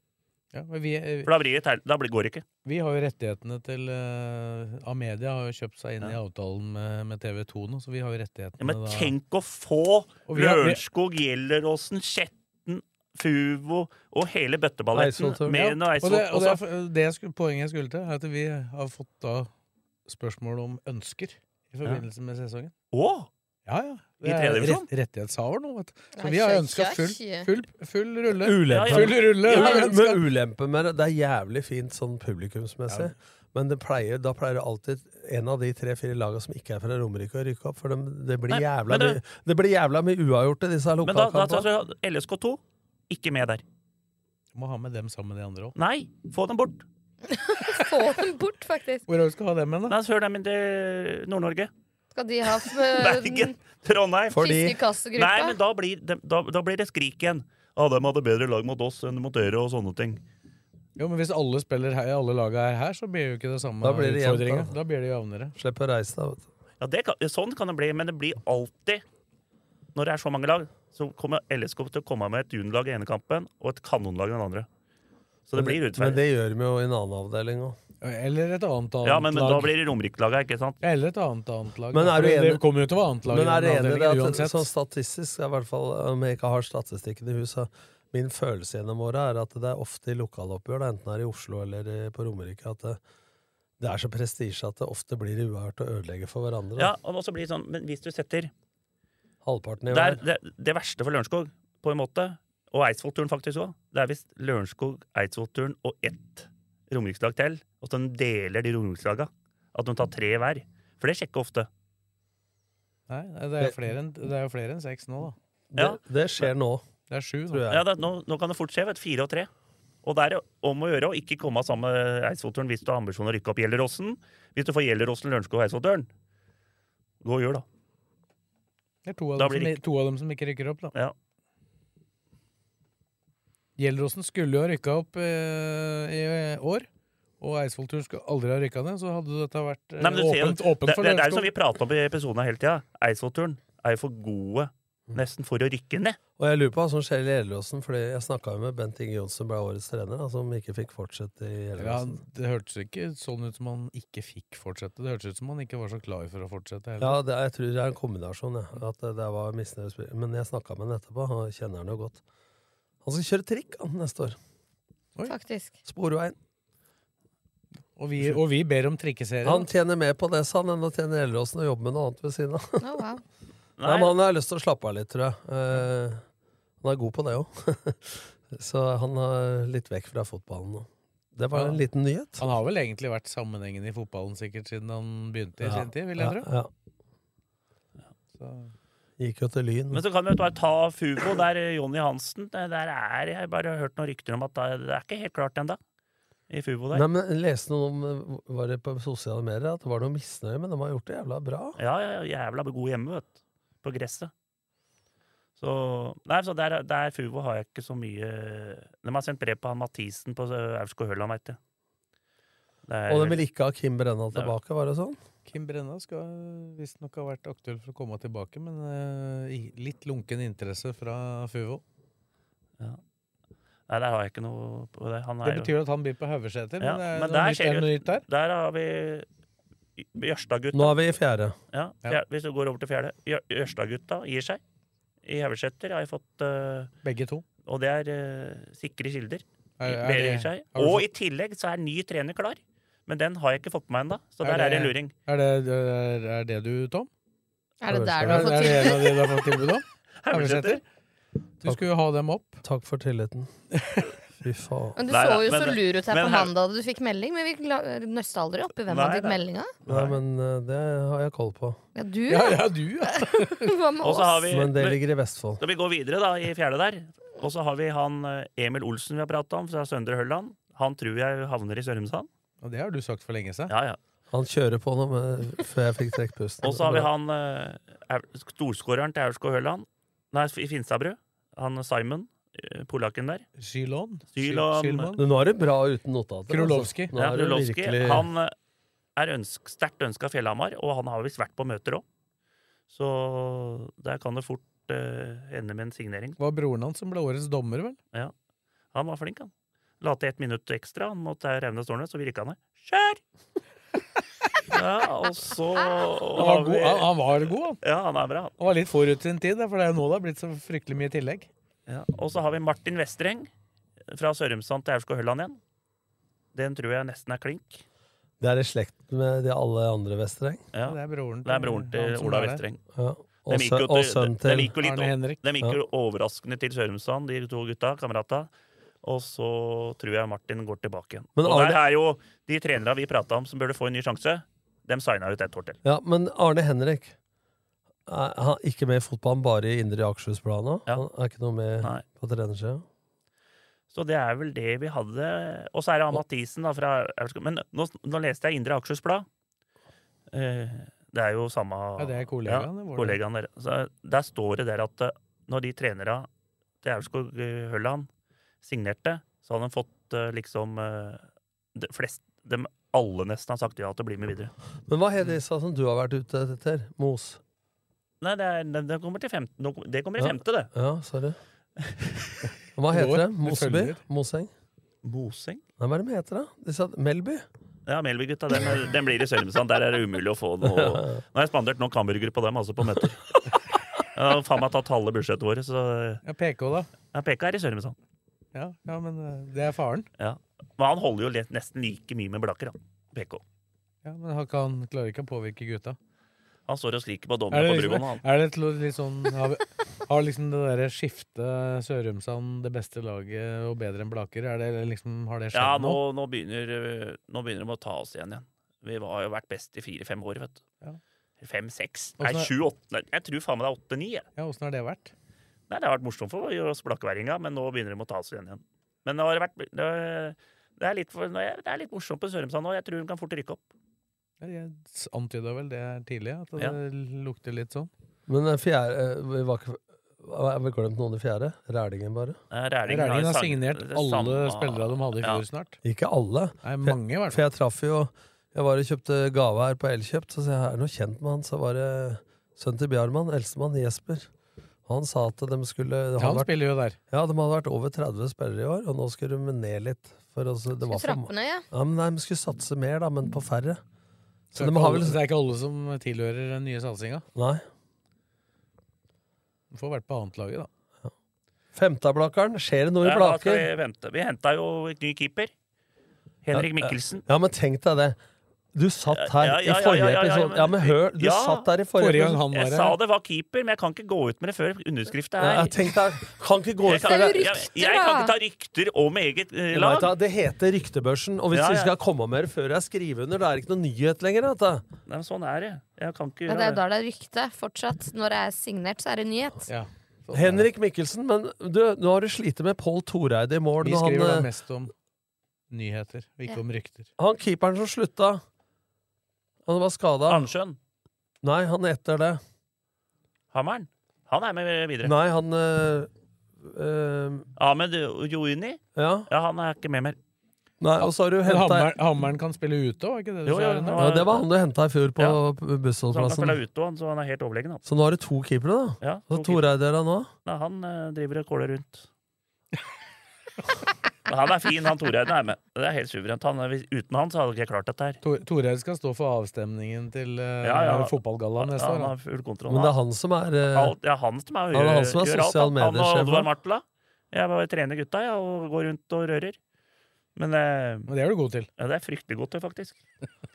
C: Ja, men vi, eh,
D: For da, blir det, teit- da blir- går det ikke.
C: Vi har jo rettighetene til eh, Amedia har jo kjøpt seg inn i avtalen med, med TV2 nå, så vi har jo rettighetene
D: Ja, men
C: da.
D: tenk å få
C: Og vi har- vi-
D: Lørenskog, Gjelleråsen, Skjetten, Fuvo og hele bøtteballetten med en
C: Ja, og
D: Eidsvoll.
C: det, og det,
D: også.
C: er- det jeg skulle, poenget jeg skulle til, er at vi har fått da spørsmål om ønsker i forbindelse med sesongen.
D: Å!
C: Ja, ja.
D: I tredje divisjon?
C: rett- rettighetshaver nå, vet du. Så
D: Nei,
C: vi har
D: kjø-
C: ønska
D: kjø-
C: full,
D: kjø.
C: full, full rulle.
E: Ulempe.
C: Full rulle.
E: Ja,
C: har vi
E: men,
C: ønsket.
E: men ulempe med det, det er jævlig fint sånn publikumsmessig. Men det pleier, da pleier det alltid en av de tre-fire laga som ikke er fra Romerike, å rykke opp. For dem- det, blir
D: Nei,
E: jævla
D: men det-
E: mye, det blir jævla mye uavgjorte, disse her
D: Men da, da, da,
E: lokalkampene.
D: LSK2, ikke med der.
C: Må ha med dem sammen med de andre òg.
D: Nei, få dem bort.
F: Få dem bort, faktisk.
C: Hvor er det vi skal ha dem hen,
D: da? Hør dem inn til Nord-Norge.
F: Skal de ha
D: Bergen, Trondheim.
F: Fordi- Fiskekassegruppa.
D: Nei, men da blir, dem- da, da blir det skrik igjen. Ja, de hadde bedre lag mot oss enn mot dere og sånne ting.
C: Jo, men hvis alle spiller her, alle laga er her, så blir jo ikke det samme
E: Da blir det jevnt,
C: utfordringa.
E: da.
C: Da blir det jevnere.
E: Slipp å reise deg, vet du.
D: Ja, det kan, sånn kan det bli, men det blir alltid Når det er så mange lag, så kommer LSK til å komme med et juniorlag i ene kampen og et kanonlag i den andre. Så det blir
E: Men
D: urettferdig.
E: det gjør de jo i en annen avdeling òg.
C: Eller et annet annet
D: Ja, men, men
C: lag.
D: da blir det Romerike-laget, ikke sant?
C: Eller et annet annet lag.
E: Men er du
C: For
E: enig,
C: Det kommer jo til å være annet lag.
E: men er du
C: i den
E: enig i det
C: avdelingen
E: at
C: uansett.
E: sånn statistisk, i hvert fall om jeg ikke har statistikken i huset, min følelse gjennom året er at det er ofte i lokaloppgjør, da, enten det er i Oslo eller i- på Romerike, at det, det er så prestisje at det ofte blir uavgjort å ødelegge for hverandre.
D: Ja,
E: da.
D: og så blir det sånn, men hvis du setter
E: Halvparten i
D: det, er,
E: hver.
D: det, det verste for Lørenskog, på en måte, og Eidsvollturen faktisk òg, det er hvis Lørenskog, Eidsvollturen og ett romerikslag til, og så de deler de romerikslaga. At de tar tre hver. For det sjekker ofte.
C: Nei, nei, det er jo flere enn, det er jo flere enn seks nå, da.
D: Ja.
E: Det, det skjer nå.
C: Det er sju,
E: tror jeg.
D: Ja, det, nå, nå kan det fort skje. Vet, du, fire og tre. Og det er om å gjøre å ikke komme av samme Eidsvollturen hvis du har ambisjon å rykke opp Gjelleråsen. Hvis du får Gjelleråsen, Lørenskog og Eidsvollturen, gå og gjør, da.
C: Det er to av,
D: Da
C: dem
D: blir
C: som,
D: det
C: to av dem som ikke rykker opp, da.
D: Ja.
C: Gjelleråsen skulle jo ha rykka opp eh, i år, og Eidsvollturen skulle aldri ha rykka ned, så hadde dette vært eh,
D: Nei, men du ser jo-
C: åpent, åpent
D: det,
C: for
D: det, det er jo
C: Lørenskog.
D: som vi prater om i episoden hele tida. Eidsvollturen er jo for gode Nesten for å rykke ned.
E: Og jeg lurer på hva som skjer i Gjelleråsen, fordi jeg snakka jo med Bent Inge Johnsen, ble årets trener, da, som ikke fikk fortsette i
C: Ja,
E: Gjelleråsen.
C: det hørtes ikke sånn ut som han ikke fikk fortsette. Det hørtes ut som han ikke var så klar for å
E: Ja,
C: fortsette heller.
E: det, er- jeg tror det er en kombinasjon, jeg. At det, det var misnøye. med spillere. Men jeg snakka med han etterpå, han kjenner han jo godt. Han skal kjøre trikk han, neste år.
F: Faktisk.
E: Sporveien.
C: Og, vi, og vi ber om trikkeserien.
E: Han tjener mer på det, sa han, enn å tjene i Gjelleråsen og jobbe med noe annet ved siden av.
F: Oh, wow.
E: Nei, men han har lyst til å slappe av litt, tror jeg. Eh, han er god på det òg. Så han er litt vekk fra fotballen nå. Det var en liten nyhet.
C: Han har vel egentlig vært sammenhengende i fotballen sikkert siden han begynte i
E: Ja,
C: sin tid, vil jeg
E: ja,
C: tro.
E: Gikk jo til Lyn.
D: Men så kan vi bare ta Fugo, der eh, Jonny Hansen eh, Der er jeg bare har hørt noen rykter om at da- det er ikke helt klart ennå. I Fugo der.
E: Nei, men jeg leste noe om eh, Var det på sosiale medier at det var noe misnøye, men de har gjort det jævla bra.
D: Ja, ja, ja, jævla god hjemme, vet du. På gresset. Så Nei, så der, der Fugo har jeg ikke så mye De har sendt brev på han Mathisen på eh, Aurskog Høland, veit jeg. Det er-
E: Og de vil ikke ha Kim Brenna tilbake, var det sånn?
C: Kim Brenna skal visstnok ha vært aktuell for å komme tilbake, men eh, i- litt lunken interesse fra Fuvo.
D: Nei, der har jeg ikke noe på det. Han er
C: Det
D: jo-
C: betyr at han byr på Haugeseter,
D: Ja,
C: men det er
D: men
C: noe
D: der
C: nytt,
D: skjer
C: er det noe
D: jo-
C: nytt der.
D: Der har vi Jørstad-gutta.
E: Nå er vi i fjerde.
D: Ja, fjerde, Hvis du går over til fjerde. Jør- Jørstad-gutta gir seg. I Haugeseter har jeg fått eh,
C: Begge to.
D: Og det er eh, sikre kilder.
C: Er- er
D: Begge
C: det-
D: gir seg.
C: har du
D: Og
C: fått-
D: i tillegg så er ny trener klar. Men den har jeg ikke fått på meg ennå, så der er det en luring.
C: Er det, er, er det du, Tom?
F: Er det altså
C: Er,
F: der du har
C: er
F: fått
C: det en av
F: tilbud?
C: de du har fått tilbud om?
D: Haugeseter?
C: Du skulle jo ha dem opp.
E: Takk for tilliten. Fy faen.
F: Men Du
E: Nei,
F: så
E: nei,
F: jo så
E: men-
F: lur ut her
E: men
F: på
E: her-
F: mandag da du fikk melding, men vi la- nøsta aldri opp i hvem
E: Nei,
F: han fikk
E: nei.
F: meldinga.
E: Nei, men eh, det har jeg koll på.
F: Ja, du,
E: Ja,
F: da.
E: ja,
C: du,
F: Hva med
D: Og
F: oss?
D: så har vi-
E: Men det ligger i Vestfold.
D: Skal vi gå videre da, i fjerde der? Og så har vi han eh, Emil Olsen vi har prata om, fra Søndre Hølland. Han tror jeg havner i Sørumsand.
C: Og det har du sagt for lenge siden.
D: Ja, ja.
E: Han kjører på nå, men eh, før jeg fikk trekke pusten.
D: Og så har vi han eh, Au- storskåreren til Aurskog Høland. Nei, i Finstadbru. Han Simon, eh, polakken der.
C: Zylon.
D: Zylon.
E: Men Nå er det bra uten notater.
D: Krulowski.
E: Altså. Nå er det virkelig-
D: Han eh, er ønsk, sterkt ønska Fjellhamar, og han har visst vært på møter òg. Så der kan det fort eh, ende med en signering.
C: Det var broren hans som ble årets dommer, vel?
D: Ja. Han var flink, han. La til ett minutt ekstra han mot Raune Stålnes, så virka han her. Kjør! ja, og så
C: Han var god, han, han var god, han.
D: Ja, han er bra.
C: Han var litt forut sin tid, da, for det er jo nå det har blitt så fryktelig mye tillegg.
D: Ja. Og så har vi Martin Vestreng fra Sørumsand til Aurskog Høland igjen. Den tror jeg nesten er klink.
E: Det er i slekt med de alle andre Vestereng.
D: Ja.
C: Det er broren
D: Det er broren til
C: han som
D: Ola
C: er der.
D: Vestreng.
E: Ja. Og
D: Dem gikk
E: sø-
D: jo
E: og
D: til-
E: sønnen
D: dem
E: til
D: gikk jo litt-
E: Arne Henrik.
D: Dem gikk
E: Ja.
D: jo overraskende til Sørumsand, de to gutta, kamerata. Og så tror jeg Martin går tilbake igjen.
E: Men
D: og der
E: Arne-
D: er jo de trenerne vi prata om som burde få en ny sjanse. Dem signa ut ett år til.
E: Ja, men Arne Henrik er han er ikke med i fotballen, bare i Indre Akershus-bladet nå? Han er ikke noe med på trenersida?
D: Så det er vel det vi hadde. Og så er det han Mathisen, da, fra Aurskog Men nå, nå leste jeg Indre Akershus Blad. Eh, Det er jo samme
C: Ja, det er kollegaen, det var det.
D: kollegaen der. Så der står det der at eh, når de trenere til Aurskog eh, Høland signerte, så hadde de fått eh, liksom eh, de flest, dem alle nesten har sagt ja til å bli med videre.
E: Men hva het disse som du har vært ute etter? Mos?
D: Nei, det, er, det- det kommer til femte, nå kom- det kommer i
E: Ja.
D: femte, det.
E: Ja, sorry. Hva heter det?
D: Du
E: Moseby?
D: følger.
E: Moseng?
D: Moseng?
E: Nei, hva er det de heter, da? Disse Melby?
D: Ja, Melby-gutta, den, er- den blir i Sørumsand. Der er det umulig å få noe Nå har jeg spandert nok hamburger på dem, altså, på møter. Jeg har faen meg tatt halve budsjettet vårt, så
C: Ja, PK, da.
D: ja, PK er i Sørumsand.
C: Ja, ja, men eh, det er faren.
D: Ja. Men han holder jo le- nesten like mye med Blakker, han. PK.
C: Ja, men han, kan, klarer ikke å påvirke gutta.
D: Han står og skriker på
C: Er
D: dommeren
C: det
D: på
C: liksom,
D: Brugonen, han.
C: er det et lo- litt sånn Har, vi- har liksom det derre skiftet Sørumsand, det beste laget og bedre enn Blaker, er det liksom, har det skjedd
D: Ja, nå,
C: nå?
D: nå, begynner, øh, nå begynner de å ta oss igjen igjen. Vi har jo vært best i fire-fem år, vet du. Fem-seks, nei,
C: Åssen er-
D: sju-åtte Jeg tror faen meg det er åtte-ni. jeg.
C: Ja, åssen har det vært?
D: Nei, Det har vært morsomt for oss blakkeværinga, men nå begynner de å ta oss igjen igjen. Men det, har vært, det, det, er litt for, nå er- det er litt morsomt på Sørumsand nå. Jeg tror de kan fort rykke opp.
C: Ja, Jeg s- antyda vel det her tidlig, at det
D: Ja.
C: lukter litt sånn.
E: Men eh, fjerde eh, vi var ikke, Har vi glemt noen i fjerde? Rælingen, bare?
D: Nei,
C: Rælingen
D: jo
C: har
D: sang-
C: signert
D: det
C: alle
D: samme-
C: spillere de hadde i
D: Ja.
C: fjor snart.
E: Ikke alle.
C: Nei, mange, i hvert
E: For jeg traff jo Jeg var og kjøpte gave her på Elkjøpt, så sa jeg er det noe kjent med han. Så var det sønnen til Bjarmann, eldstemann Jesper. Han sa at de skulle det
C: han
E: hadde vært-
C: spiller jo der.
E: Ja, de hadde vært over 30 spillere i år, og nå skulle de ned litt. For altså, det var for,
F: trappe ned, ja.
E: ja men nei, de skulle satse mer, da, men på færre. Så de
C: Så det er ikke
E: har
C: alle-
E: vel
C: så det er ikke alle som tilhører den nye satsinga.
E: Nei.
C: De får vært på annetlaget, da.
E: Femteablakeren, skjer det noe i
D: Ja, da skal
E: Blaker?
D: vi vente. Vi henta jo en ny keeper. Henrik
C: eh,
E: Ja, ja.
D: Mikkelsen.
E: Ja, men tenk deg det. Du satt her
D: Ja, ja,
E: i
D: ja,
E: forrige
D: ja, ja, ja,
E: episode.
D: men-
E: Ja, men hør, du
D: Ja.
E: satt der i forrige,
C: Forrige gang
E: episode.
C: han
D: Jeg
C: var
D: sa
C: her.
D: det var keeper, men jeg kan ikke gå ut med det før underskrift
E: Ja,
D: er
E: jeg tenkte, kan ikke gå
D: Jeg
E: ut
D: kan,
E: for det.
D: jeg, jeg kan ikke ta rykter om eget eh,
E: Vet
D: lag.
E: du hva, Det heter Ryktebørsen, og hvis
D: Ja,
E: du
D: ja.
E: skal komme med det før jeg skriver under, da er det ikke noe nyhet lenger. Vet du.
D: Nei, men sånn er det. Jeg kan ikke
F: Men
D: gjøre
F: det er jo
D: det.
F: da det er rykte fortsatt. Når det er signert, så er det nyhet.
C: Ja.
E: Henrik Mikkelsen, men du, nå har du slitt med Pål Toreide i mål.
C: Vi
E: Når
C: skriver da
E: han, eh,
C: mest om nyheter, og ikke
F: Ja.
C: om rykter.
E: han keeperen som slutta Han var skada.
D: Arnsjøen.
E: Nei, han etter det.
D: Hammeren. Han er med videre.
E: Nei, han eh, eh,
D: Ahmed Joini.
E: Ja.
D: Ja, han er ikke med mer.
E: Nei, og så har du
C: Men
E: henta
C: hammeren, hammeren kan spille ute òg, ikke det du
D: Jo,
C: sa?
D: jo,
C: Rune?
D: jo.
E: ja, Det var han du henta i fjor på
D: Ja. Så han kan
E: bussholdsplassen.
D: spille ute, han, så han er helt overlegen. Han,
E: Så nå har du to keepere, da.
D: ja,
E: Og
D: to keeper.
E: Toreide er da nå.
D: Nei, han eh, driver og kåler rundt. Men han er fin, han Toreiden er med. Det er helt suverent. Han, er- hvis- uten han så hadde jeg ikke klart dette her.
C: Tor- Toreid skal stå for avstemningen til uh,
D: Ja, ja.
C: fotballgallaen neste
D: han
C: år.
D: har full kontroll.
E: Men det er han som er eh,
D: Alt, det er han som er,
E: Han er han som er
D: gjør alt,
E: sosial
D: han. Han og
E: mediesjef,
D: Oddvar
E: han.
D: Martla. Jeg bare trener gutta jeg, og går rundt og rører. Men eh,
C: Da. Men det er du god til.
D: ja, det er fryktelig godt, det, faktisk.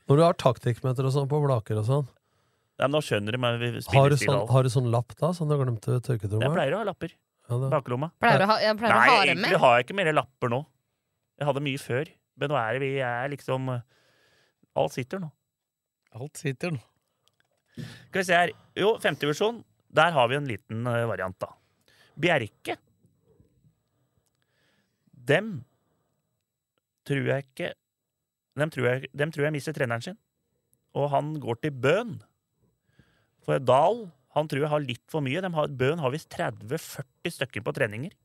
E: Når du har taktikkmøter og sånn på Blaker og sånn,
D: Ja, men nå skjønner de meg. vi
E: har
D: spiller
E: du
D: stil
E: sånn,
D: og alt.
E: har du sånn lapp da, som du glemte ved
D: Jeg
E: tørketrommelen?
D: pleier å ha lapper i
E: Ja, det-
D: baklomma.
F: Pleier å ha, jeg pleier
D: Nei,
F: å ha det med.
D: egentlig har jeg ikke mer lapper nå. Jeg hadde mye før, men nå er det vi er liksom eh, Alt sitter nå.
C: Alt sitter nå.
D: Skal vi se her. Jo, femtedivisjon. Der har vi en liten eh, variant, da. Bjerke. Dem tror jeg ikke Dem tror jeg, dem tror jeg mister treneren sin. Og han går til Bøhn. For Dahl han tror jeg har litt for mye. Dem har, Bøhn har visst 30-40 stykker på treninger.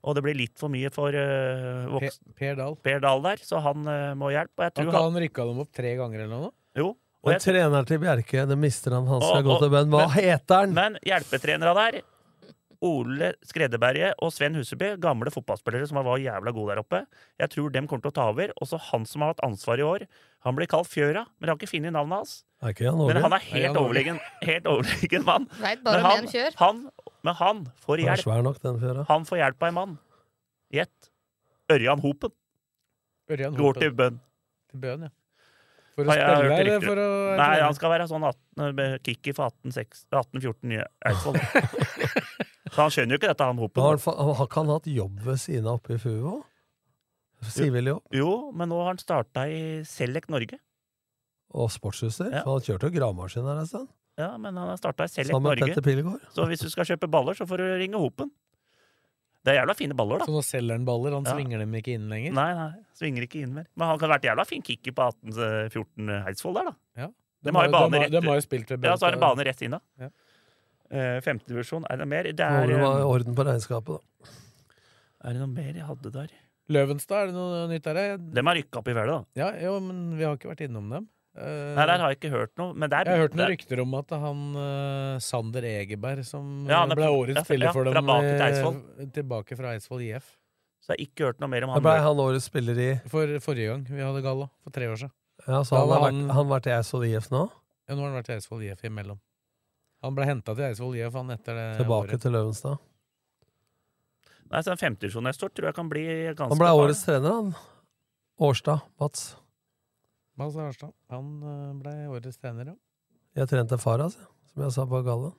D: Og det blir litt for mye for eh,
C: Per,
D: voksen
C: per Dahl.
D: Per Dahl der, så han eh, må hjelpe. Og jeg
C: Har
D: tror
C: ikke
D: han,
C: han rykka dem opp tre ganger eller noe?
D: jo, og
E: Men
D: jeg,
E: treneren til Bjerke, det mister han, han skal
D: Og-
E: gå
D: og-
E: til Ben. Hva
D: men-
E: heter han?
D: Men hjelpetrenere der Ole Skredeberget og Sven Huseby, gamle fotballspillere som var jævla gode der oppe. Jeg tror dem kommer til å ta over. Også han som har hatt ansvar i år. Han blir kalt Fjøra, men jeg har ikke funnet navnet hans.
E: Er ikke han
D: Men
E: Åge?
D: han er
C: Nei, han
D: helt
C: er-
D: overlegen, helt overlegen mann.
F: Veit
D: Men
F: bare om
D: han,
F: én kjør.
D: han, men han får
E: Han er
D: hjelp.
E: svær nok, den fjøra.
D: Han får hjelp av en mann. Gjett. Ørjan Hopen
C: Ørjan
D: går
C: Hopen
D: til bønn.
C: til Bøen, ja. For å
D: Har jeg hørt
C: spille
D: rykter?
C: eller for å
D: Nei, han skal være sånn 18, med kicker for 18-6 18-14 i Eidsvoll. Så han skjønner jo ikke dette, han
E: Men
D: Hopen.
E: Har han fa- har ikke han hatt jobb ved siden av oppe i FUVO? Sivil jobb?
D: Jo, men nå har han starta i Select Norge.
E: Og sportsutstyr?
D: Ja.
E: For Han kjørte jo gravemaskin her en stund.
D: Ja, men han har starta i Select
E: Sammen med
D: Norge.
E: Petter Pilegård.
D: Så hvis du skal kjøpe baller, så får du ringe Hopen. Det er jævla fine baller, da.
C: Så nå selger han baller? Han
D: Ja.
C: svinger dem ikke inn lenger?
D: Nei, nei, svinger ikke inn mer. Men han kan ha vært jævla fin kicker på 18-14 eh, Eidsvoll der, da. de har jo bane
C: de,
D: rett-
C: de har jo spilt ved
D: Ja, så har han
C: Bøen.
D: bane rett inn, da.
C: Ja.
D: Eh, Femtedivisjon, er det noe mer? Det
E: Må
D: er,
E: vel være
D: eh,
E: orden på regnskapet, da.
D: er det noe mer jeg hadde der?
C: Løvenstad, er det noe nytt der? Jeg-
D: Dem har rykka opp i fjellet, da.
C: Ja, jo, men vi har ikke vært innom dem. Eh,
D: Nei, der har jeg ikke hørt noe. Men der,
C: jeg har hørt noen
D: der-
C: rykter om at han eh, Sander Egeberg, som
D: Ja, han er
C: ble
D: fra-
C: årets
D: ja,
C: spiller
D: ja,
C: for
D: fra
C: dem
D: Baker til
C: eh,
D: Eidsvoll.
C: tilbake fra Eidsvoll IF,
D: Så jeg har ikke hørt noe mer om
E: Da
D: han.
E: ble han årets spiller i
C: for forrige gang vi hadde galla, for tre år siden.
E: Ja, så
C: Da
E: han
C: var
E: har vært,
C: han-
E: han vært i Eidsvoll IF nå?
C: Ja, nå har han vært i Eidsvoll IF imellom. Han ble henta til Eidsvoll IF, han etter det
E: Tilbake til Løvenstad.
D: Nei, så den femtedivisjonen neste år tror jeg kan bli ganske
E: Han ble
D: bra.
E: årets trener, han. Årstad. Mats.
C: Mads Arnstad. Han eh, ble årets trener, ja.
E: Jeg trente far hans, jeg, som jeg sa på gallaen.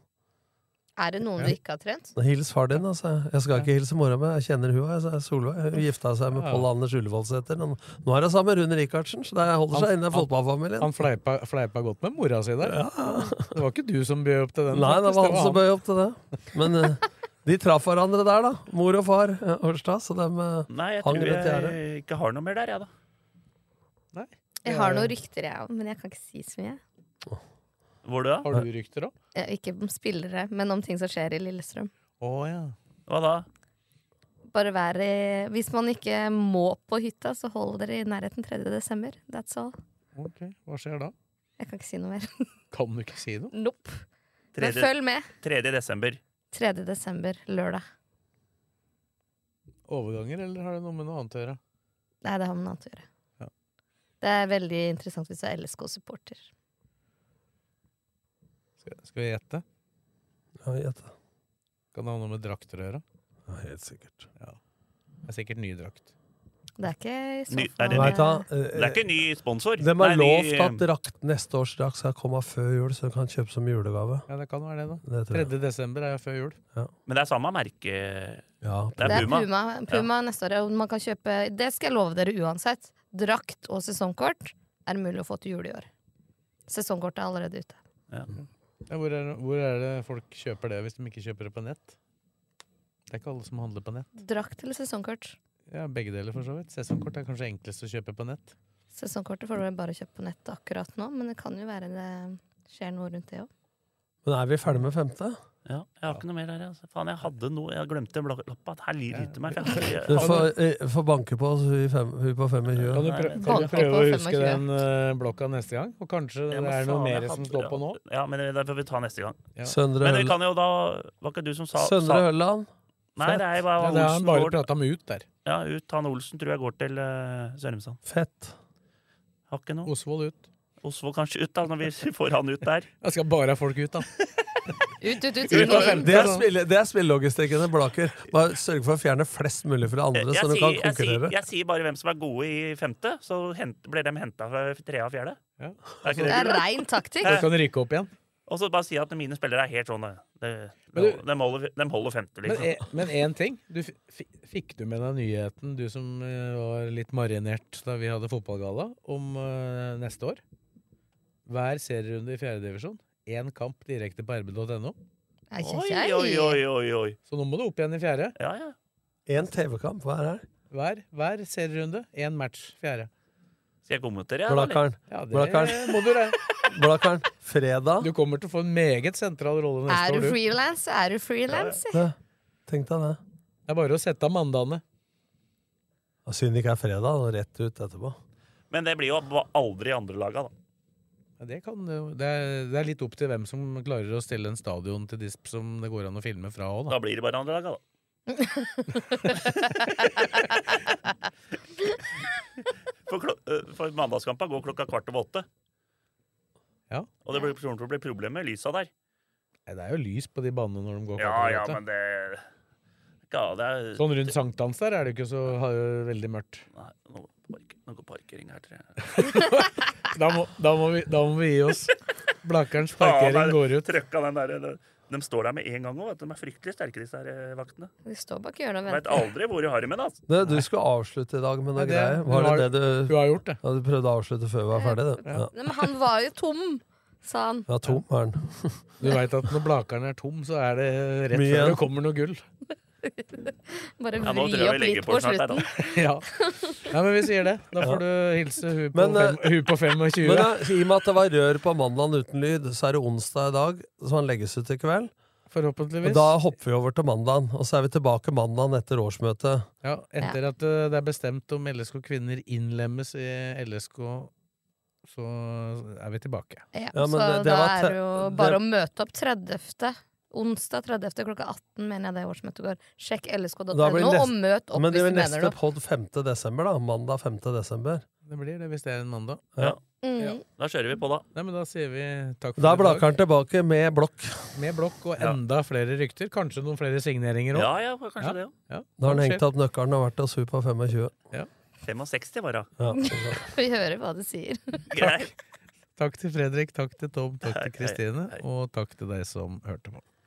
F: Er det noen du ikke har trent?
E: Hils far din, altså. Jeg skal ikke hilse mora mi, jeg kjenner hun. Jeg sa Solveig. Hun gifta seg med
C: Ja.
E: Pål Anders Ullevålsæter. men Nå er hun sammen med Rune Rikardsen, så det holder seg
C: Han-
E: innen
C: han-
E: fotballfamilien.
C: Han fleipa, fleipa godt med mora si der. Det var ikke du som bød opp til den.
E: Nei, det
C: faktisk,
E: var han som bøy opp til det. Men eh, de traff hverandre der, da. Mor og far eh, Årstad. Så dem eh,
D: Nei, jeg
E: Hang
D: tror
E: rundt
D: jeg
E: gjerdet.
D: ikke har noe mer der, jeg, da.
F: Jeg har noen rykter, jeg òg, men jeg kan ikke si så mye.
D: Hvor du da?
C: Har du rykter òg?
F: Eh, Ikke om spillere, men om ting som skjer i Lillestrøm.
C: Å ja.
D: Hva da?
F: Bare vær i Hvis man ikke må på hytta, så hold dere i nærheten 3. desember. That's all.
C: Ok, hva skjer da?
F: Jeg kan ikke si noe mer.
C: Kan du ikke si noe?
F: Nope. Men
D: Tredje-
F: følg med.
D: 3. desember.
F: 3. desember, lørdag.
C: Overganger, eller har det noe med noe annet å gjøre?
F: Nei, det har med noe annet å gjøre. Det er veldig interessant hvis du er LSK-supporter.
C: Skal, skal vi gjette?
E: Ja, gjette.
C: Kan det ha noe med drakter å gjøre?
E: Ja, helt sikkert.
C: Ja. Det er sikkert ny drakt.
F: Det er ikke i så
D: Ny,
F: fall
D: er det,
E: Vet du hva?
D: ny, det er ikke ny sponsor.
E: De har
D: Nei,
E: lovt
D: ny-
E: at drakt, neste års drakt skal komme før jul, så du kan kjøpe som julegave.
C: Ja, det kan være det, da.
E: Det tror
C: 3.
E: jeg.
C: desember er jo før jul.
D: Men det er samme merke.
E: Ja,
D: Det
F: Det
D: er
F: er
D: Puma.
F: Puma, Puma neste år. og Man kan kjøpe, det skal jeg love dere uansett. Drakt og sesongkort er det mulig å få til jul i år. Sesongkortet er allerede ute.
D: Ja.
C: Ja, hvor, er, hvor er det folk kjøper det, hvis de ikke kjøper det på nett? Det er ikke alle som handler på nett.
F: Drakt eller sesongkort?
C: Ja, Begge deler, for så vidt. Sesongkort er kanskje enklest å kjøpe på nett.
F: Sesongkortet får dere bare kjøpe på nettet akkurat nå, men det kan jo være det skjer noe rundt det òg.
E: Men er vi ferdig med femte?
D: Ja, jeg har ikke noe mer her. Altså. Faen, jeg hadde noe Jeg glemte bla- lappa. Her lyder det til meg. for jeg
E: Du
D: har ikke-
E: får, eh, får banke på oss vi fem, vi på 25.
C: Kan du, prø kan du prøve
F: Bank på
C: å huske
F: 25.
C: den eh, blokka neste gang? Og kanskje det
D: Jeg må
C: er noe
D: faen,
C: mer
D: jeg
C: som
D: hadde-
C: står på nå?
D: Ja, men det får vi ta neste gang.
C: Ja.
E: Søndre,
D: Men det
E: Høll-
D: kan jo da Var ikke du som sa,
E: Søndre
D: sa
E: Hølland.
D: Nei, det er
C: Ja,
D: bare
C: det har
D: Olsen.
C: han bare
D: Går,
C: prata om ut der.
D: ja, ut. Han Olsen tror jeg går til uh, Sørumsand.
E: Fett.
D: Har ikke noe.
C: Osvold ut.
D: Osvold kanskje ut, da, når vi får han ut der.
C: Jeg skal bare ha folk ut, da.
F: Ut, ut, ut!
C: Ut av
F: ut.
C: fem.
E: Det er, spille, det er spillelogistikken til Blaker. Bare sørg for å fjerne flest mulig fra
D: Eh, Jeg,
E: andre, så du kan
D: sier, jeg, sier,
E: konkurrere.
D: jeg sier bare hvem som er gode i femte, så hent, blir de henta fra tredje og fjerde.
C: Ja.
D: Er ikke
F: Det
D: det
F: er
D: kult?
F: rein taktikk!
C: Så kan du rykke opp igjen.
D: Og så bare si at mine spillere er helt sånn eh, det-
C: Men du-
D: De holder, de holder femte,
C: Men
D: liksom.
C: e- Men én ting. Du, f- fi- fikk du med deg nyheten, du som eh, var litt marinert da vi hadde fotballgalla, om eh, neste år? Hver serierunde i fjerdedivisjon. Én kamp direkte på rb.no.
F: Ai, ai,
D: Oi,
F: ai.
D: oi, oi, oi, oi.
C: Så nå må du opp igjen i fjerde.
D: Ja, ja.
E: Én TV-kamp, hva er det her?
C: Hver, hver serierunde. Én match. Fjerde.
D: Skal jeg kommentere, jeg? eller?
E: Blakkaren.
C: Ja, det
E: Blakkaren.
C: må du regne.
E: Blakkaren. Fredag.
C: Du kommer til å få en meget sentral rolle
F: Er
C: neste
F: du
C: år, du.
F: frilans? Er du frilans?
E: Det- Tenk deg det.
C: Det er bare å sette av mandagene.
E: Og Synd det ikke er fredag, og rett ut etterpå.
D: Men det blir jo ba- aldri i andre laga, da.
C: Ja, Det, kan, jo- det, er, det er litt opp til hvem som klarer å stille en stadion til disp som det går an å filme fra òg, da.
D: Da blir det bare andre laga, da. for, klo eh, for mandagskampa går klokka kvart over åtte.
C: Ja.
D: Og det blir, tror jeg det blir problemer med lysa der.
C: Nei, det er jo lys på de banene når de går
D: Ja,
C: kvart over
D: ja,
C: åtte.
D: men det ja, det er
C: Sånn rundt sankthans der er det jo ikke så har jo veldig mørkt.
D: Nei, nå, park, nå går parkering her, tror jeg.
C: Da må, da må, vi, da må vi gi oss. Blakerens
D: Faen,
C: parkering
D: jeg
C: går ut.
D: trøkka den der, de, de står der med en gang òg. De er fryktelig sterke, disse her eh, vaktene.
F: De står bak hjørnet og
D: Veit
F: venter.
D: aldri hvor de har dem hen. Altså.
E: Du, du skulle avslutte i dag med noe
C: Ja, det-
E: greier.
C: du
E: Var
C: har-
E: det det du
C: Du har gjort det.
E: ja, Du prøvde å avslutte før vi var ferdig, du. Ja.
F: Nei, Men han var jo tom, sa han.
E: ja, tom er den.
C: Du veit at når Blakeren er tom, så er det rett
E: Mye
C: før
E: igjen.
C: det kommer noe gull.
F: Bare
D: Ja, nå
F: vri
D: tror jeg vi
F: opp
D: legger
F: litt
D: på
F: på
D: snart her, da.
F: slutten.
C: Ja. Nei, men vi sier det. Da får du hilse hun på,
E: Men, eh,
C: fem, hun på 25.
E: Men eh, da, i og med at det var rør på mandagen uten lyd, så er det onsdag i dag, så han legges ut i kveld. Og
C: Forhåpentligvis.
E: da hopper vi over til mandagen, og så er vi tilbake mandagen etter årsmøtet.
C: Ja, etter at eh, det er bestemt om LSK kvinner innlemmes i LSK, så er vi tilbake.
F: Ja,
E: Ja,
F: så
E: men det- det
F: da
E: var
F: er
E: te-
F: det jo
E: det-
F: bare å møte opp 30. Onsdag 30. klokka 18 mener jeg det er årsmøtet går. Sjekk lsk.no
E: Da blir det
F: og møt opp
E: Men det
F: hvis
E: blir
F: du mener
E: neste
F: noe.
E: pod 5. desember, da. Mandag 5. desember.
C: Det blir det hvis det er en mandag.
F: Mm.
D: Da kjører vi på, da.
C: Nei, men Da sier vi takk for
E: Da er
C: i dag.
E: Blakeren tilbake med blokk.
C: Med blokk og
D: Ja.
C: enda flere rykter. Kanskje noen flere signeringer òg.
D: Ja, ja, kanskje
C: Ja.
D: det òg.
E: Da har han hengt opp nøkkelen og vært hos hun på 25.
D: 65 var det.
E: Ja.
F: Vi hører hva du sier.
D: Greit.
C: Takk til Fredrik, takk til Tom, takk til
D: Hei,
C: Kristine,
D: hei, hei.
C: og takk til deg som hørte på.